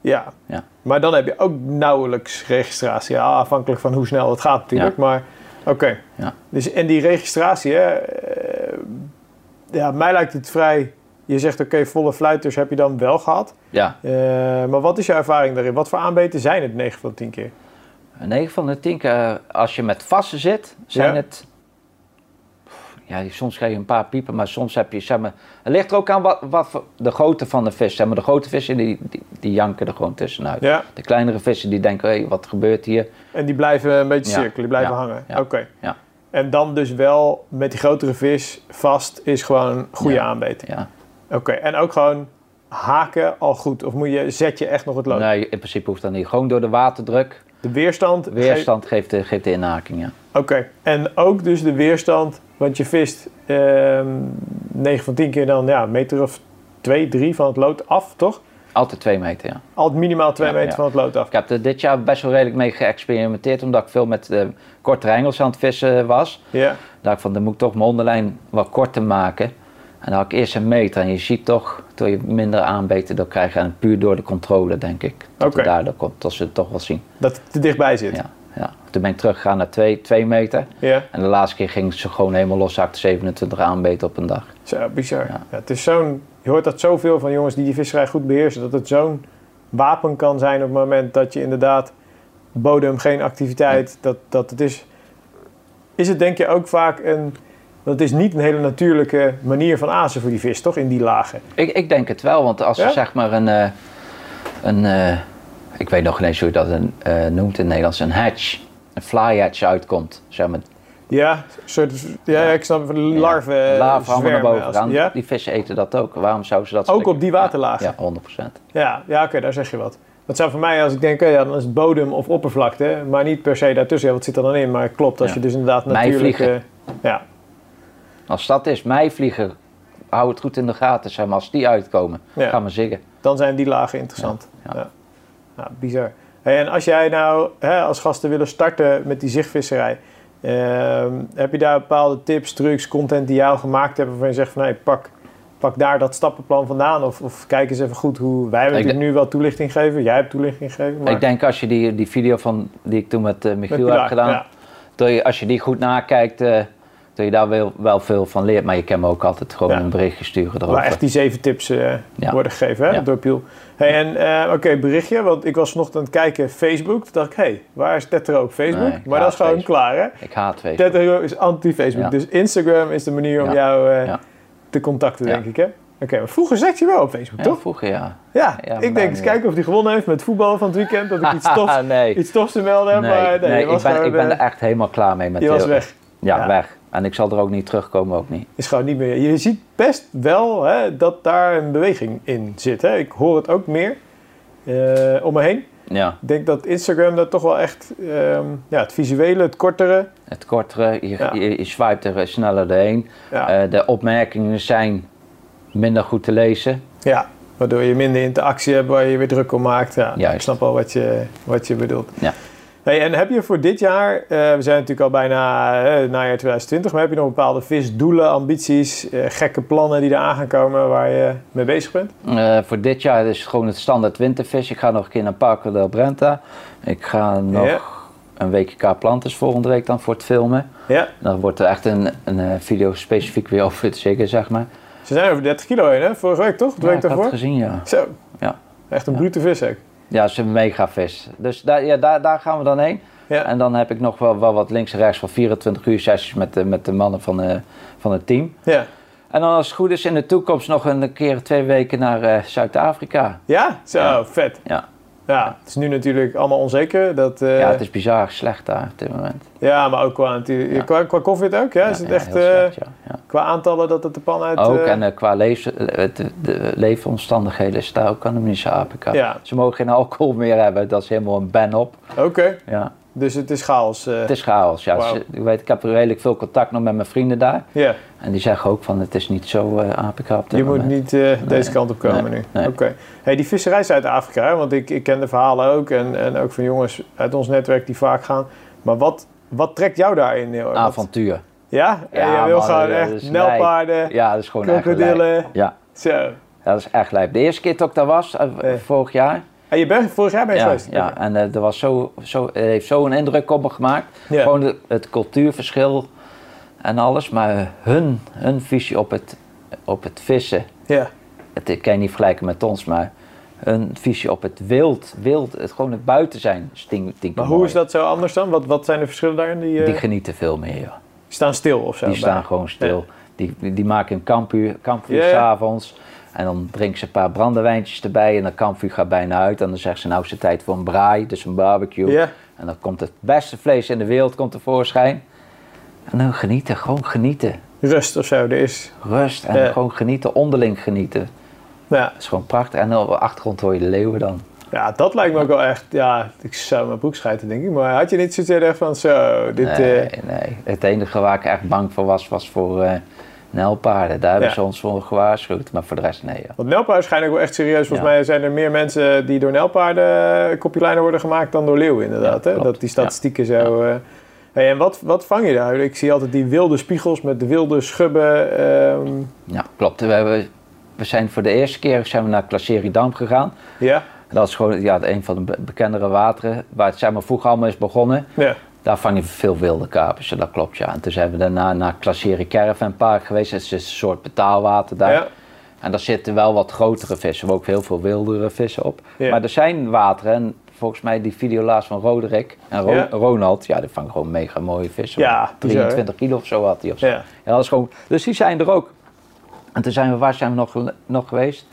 Speaker 1: Ja.
Speaker 2: Ja.
Speaker 1: Maar dan heb je ook nauwelijks registratie, ja, afhankelijk van hoe snel het gaat natuurlijk, maar oké.
Speaker 2: Ja.
Speaker 1: Dus, en die registratie, hè, eh, ja, mij lijkt het vrij, je zegt oké, volle fluiters heb je dan wel gehad,
Speaker 2: Ja,
Speaker 1: Eh, maar wat is jouw ervaring daarin? Wat voor aanbeten zijn het 9 van de 10 keer?
Speaker 2: 9 van de 10 keer eh, als je met vaste zit, zijn
Speaker 1: Ja.
Speaker 2: het... Ja, soms krijg je een paar piepen, maar soms heb je... Zeg maar, het ligt er ook aan wat, wat voor- de grootte van de vis. Zeg maar, de grote vissen die, die, die janken er gewoon tussenuit.
Speaker 1: Ja,
Speaker 2: De kleinere vissen die denken, hé, wat gebeurt hier?
Speaker 1: en die blijven een beetje
Speaker 2: Ja.
Speaker 1: cirkelen, die blijven
Speaker 2: Ja.
Speaker 1: hangen.
Speaker 2: Ja.
Speaker 1: Oké.
Speaker 2: Ja,
Speaker 1: En dan dus wel met die grotere vis vast is gewoon een goede
Speaker 2: Ja.
Speaker 1: aanbeting.
Speaker 2: ja.
Speaker 1: Oké, en ook gewoon haken al goed. Of moet je, zet je echt nog het lood?
Speaker 2: Nee, in principe hoeft dat niet. Gewoon door de waterdruk.
Speaker 1: De weerstand. ge-
Speaker 2: Weerstand geeft de, geeft de inhaking, ja.
Speaker 1: Oké, en ook dus de weerstand. Want je vist ehm 9 van 10 keer dan ja, een meter of 2, 3 van het lood af, toch?
Speaker 2: Altijd twee meter, ja.
Speaker 1: Altijd minimaal 2
Speaker 2: Ja,
Speaker 1: meter
Speaker 2: ja.
Speaker 1: van het lood af.
Speaker 2: Ik heb er dit jaar best wel redelijk mee geëxperimenteerd, omdat ik veel met eh, korte engels aan het vissen was.
Speaker 1: Ja,
Speaker 2: Dacht ik van, dan moet ik toch mijn onderlijn wat korter maken. En dan had ik eerst een meter en je ziet toch dat je minder aanbeten door krijgt. En puur door de controle, denk ik, dat
Speaker 1: Oké.
Speaker 2: het daardoor komt. Dat ze het toch wel zien.
Speaker 1: dat het te dichtbij zit. Ja.
Speaker 2: Ja, ja. Toen ben ik teruggegaan naar twee, twee meter. En de laatste keer ging ze gewoon helemaal los, zakte 27 aanbeten op een dag.
Speaker 1: Zo, bizar.
Speaker 2: Ja.
Speaker 1: Ja, het is zo'n, je hoort dat zoveel van jongens die die visserij goed beheersen. Dat het zo'n wapen kan zijn op het moment dat je inderdaad bodem, geen activiteit. Dat, dat het is. Is het denk je ook vaak een. Dat is niet een hele natuurlijke manier van azen voor die vis, toch? In die lagen.
Speaker 2: Ik, ik denk het wel, want als
Speaker 1: Ja?
Speaker 2: er zeg maar een, eh, een eh, ik weet nog niet eens hoe je dat een, eh, noemt in het Nederlands, een hatch, een fly hatch uitkomt, zeg maar,
Speaker 1: Ja, een soort, ja, ik snap van larven. eh,
Speaker 2: lava hangen naar
Speaker 1: zwermen
Speaker 2: bovenaan,
Speaker 1: als- ja?
Speaker 2: die vissen eten dat ook. Waarom zouden ze dat
Speaker 1: Ook
Speaker 2: stuk-
Speaker 1: op die waterlagen?
Speaker 2: Ja, 100 procent.
Speaker 1: Ja, ja oké, daar zeg je wat. Dat zou voor mij, als ik denk, oké, ja, dan is het bodem of oppervlakte, maar niet per se daartussen. Ja, wat zit er dan in? Maar klopt, als
Speaker 2: Ja.
Speaker 1: je dus inderdaad
Speaker 2: Mij
Speaker 1: natuurlijk...
Speaker 2: vliegen.
Speaker 1: eh, ja,
Speaker 2: Als dat is, mijvliegen, hou het goed in de gaten, zeg maar, als die uitkomen,
Speaker 1: Ja.
Speaker 2: ga maar zingen.
Speaker 1: dan zijn die lagen interessant. Ja,
Speaker 2: Ja, ja.
Speaker 1: Ja, bizar. Hey, en als jij nou hè, als gasten willen starten met die zichtvisserij, ehm, heb je daar bepaalde tips, trucs, content die jou gemaakt hebben waarvan je zegt van hey, pak, pak daar dat stappenplan vandaan of, of kijk eens even goed hoe wij hebben
Speaker 2: Ik
Speaker 1: natuurlijk nu wel toelichting gegeven, jij hebt toelichting gegeven, maar
Speaker 2: Ik denk als je die, die video van, die ik toen met eh,
Speaker 1: met
Speaker 2: Michiel heb
Speaker 1: Pilar,
Speaker 2: gedaan,
Speaker 1: ja.
Speaker 2: dat je, als je die goed nakijkt, eh, dat je daar wel, wel veel van leert. Maar je kan me ook altijd gewoon
Speaker 1: Ja.
Speaker 2: een berichtje sturen erover.
Speaker 1: Waar echt die zeven tips eh,
Speaker 2: Ja.
Speaker 1: worden gegeven hè,
Speaker 2: Ja.
Speaker 1: door Piel. Hey, en eh, oké, berichtje, want ik was vanochtend aan het kijken Facebook. Toen dacht ik, hé, hey, waar is Tetro op Facebook?
Speaker 2: Nee, ik
Speaker 1: maar dat is
Speaker 2: haat
Speaker 1: gewoon
Speaker 2: Facebook.
Speaker 1: klaar, hè?
Speaker 2: Ik haat Facebook.
Speaker 1: Tetro is anti-Facebook.
Speaker 2: Ja.
Speaker 1: Dus Instagram is de manier om
Speaker 2: Ja.
Speaker 1: jou eh,
Speaker 2: Ja.
Speaker 1: te contacten,
Speaker 2: Ja.
Speaker 1: denk ik, hè? maar vroeger zat je wel op Facebook,
Speaker 2: Ja,
Speaker 1: toch?
Speaker 2: vroeger ja.
Speaker 1: Ja,
Speaker 2: Ja, maar
Speaker 1: ik
Speaker 2: nou
Speaker 1: denk eens
Speaker 2: niet.
Speaker 1: kijken of hij gewonnen heeft met voetbal van het weekend. Dat ik
Speaker 2: [LAUGHS]
Speaker 1: iets tofs,
Speaker 2: Ah, nee.
Speaker 1: iets tofs te melden heb. maar nee, je
Speaker 2: nee, ik,
Speaker 1: was
Speaker 2: ben,
Speaker 1: gewoon,
Speaker 2: ik
Speaker 1: eh,
Speaker 2: ben er echt helemaal klaar mee met
Speaker 1: je
Speaker 2: heel-
Speaker 1: was weg.
Speaker 2: Ja,
Speaker 1: Ja.
Speaker 2: weg. En ik zal er ook niet terugkomen, ook niet.
Speaker 1: Is gewoon niet meer. Je ziet best wel hè, dat daar een beweging in zit. Hè. Ik hoor het ook meer eh, om me heen.
Speaker 2: Ja,
Speaker 1: Ik denk dat Instagram dat toch wel echt ehm, ja, het visuele, het kortere.
Speaker 2: het kortere, je,
Speaker 1: Ja.
Speaker 2: je, je swipt er sneller doorheen.
Speaker 1: Ja,
Speaker 2: Eh, de opmerkingen zijn minder goed te lezen.
Speaker 1: ja. waardoor je minder interactie hebt waar je je weer druk om maakt. Ja,
Speaker 2: Juist.
Speaker 1: ik snap al wat je, wat je bedoelt.
Speaker 2: Ja.
Speaker 1: Hey, en heb je voor dit jaar, eh, we zijn natuurlijk al bijna eh, najaar 2020, maar heb je nog bepaalde visdoelen, ambities, eh, gekke plannen die eraan gaan komen waar je mee bezig bent?
Speaker 2: Eh, voor dit jaar is het gewoon het standaard wintervis. Ik ga nog een keer naar Parco del Brenta. Ik ga nog
Speaker 1: Ja.
Speaker 2: een weekje K Plantes volgende week dan voor het filmen.
Speaker 1: Ja,
Speaker 2: Dan wordt er echt een, een eh, video specifiek weer [LAUGHS] over het zingen, zeg maar.
Speaker 1: ze zijn over 30 kilo heen, hè? Vorige week toch? De
Speaker 2: Ja,
Speaker 1: week
Speaker 2: ik had het
Speaker 1: daarvoor?
Speaker 2: gezien, ja.
Speaker 1: Zo.
Speaker 2: Ja.
Speaker 1: Echt een brute vis ook.
Speaker 2: Ja, ze is een mega vis. Dus daar, ja, daar, daar gaan we dan heen.
Speaker 1: Ja.
Speaker 2: En dan heb ik nog wel, wel wat links en rechts van 24 uur sessies met de, met de mannen van, eh, van het team.
Speaker 1: Ja.
Speaker 2: En dan als het goed is in de toekomst nog een keer twee weken naar eh, Zuid-Afrika.
Speaker 1: Ja? Zo,
Speaker 2: Ja.
Speaker 1: vet.
Speaker 2: Ja.
Speaker 1: Ja, het is nu natuurlijk allemaal onzeker. Dat, eh,
Speaker 2: ja, het is bizar slecht daar op dit moment.
Speaker 1: ja, maar ook qua, natuurlijk-
Speaker 2: Ja.
Speaker 1: qua, qua COVID ook, ja? Is het
Speaker 2: ja,
Speaker 1: echt
Speaker 2: heel
Speaker 1: eh,
Speaker 2: slecht, ja. Ja.
Speaker 1: qua aantallen dat het de pan uit...
Speaker 2: ook,
Speaker 1: eh,
Speaker 2: en eh, qua leef, eh, de, de leefomstandigheden is daar ook aan de Minister APK.
Speaker 1: Ja.
Speaker 2: Ze mogen geen alcohol meer hebben, dat is helemaal een ban op.
Speaker 1: Oké,
Speaker 2: Ja.
Speaker 1: dus het is chaos. eh.
Speaker 2: Het is chaos. Ja.
Speaker 1: Wauw.
Speaker 2: Ze- ik, weet, ik heb redelijk veel contact nog met mijn vrienden daar.
Speaker 1: Ja,
Speaker 2: En die zeggen ook van het is niet zo eh APK op dit
Speaker 1: je
Speaker 2: moment.
Speaker 1: moet niet eh, deze kant op komen
Speaker 2: nee,
Speaker 1: nu.
Speaker 2: nee.
Speaker 1: Oké. Hey, die visserij is uit Afrika, hè? want ik, ik ken de verhalen ook. En, en ook van jongens uit ons netwerk die vaak gaan. Maar wat, wat trekt jou daarin? heel erg? Wat-
Speaker 2: Avontuur.
Speaker 1: Ja? En
Speaker 2: Ja,
Speaker 1: je wil
Speaker 2: man, eh, dus
Speaker 1: gewoon
Speaker 2: dat
Speaker 1: echt
Speaker 2: is
Speaker 1: nelpaarden,
Speaker 2: Ja, dat is gewoon echt lijp.
Speaker 1: krokodillen.
Speaker 2: Ja.
Speaker 1: Zo.
Speaker 2: ja, dat is echt lijp. De eerste keer dat ik daar was, eh,
Speaker 1: Eh.
Speaker 2: vorig jaar.
Speaker 1: En je bent vorig jaar ben je
Speaker 2: Ja,
Speaker 1: geweest?
Speaker 2: ja, en eh, dat was zo, zo, het heeft zo'n indruk op me gemaakt.
Speaker 1: Ja.
Speaker 2: Gewoon het, het cultuurverschil en alles. Maar hun, hun visie op het, op het vissen.
Speaker 1: ja.
Speaker 2: Het, ik kan je niet vergelijken met ons, maar hun visie op het wild. wild het, gewoon het buiten zijn. Stink,
Speaker 1: Maar hoe is dat zo anders dan? Wat, wat zijn de verschillen daarin? Die, eh,
Speaker 2: Die genieten veel meer, joh.
Speaker 1: staan stil of zo?
Speaker 2: Die
Speaker 1: bijna?
Speaker 2: staan gewoon stil. Die, die maken een kampvuur, kampvuur
Speaker 1: Ja, ja.
Speaker 2: s'avonds. En dan drinken ze een paar brandewijntjes erbij. En dat kampvuur gaat bijna uit. En dan zeggen ze, nou is het tijd voor een braai, dus een barbecue.
Speaker 1: Ja.
Speaker 2: En dan komt het beste vlees in de wereld komt tevoorschijn. En dan genieten, gewoon genieten.
Speaker 1: Rust of zo, er is.
Speaker 2: Rust en
Speaker 1: Ja.
Speaker 2: gewoon genieten, onderling genieten.
Speaker 1: Nou, ja.
Speaker 2: Dat is gewoon prachtig. En op de achtergrond hoor je de leeuwen dan.
Speaker 1: ja, dat lijkt me ook wel echt. Ja, ik zou mijn broek schijten, denk ik. Maar had je niet zoiets heel erg van zo, dit.
Speaker 2: nee,
Speaker 1: eh,
Speaker 2: nee. Het enige waar ik echt bang voor was, was voor eh nijlpaarden. Daar hebben
Speaker 1: Ja.
Speaker 2: ze ons voor gewaarschuwd. Maar voor de rest, nee. joh.
Speaker 1: want nelpaarden schijnen ook wel echt serieus. Volgens
Speaker 2: Ja.
Speaker 1: mij zijn er meer mensen die door nelpaarden eh, kopje kleiner worden gemaakt dan door leeuwen, inderdaad.
Speaker 2: Ja,
Speaker 1: hè?
Speaker 2: klopt.
Speaker 1: Dat die statistieken zo. eh, hey, en wat, wat vang je daar? Ik zie altijd die wilde spiegels met de wilde schubben. ehm,
Speaker 2: Ja, klopt. We, hebben, we zijn voor de eerste keer zijn we naar Klasseridam gegaan.
Speaker 1: ja,
Speaker 2: Dat is gewoon ja, een van de be- bekendere wateren waar het zeg maar, vroeger allemaal is begonnen.
Speaker 1: ja.
Speaker 2: Daar vang je veel wilde kapers, ja, dat klopt ja. En toen zijn we daarna naar Klasseri Caravan Park geweest. Dat is een soort betaalwater daar.
Speaker 1: ja.
Speaker 2: En daar zitten wel wat grotere vissen, maar ook heel veel wildere vissen op.
Speaker 1: Ja.
Speaker 2: Maar er zijn wateren en volgens mij die video laatst van Roderick en Ro-
Speaker 1: Ja.
Speaker 2: Ronald, ja, die vangen gewoon mega mooie vissen.
Speaker 1: Ja, bizar, hè?
Speaker 2: 23 kilo of zo had hij of zo.
Speaker 1: ja.
Speaker 2: Ja, dat is gewoon, dus die zijn er ook. En toen zijn we, waar zijn we nog, gel- nog geweest?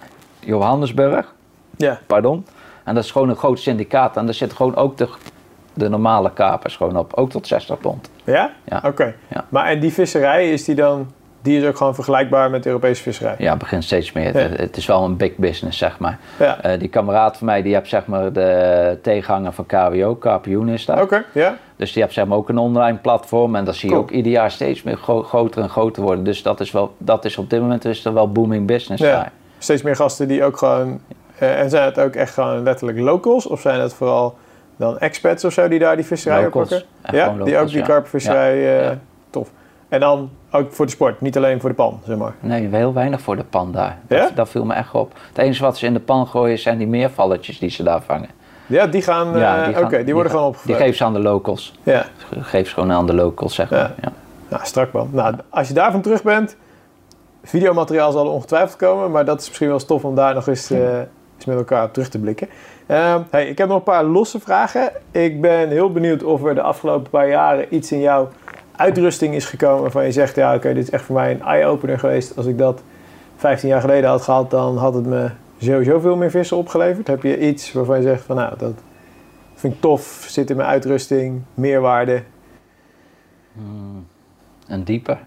Speaker 2: Johannesburg,
Speaker 1: ja.
Speaker 2: pardon. En dat is gewoon een groot syndicaat. En daar zitten gewoon ook de, de normale kapers gewoon op. Ook tot 60 pond.
Speaker 1: Ja?
Speaker 2: Ja.
Speaker 1: Oké.
Speaker 2: Ja.
Speaker 1: Maar en die visserij, is die dan... Die is ook gewoon vergelijkbaar met de Europese visserij?
Speaker 2: Ja, het begint steeds meer.
Speaker 1: Ja.
Speaker 2: Het, het is wel een big business, zeg maar.
Speaker 1: Ja.
Speaker 2: Eh, die kameraad van mij, die heeft zeg maar de tegenhanger van KWO, Kampioen is dat.
Speaker 1: Oké, ja?
Speaker 2: Dus die heeft zeg maar ook een online platform. En dat zie je
Speaker 1: Cool.
Speaker 2: ook ieder jaar steeds meer gro- groter en groter worden. Dus dat is, wel, dat is op dit moment is er wel booming business
Speaker 1: Ja.
Speaker 2: daar.
Speaker 1: Steeds meer gasten die ook gewoon... eh, en zijn het ook echt gewoon letterlijk locals? Of zijn het vooral dan expats of zo die daar die visserij
Speaker 2: Locals.
Speaker 1: oppakken?
Speaker 2: Echt
Speaker 1: Ja,
Speaker 2: gewoon
Speaker 1: die
Speaker 2: locals,
Speaker 1: ook die
Speaker 2: ja.
Speaker 1: karpvisserij... eh,
Speaker 2: ja.
Speaker 1: Tof. En dan ook voor de sport, niet alleen voor de pan, zeg maar.
Speaker 2: Nee, heel weinig voor de pan daar. Dat,
Speaker 1: Ja?
Speaker 2: dat viel me echt op. Het enige wat ze in de pan gooien zijn die meervalletjes die ze daar vangen.
Speaker 1: Ja, die gaan... eh, Oké,
Speaker 2: gaan-
Speaker 1: die, worden
Speaker 2: gaan-
Speaker 1: gewoon
Speaker 2: Die
Speaker 1: opgevraagd.
Speaker 2: geven ze aan de locals.
Speaker 1: Ja,
Speaker 2: Geef ze gewoon aan de locals, zeg
Speaker 1: Ja.
Speaker 2: maar. Ja.
Speaker 1: nou, strak man. Nou, als je daarvan terug bent... Videomateriaal zal er ongetwijfeld komen, maar dat is misschien wel stof om daar nog eens, eh, eens met elkaar op terug te blikken. Ehm, hey, ik heb nog een paar losse vragen. Ik ben heel benieuwd of er de afgelopen paar jaren iets in jouw uitrusting is gekomen waarvan je zegt, ja oké, dit is echt voor mij een eye-opener geweest als ik dat 15 jaar geleden had gehad, dan had het me sowieso veel meer vissen opgeleverd. Heb je iets waarvan je zegt van nou, dat vind ik tof, zit in mijn uitrusting, meerwaarde.
Speaker 2: Mm, En dieper.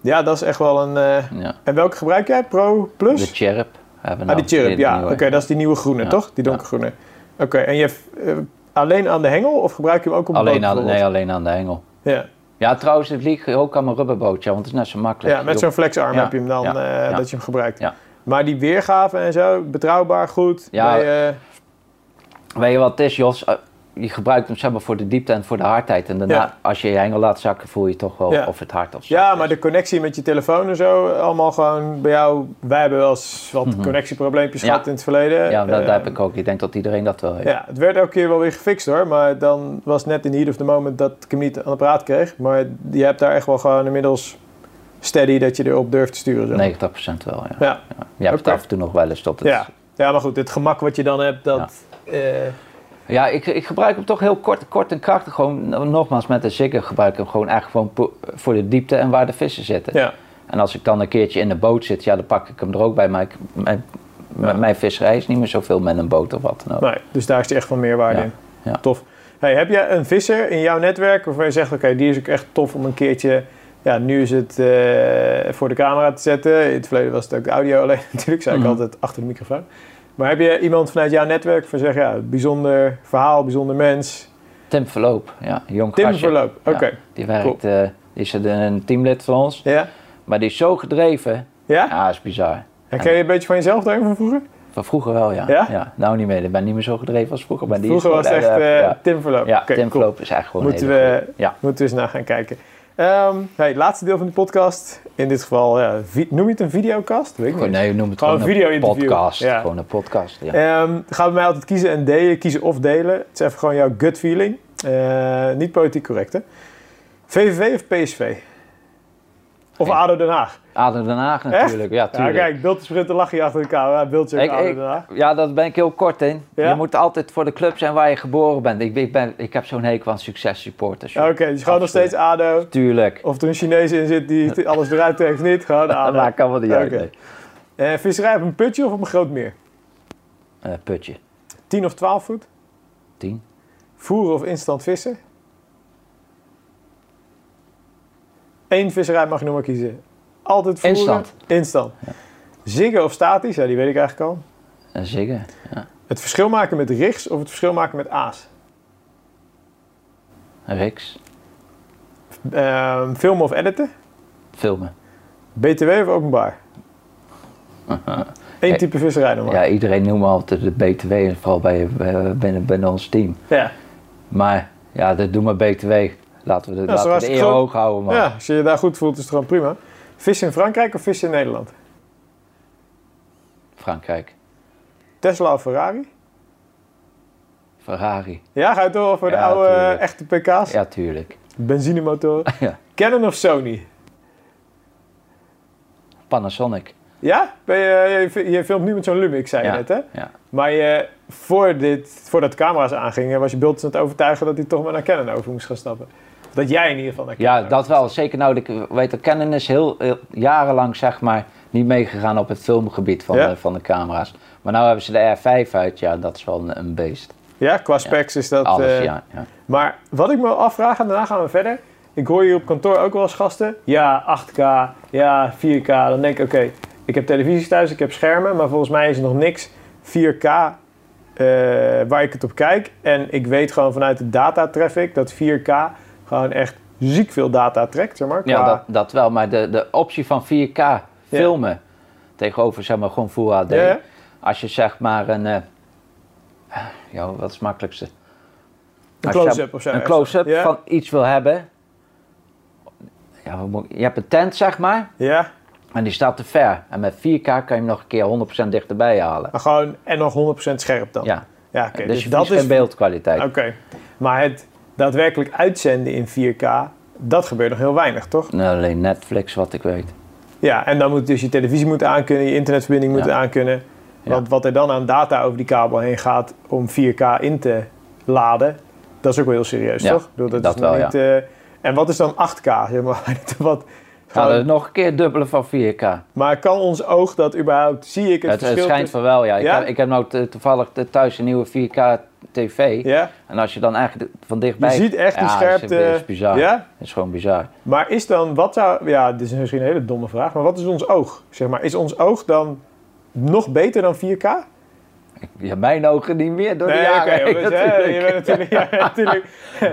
Speaker 1: Ja, dat is echt wel een... eh,
Speaker 2: Ja.
Speaker 1: En welke gebruik jij? Pro Plus?
Speaker 2: De chirp. Hebben we
Speaker 1: Dus? ah, die
Speaker 2: nou
Speaker 1: chirp,
Speaker 2: weer
Speaker 1: ja.
Speaker 2: nieuwe.
Speaker 1: Oké, dat is die nieuwe groene,
Speaker 2: Ja,
Speaker 1: toch? Die
Speaker 2: ja.
Speaker 1: donkergroene. Oké, en je hebt, eh, alleen aan de hengel of gebruik je hem ook op de
Speaker 2: alleen
Speaker 1: boot
Speaker 2: aan, nee,
Speaker 1: bijvoorbeeld?
Speaker 2: alleen aan de hengel.
Speaker 1: Ja,
Speaker 2: Ja, trouwens, het vliegt ook aan mijn rubberbootje, want het is net zo makkelijk.
Speaker 1: ja met
Speaker 2: Je
Speaker 1: zo'n flexarm
Speaker 2: Ja,
Speaker 1: heb je hem dan,
Speaker 2: ja,
Speaker 1: eh,
Speaker 2: ja.
Speaker 1: dat je hem gebruikt.
Speaker 2: Ja.
Speaker 1: Maar die weergave en zo, betrouwbaar, goed.
Speaker 2: Ja.
Speaker 1: bij, eh,
Speaker 2: Weet je wat het is, Jos? Eh, Je gebruikt hem zeg maar, voor de diepte en voor de hardheid. En daarna,
Speaker 1: Ja.
Speaker 2: als je je hengel laat zakken, voel je toch wel
Speaker 1: Ja.
Speaker 2: of het hard of zacht
Speaker 1: ja,
Speaker 2: is.
Speaker 1: maar de connectie met je telefoon en zo, allemaal gewoon bij jou. Wij hebben wel eens wat
Speaker 2: Mhm.
Speaker 1: connectieprobleempjes
Speaker 2: Ja.
Speaker 1: gehad in het verleden.
Speaker 2: Ja, dat,
Speaker 1: Eh,
Speaker 2: dat heb ik ook. Ik denk dat iedereen dat wel heeft.
Speaker 1: Ja, het werd elke keer wel weer gefixt hoor. Maar dan was het net in de heat of the moment dat ik hem niet aan de praat kreeg. Maar je hebt daar echt wel gewoon inmiddels steady dat je erop durft te sturen. Zo.
Speaker 2: 90% wel, ja.
Speaker 1: Ja.
Speaker 2: ja. Je hebt
Speaker 1: Oké.
Speaker 2: het af en toe nog wel eens tot het...
Speaker 1: Ja. ja, maar goed, het gemak wat je dan hebt, dat... eh,
Speaker 2: Ja, ik, ik gebruik hem toch heel kort, kort en krachtig. Gewoon, no- nogmaals, met de zigger gebruik ik hem gewoon echt gewoon po- voor de diepte en waar de vissen zitten.
Speaker 1: ja.
Speaker 2: En als ik dan een keertje in de boot zit, ja, dan pak ik hem er ook bij. Maar ik, mijn, mijn- mijn visserij is niet meer zoveel met een boot of wat dan ook.
Speaker 1: Nee, dus daar is hij echt van meerwaarde
Speaker 2: Oh. Ja,
Speaker 1: in.
Speaker 2: ja.
Speaker 1: Tof. Hey, heb jij een visser in jouw netwerk waarvan je zegt, oké, die is ook echt tof om een keertje... Ja, nu is het eh, voor de camera te zetten. In het verleden was het ook de audio alleen [LAUGHS] natuurlijk, zei
Speaker 2: Mhm.
Speaker 1: ik altijd achter de microfoon. Maar heb je iemand vanuit jouw netwerk van zeg, ja, bijzonder verhaal, bijzonder mens.
Speaker 2: Tim Verloop, ja, een jong
Speaker 1: Tim
Speaker 2: gastje.
Speaker 1: Verloop, oké.
Speaker 2: Die werkt, eh, die is een teamlid van ons.
Speaker 1: Ja?
Speaker 2: Maar die is zo gedreven.
Speaker 1: Ja?
Speaker 2: Ja, is bizar.
Speaker 1: Herken je een beetje van jezelf daarin van vroeger?
Speaker 2: Van vroeger wel, ja.
Speaker 1: Ja?
Speaker 2: Nou niet meer. Ik ben niet meer zo gedreven als vroeger. Maar die
Speaker 1: Vroeger
Speaker 2: is
Speaker 1: was het
Speaker 2: gewoon
Speaker 1: echt eh,
Speaker 2: ja.
Speaker 1: Tim Verloop.
Speaker 2: Ja,
Speaker 1: Oké,
Speaker 2: Tim
Speaker 1: cool.
Speaker 2: Verloop is echt gewoon
Speaker 1: Moeten
Speaker 2: een hele
Speaker 1: we-
Speaker 2: goeie. Ja.
Speaker 1: Moeten we eens naar gaan kijken. Ehm hey, laatste deel van de podcast. In dit geval, ja, vi- noem je het een videocast? Weet ik
Speaker 2: Gewoon,
Speaker 1: niet.
Speaker 2: nee, noem het
Speaker 1: Gewoon
Speaker 2: gewoon,
Speaker 1: een
Speaker 2: een
Speaker 1: video-interview.
Speaker 2: podcast.
Speaker 1: Ja.
Speaker 2: Gewoon een podcast, ja.
Speaker 1: Ehm, gaan we mij altijd kiezen en delen, kiezen of delen. Het is even gewoon jouw gut feeling. Eh, niet politiek correct, hè? VVV of PSV? Of
Speaker 2: Nee.
Speaker 1: ADO Den Haag?
Speaker 2: Aden Den Haag natuurlijk. Ja,
Speaker 1: Ja,
Speaker 2: tuurlijk.
Speaker 1: kijk, Biltje Sprint, dan lach je achter de camera. Biltje ook
Speaker 2: Ik-
Speaker 1: ADO
Speaker 2: ik-
Speaker 1: Den Haag.
Speaker 2: Ja, daar ben ik heel kort in.
Speaker 1: Ja?
Speaker 2: Je moet altijd voor de club zijn waar je geboren bent. Ik, ik, ben, ik heb zo'n hekel aan succes supporters. joh.
Speaker 1: Oké, Oh, dus gewoon nog
Speaker 2: Absoluut.
Speaker 1: steeds ADO.
Speaker 2: Tuurlijk.
Speaker 1: Of er een Chinees in zit die
Speaker 2: [LAUGHS]
Speaker 1: t- alles eruit trekt of niet, gewoon
Speaker 2: Dat
Speaker 1: ADO.
Speaker 2: maakt allemaal niet uit.
Speaker 1: Oké.
Speaker 2: nee.
Speaker 1: Eh, visserij op een putje of op een groot meer?
Speaker 2: Eh, putje.
Speaker 1: 10 of 12 voet?
Speaker 2: Tien.
Speaker 1: Voeren of instant vissen? Eén visserij mag je nog maar kiezen. Altijd voeren.
Speaker 2: Instant.
Speaker 1: Instant. Ziggen of statisch? Ja, die weet ik eigenlijk al.
Speaker 2: En zingen.
Speaker 1: Het verschil maken met rigs of het verschil maken met aas?
Speaker 2: Riks.
Speaker 1: Ehm, filmen of editen?
Speaker 2: Filmen.
Speaker 1: BTW of
Speaker 2: [LAUGHS]
Speaker 1: openbaar? Eén
Speaker 2: Hey.
Speaker 1: type visserij nog maar.
Speaker 2: Ja, iedereen noemt me altijd de BTW, en vooral bij, bij- binnen, binnen ons team.
Speaker 1: Ja.
Speaker 2: Maar ja, dat doen maar BTW. Laten we de,
Speaker 1: Ja, zo
Speaker 2: laten we de
Speaker 1: hartstikke
Speaker 2: eer
Speaker 1: groot.
Speaker 2: hoog houden, man.
Speaker 1: ja, als je je daar goed voelt is het gewoon prima. Vissen in Frankrijk of vissen in Nederland?
Speaker 2: Frankrijk,
Speaker 1: Tesla of Ferrari?
Speaker 2: Ferrari.
Speaker 1: Ja, ga je door voor de
Speaker 2: Ja,
Speaker 1: oude
Speaker 2: tuurlijk.
Speaker 1: echte PK's?
Speaker 2: Ja, tuurlijk.
Speaker 1: Benzinemotoren?
Speaker 2: [LAUGHS] Ja.
Speaker 1: Canon of Sony?
Speaker 2: Panasonic.
Speaker 1: Ja? Ben je, je, je filmt nu met zo'n Lumix, zei je
Speaker 2: Ja.
Speaker 1: net, hè?
Speaker 2: Ja.
Speaker 1: Maar je, voor dit, voordat de camera's aangingen, was je beeld dus aan het overtuigen dat hij toch maar naar Canon over moest gaan stappen. Dat jij in ieder geval naar Canon
Speaker 2: Ja,
Speaker 1: over-
Speaker 2: dat wel. Zeker nou, dat ik weet dat Canon is heel, heel- jarenlang zeg maar niet meegegaan op het filmgebied van,
Speaker 1: Ja.
Speaker 2: de, van de camera's. Maar nou hebben ze de R5 uit, ja, dat is wel een, een beest.
Speaker 1: Ja, qua specs is dat...
Speaker 2: Alles,
Speaker 1: eh,
Speaker 2: ja, ja.
Speaker 1: Maar wat ik me afvraag, en daarna gaan we verder. Ik hoor hier op kantoor ook wel eens gasten. Ja, 8K, ja, 4K. Dan denk ik, oké, ik heb televisies thuis, ik heb schermen. Maar volgens mij is er nog niks 4K eh, waar ik het op kijk. En ik weet gewoon vanuit de data traffic dat 4K gewoon echt ziek veel data trekt, zeg maar.
Speaker 2: Ja,
Speaker 1: qua-
Speaker 2: dat, dat wel. Maar de, de optie van 4K filmen tegenover zeg maar gewoon Full HD.
Speaker 1: Ja, ja.
Speaker 2: Als je zeg maar een... eh, [SIGHS] ja, wat is het makkelijkste?
Speaker 1: Een
Speaker 2: Als je
Speaker 1: close-up of zo.
Speaker 2: Een close-up
Speaker 1: Ja.
Speaker 2: van iets wil hebben. Ja, wat moet ik- je hebt een tent zeg maar.
Speaker 1: Ja,
Speaker 2: En die staat te ver. En met 4K kan je hem nog een keer 100% dichterbij halen.
Speaker 1: maar gewoon en nog 100% scherp dan.
Speaker 2: Ja,
Speaker 1: Ja, oké.
Speaker 2: dus
Speaker 1: Dus
Speaker 2: je
Speaker 1: dat
Speaker 2: verliest
Speaker 1: is...
Speaker 2: geen beeldkwaliteit.
Speaker 1: Oké. Maar het daadwerkelijk uitzenden in 4K, dat gebeurt nog heel weinig, toch?
Speaker 2: Nou, alleen Netflix, wat ik weet.
Speaker 1: Ja, en dan moet dus je televisie moet aankunnen, je internetverbinding moet
Speaker 2: Ja.
Speaker 1: aankunnen. Want wat er dan aan data over die kabel heen gaat om 4K in te laden, dat is ook wel heel serieus,
Speaker 2: Ja, Nou,
Speaker 1: toch? Ik bedoel,
Speaker 2: dat
Speaker 1: is nog [LAUGHS]
Speaker 2: wel,
Speaker 1: niet, eh, en wat is dan 8K? Zeg maar, wat,
Speaker 2: Gaan we het nog een keer dubbelen van 4K?
Speaker 1: Maar kan ons oog dat überhaupt? Zie ik het,
Speaker 2: Het, het
Speaker 1: verschil?
Speaker 2: schijnt
Speaker 1: tussen-
Speaker 2: van wel, ja. Ik,
Speaker 1: Ja?
Speaker 2: Heb, ik heb nou t- toevallig t- thuis een nieuwe 4K tv.
Speaker 1: Ja,
Speaker 2: En als je dan eigenlijk de- van
Speaker 1: je
Speaker 2: dichtbij...
Speaker 1: ziet echt die
Speaker 2: Ja,
Speaker 1: scherpte.
Speaker 2: Dat is, dat is bizar.
Speaker 1: Ja?
Speaker 2: Dat is gewoon bizar.
Speaker 1: Maar is dan, wat zou, ja, dit is misschien een hele domme vraag, maar wat is ons oog? Zeg maar, is ons oog dan nog beter dan 4K?
Speaker 2: Ja, mijn ogen niet meer door de
Speaker 1: oké,
Speaker 2: jaren heen,
Speaker 1: jongens, hè,
Speaker 2: natuurlijk.
Speaker 1: je bent natuurlijk. Ja,
Speaker 2: [LAUGHS]
Speaker 1: natuurlijk.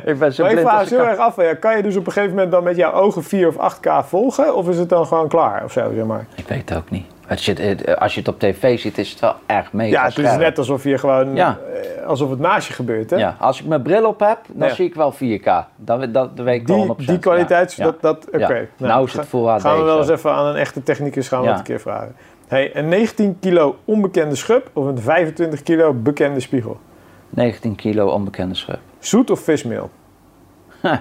Speaker 2: Ik ben zo
Speaker 1: Maar ik
Speaker 2: blind
Speaker 1: vraag
Speaker 2: als
Speaker 1: het heel erg af, ja, kan je dus op een gegeven moment dan met jouw ogen 4 of 8K volgen? Of is het dan gewoon klaar of zo, zeg maar?
Speaker 2: Ik weet het ook niet. Het zit, eh, als je het op tv ziet, is het wel echt mega
Speaker 1: Ja, het is
Speaker 2: scherp.
Speaker 1: net alsof je gewoon,
Speaker 2: Ja.
Speaker 1: eh, alsof het naast je gebeurt, hè?
Speaker 2: Ja, als ik mijn bril op heb, dan
Speaker 1: Ja.
Speaker 2: zie ik wel 4K. Dan, we- dat, dat weet ik wel
Speaker 1: Die,
Speaker 2: 100%.
Speaker 1: die kwaliteit, dus
Speaker 2: Ja.
Speaker 1: dat, dat oké.
Speaker 2: Ja. Nou is het
Speaker 1: ga-
Speaker 2: Full HD.
Speaker 1: Gaan we wel
Speaker 2: zo.
Speaker 1: eens even aan een echte technicus gaan we
Speaker 2: Ja.
Speaker 1: dat een keer vragen. Hey, een 19 kilo onbekende schub of een 25 kilo bekende spiegel?
Speaker 2: 19 kilo onbekende schub.
Speaker 1: Zoet of vismeel?
Speaker 2: Huh.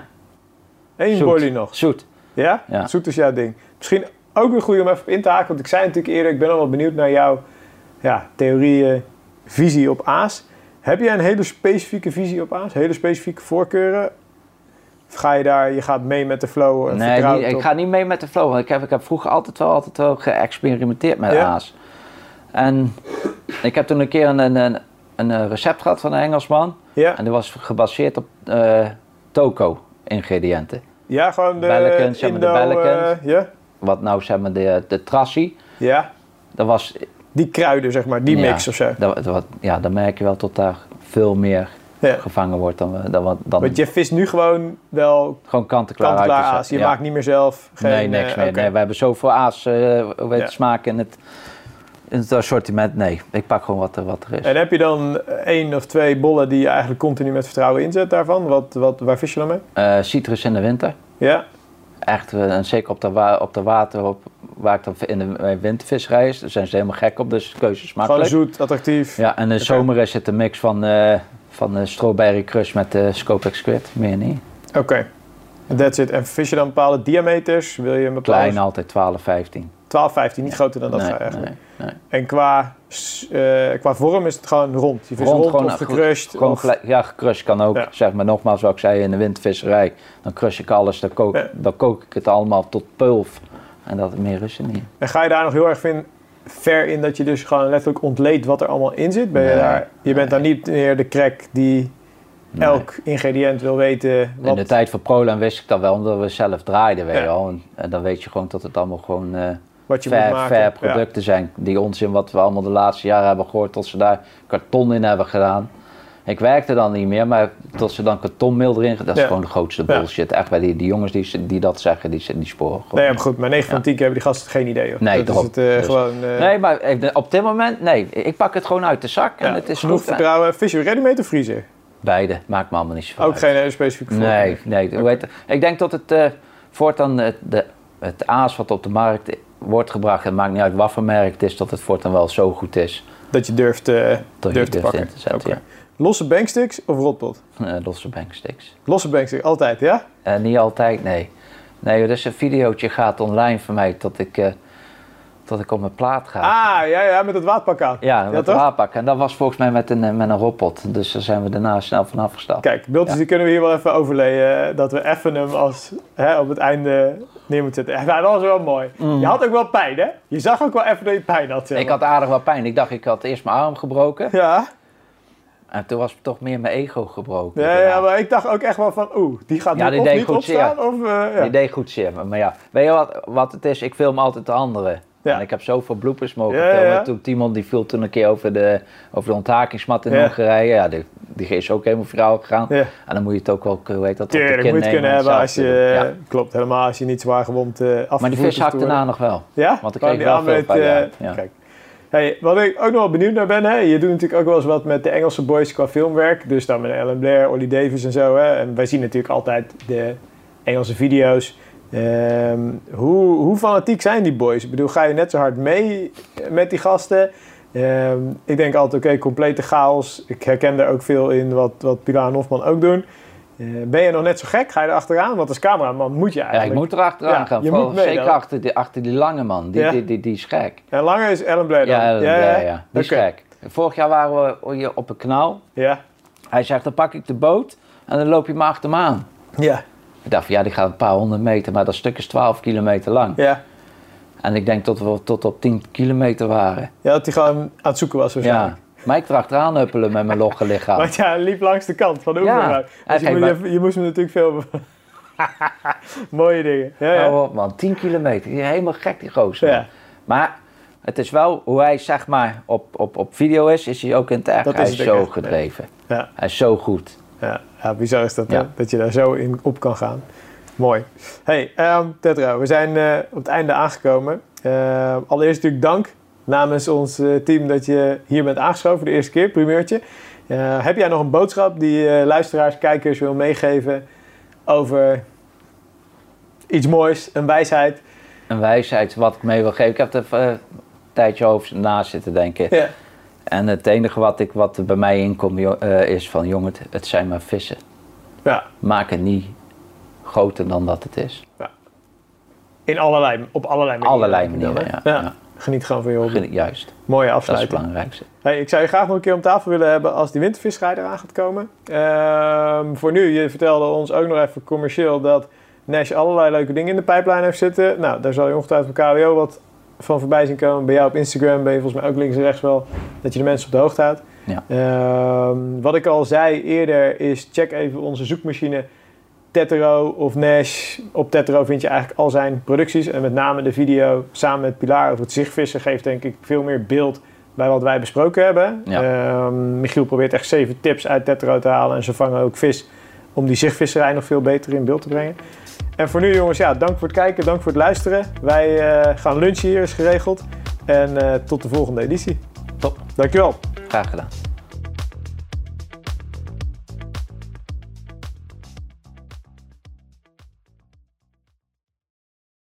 Speaker 1: Eén
Speaker 2: Zoet.
Speaker 1: boilie nog.
Speaker 2: Zoet.
Speaker 1: Ja?
Speaker 2: Ja.
Speaker 1: Zoet is jouw ding. Misschien ook een goede om even op in te haken. Want ik zei natuurlijk eerder, ik ben al wel benieuwd naar jouw ja, theorieën, visie op aas. Heb jij een hele specifieke visie op aas? Hele specifieke voorkeuren? Of ga je daar, je gaat mee met de flow en
Speaker 2: Nee,
Speaker 1: vertrouwt
Speaker 2: niet- ik
Speaker 1: op-
Speaker 2: ga niet mee met de flow. Want ik heb, ik heb vroeger altijd wel, altijd wel geëxperimenteerd met
Speaker 1: Ja.
Speaker 2: aas. En ik heb toen een keer een, een, een, een eh, recept gehad van een Engelsman.
Speaker 1: Ja,
Speaker 2: En dat was gebaseerd op eh toko-ingrediënten.
Speaker 1: ja gewoon de
Speaker 2: Bellicans, ja, maar de
Speaker 1: Indo...
Speaker 2: Bellicans.
Speaker 1: eh, ja?
Speaker 2: Wat nou zeg maar de, de trassi.
Speaker 1: ja,
Speaker 2: Dat was
Speaker 1: die kruiden zeg maar, die
Speaker 2: Ja.
Speaker 1: mix of zo.
Speaker 2: Dat, dat wat- ja, dan merk je wel tot daar veel meer
Speaker 1: Ja.
Speaker 2: gevangen wordt dan, we- dan, wat- dan
Speaker 1: Want je vist nu gewoon wel
Speaker 2: gewoon kant-en-klaar uit
Speaker 1: kant-en-klaar
Speaker 2: te zetten.
Speaker 1: aas. Je
Speaker 2: Ja.
Speaker 1: maakt niet meer zelf geen...
Speaker 2: nee, niks
Speaker 1: eh,
Speaker 2: meer.
Speaker 1: oké.
Speaker 2: Nee, we hebben zoveel aas eh hoe heet
Speaker 1: Ja.
Speaker 2: het, smaak in het, in het assortiment. Nee, ik pak gewoon wat er, wat er is.
Speaker 1: En heb je dan één of twee bollen die je eigenlijk continu met vertrouwen inzet daarvan? Wat, wat, waar vis je dan mee?
Speaker 2: Eh, citrus in de winter.
Speaker 1: Ja,
Speaker 2: Echt, eh, en zeker op de, wa- op de water op, waar ik dan in de eh, wintervisserij is. Daar zijn ze helemaal gek op, dus de keuze is
Speaker 1: gewoon
Speaker 2: makkelijk.
Speaker 1: zoet, attractief.
Speaker 2: Ja, en in de
Speaker 1: Oké.
Speaker 2: zomer is het een mix van, eh van eh, strawberry crush met eh Scopex squid. Meer niet.
Speaker 1: Oké, that's it. En vis je dan bepaalde diameters? Wil je een bepaalde...
Speaker 2: Klein altijd, 12, 15.
Speaker 1: 12, 15, niet groter dan dat
Speaker 2: Nee,
Speaker 1: eigenlijk.
Speaker 2: nee, nee.
Speaker 1: En qua, s- eh, qua vorm is het gewoon rond. Je vis
Speaker 2: Rond,
Speaker 1: rond,
Speaker 2: gewoon
Speaker 1: of
Speaker 2: een goed-
Speaker 1: gecrushed.
Speaker 2: Gewoon
Speaker 1: of-
Speaker 2: gelijk- ja, gecrushed kan ook.
Speaker 1: Ja.
Speaker 2: Zeg maar nogmaals wat ik zei in de windvisserij. Dan crush ik alles, dan kook,
Speaker 1: Ja.
Speaker 2: dan kook ik het allemaal tot pulp. En dat meer is er niet.
Speaker 1: En ga je daar nog heel erg in, ver in dat je dus gewoon letterlijk ontleedt wat er allemaal in zit? Ben je,
Speaker 2: Nee,
Speaker 1: daar, je bent daar niet meer de crack die
Speaker 2: Nee.
Speaker 1: elk ingrediënt wil weten.
Speaker 2: In
Speaker 1: Wat...
Speaker 2: de tijd van Prolan wist ik dat wel, omdat we zelf draaiden, weet
Speaker 1: Ja.
Speaker 2: je wel. En, en dan weet je gewoon dat het allemaal gewoon eh
Speaker 1: wat je moet
Speaker 2: fair,
Speaker 1: maken.
Speaker 2: fair
Speaker 1: Ja.
Speaker 2: producten zijn. Die onzin wat we allemaal de laatste jaren hebben gehoord, dat ze daar karton in hebben gedaan. Ik werkte dan niet meer, maar dat ze dan kartonmeel erin... Dat is
Speaker 1: Ja.
Speaker 2: gewoon de grootste
Speaker 1: Ja.
Speaker 2: bullshit. Echt, bij die, die jongens die, die dat zeggen, die, die sporen gewoon.
Speaker 1: Nee, maar goed, maar 9 van 10 keer hebben die gasten geen idee. Hoor.
Speaker 2: Nee,
Speaker 1: dat is
Speaker 2: daarom.
Speaker 1: het eh,
Speaker 2: Dus-
Speaker 1: gewoon. eh,
Speaker 2: Nee, maar even- op dit moment, nee. Ik pak het gewoon uit de zak en
Speaker 1: ja,
Speaker 2: het is
Speaker 1: genoeg
Speaker 2: goed.
Speaker 1: vertrouwen. Vis je ready-made of vriezer?
Speaker 2: Beide, maakt me allemaal niet zoveel
Speaker 1: Ook
Speaker 2: uit.
Speaker 1: geen hele specifieke voorkeur.
Speaker 2: Nee, nee. Hoe heet het? Ik denk dat het eh, voortaan het, de, het aas wat op de markt wordt gebracht... het maakt niet uit wat voor merk het is, dat het voortaan wel zo goed is.
Speaker 1: Dat je durft, eh,
Speaker 2: Dat je
Speaker 1: durft te
Speaker 2: durft
Speaker 1: pakken.
Speaker 2: in te zetten,
Speaker 1: Oké. Losse banksticks of rotpot?
Speaker 2: Eh, losse banksticks.
Speaker 1: Losse banksticks, altijd, ja?
Speaker 2: Eh, niet altijd, nee. Nee, dus een videootje gaat online van mij dat ik, eh, dat ik op mijn plaat ga.
Speaker 1: Ah, ja, ja, met het waadpak aan.
Speaker 2: Ja, met de
Speaker 1: toch?
Speaker 2: wapak. En dat was volgens mij met een, eh, met een robot. Dus daar zijn we daarna snel van afgestapt.
Speaker 1: Kijk, beeldjes
Speaker 2: Ja.
Speaker 1: die kunnen we hier wel even overleien. Dat we even hem als, hè, op het einde neer moeten zetten. [LAUGHS] Ja, dat was wel mooi. Je had ook wel pijn, hè? Je zag ook wel even dat je pijn had. zeg
Speaker 2: Mm. Ik
Speaker 1: maar.
Speaker 2: had aardig wat pijn. Ik dacht, ik had eerst mijn arm gebroken.
Speaker 1: Ja,
Speaker 2: En toen was toch meer mijn ego gebroken.
Speaker 1: ja,
Speaker 2: daarna.
Speaker 1: ja, maar ik dacht ook echt wel van, oeh, die gaat
Speaker 2: Ja,
Speaker 1: nu
Speaker 2: die
Speaker 1: of
Speaker 2: deed
Speaker 1: niet
Speaker 2: goed
Speaker 1: opstaan. Of, eh, ja.
Speaker 2: Die deed goed zeer. Maar, maar ja, weet je wat, wat het is? Ik film altijd de anderen.
Speaker 1: Ja.
Speaker 2: En ik heb zoveel bloepers mogen
Speaker 1: Ja, ja,
Speaker 2: filmen.
Speaker 1: ja.
Speaker 2: Toen Timon die viel toen een keer over de, over de onthakingsmat in
Speaker 1: Ja.
Speaker 2: Hongarije. Ja, die, die is ook helemaal viraal gegaan.
Speaker 1: Ja.
Speaker 2: En dan moet je het ook wel, hoe heet dat, op de
Speaker 1: Tuurlijk,
Speaker 2: kin
Speaker 1: moet je het
Speaker 2: nemen
Speaker 1: kunnen
Speaker 2: en
Speaker 1: hebben
Speaker 2: zelf
Speaker 1: als je...
Speaker 2: doen. Ja.
Speaker 1: Klopt, helemaal als je niet zwaar gewond eh
Speaker 2: Maar die
Speaker 1: afgevoerd
Speaker 2: vis nou
Speaker 1: hoeft te
Speaker 2: hakt
Speaker 1: worden.
Speaker 2: daarna nog wel.
Speaker 1: Ja?
Speaker 2: Want ik
Speaker 1: Gewoon
Speaker 2: kreeg
Speaker 1: die
Speaker 2: wel veel
Speaker 1: aan
Speaker 2: pijn,
Speaker 1: eh,
Speaker 2: ja. Ja.
Speaker 1: Kijk. Hey, wat ik ook nog wel benieuwd naar ben, hè, je doet natuurlijk ook wel eens wat met de Engelse boys qua filmwerk. Dus dan met Ellen Blair, Ollie Davis en zo. Hè. En wij zien natuurlijk altijd de Engelse video's. Ehm, hoe, hoe fanatiek zijn die boys? Ik bedoel, ga je net zo hard mee eh, met die gasten? Ehm, ik denk altijd, oké, complete chaos. Ik herken daar ook veel in wat, wat Pilar en Hofman ook doen. Eh, ben je nog net zo gek? Ga je er achteraan? Want als cameraman moet je
Speaker 2: Ja,
Speaker 1: eigenlijk.
Speaker 2: ik moet er achteraan
Speaker 1: Ja,
Speaker 2: gaan.
Speaker 1: je
Speaker 2: Vooral
Speaker 1: moet mee
Speaker 2: zeker
Speaker 1: dan.
Speaker 2: achter die, achter die lange man. Die,
Speaker 1: Ja.
Speaker 2: die, die, die is gek.
Speaker 1: En langer is Ellen Blair dan?
Speaker 2: Ja, ja, ja. ja. Die is
Speaker 1: Oké.
Speaker 2: gek. Vorig jaar waren we hier op een kanaal.
Speaker 1: Ja,
Speaker 2: Hij zegt, dan pak ik de boot en dan loop je maar achter me aan.
Speaker 1: ja.
Speaker 2: Ik dacht van ja, die gaat een paar honderd meter, maar dat stuk is 12 kilometer lang.
Speaker 1: Ja.
Speaker 2: En ik denk dat we tot op 10 kilometer waren.
Speaker 1: ja, dat hij gewoon aan het zoeken was waarschijnlijk.
Speaker 2: Ja. Maar ik dacht eraan huppelen met mijn logge lichaam.
Speaker 1: Want [LAUGHS] ja, hij liep langs de kant van de
Speaker 2: Ja,
Speaker 1: oeverruim.
Speaker 2: hij
Speaker 1: Dus je,
Speaker 2: ging
Speaker 1: moest, je, je moest hem natuurlijk filmen. [LAUGHS] Mooie dingen. Ja, ja.
Speaker 2: Hou op man, 10 kilometer. Die is Helemaal gek die gozer.
Speaker 1: Ja.
Speaker 2: Maar het is wel hoe hij zeg maar op, op, op video is, is hij ook in het echt.
Speaker 1: Dat is
Speaker 2: hij
Speaker 1: het
Speaker 2: is
Speaker 1: ook
Speaker 2: zo
Speaker 1: echt, ja.
Speaker 2: gedreven.
Speaker 1: Ja,
Speaker 2: Hij is zo goed.
Speaker 1: ja. ja, bizar is dat, hè,
Speaker 2: Ja.
Speaker 1: dat je daar zo in op kan gaan. Mooi. Hey, ehm Tetra, we zijn eh, op het einde aangekomen. Eh, allereerst natuurlijk dank namens ons eh, team dat je hier bent aangeschoven voor de eerste keer, primeurtje. Eh, heb jij nog een boodschap die je luisteraars, kijkers wil meegeven over iets moois, een wijsheid?
Speaker 2: Een wijsheid wat ik mee wil geven. Ik heb er even eh, een tijdje over na zitten denken.
Speaker 1: Ja.
Speaker 2: En het enige wat, ik, wat er bij mij inkomt jo- eh, is van jongen, het- het zijn maar vissen.
Speaker 1: ja.
Speaker 2: Maak het niet groter dan dat het is.
Speaker 1: In allerlei, op allerlei manieren.
Speaker 2: Allerlei
Speaker 1: denk ik dan,
Speaker 2: manieren,
Speaker 1: hè?
Speaker 2: ja.
Speaker 1: Geniet gewoon van je hobby.
Speaker 2: Begin- Juist,
Speaker 1: Mooie
Speaker 2: dat is het
Speaker 1: afsluiting.
Speaker 2: belangrijkste.
Speaker 1: Hey, ik zou je graag nog een keer om tafel willen hebben als die wintervisserij eraan gaat komen. Ehm, voor nu, je vertelde ons ook nog even commercieel dat Nash allerlei leuke dingen in de pijplijn heeft zitten. Nou, daar zal je ongetwijfeld op KWO wat van voorbij zien komen. Bij jou op Instagram ben je volgens mij ook links en rechts wel dat je de mensen op de hoogte houdt.
Speaker 2: Ja.
Speaker 1: Ehm, wat ik al zei eerder is check even onze zoekmachine Tetero of Nash. Op Tetero vind je eigenlijk al zijn producties. En met name de video samen met Pilar over het zichtvissen geeft denk ik veel meer beeld bij wat wij besproken hebben.
Speaker 2: Ja.
Speaker 1: Ehm, Michiel probeert echt zeven tips uit Tetero te halen. En ze vangen ook vis om die zichtvisserij nog veel beter in beeld te brengen. En voor nu jongens, ja, dank voor het kijken, dank voor het luisteren. Wij eh, gaan lunchen hier is geregeld. En eh, tot de volgende editie.
Speaker 2: Top.
Speaker 1: Dankjewel.
Speaker 2: Graag gedaan.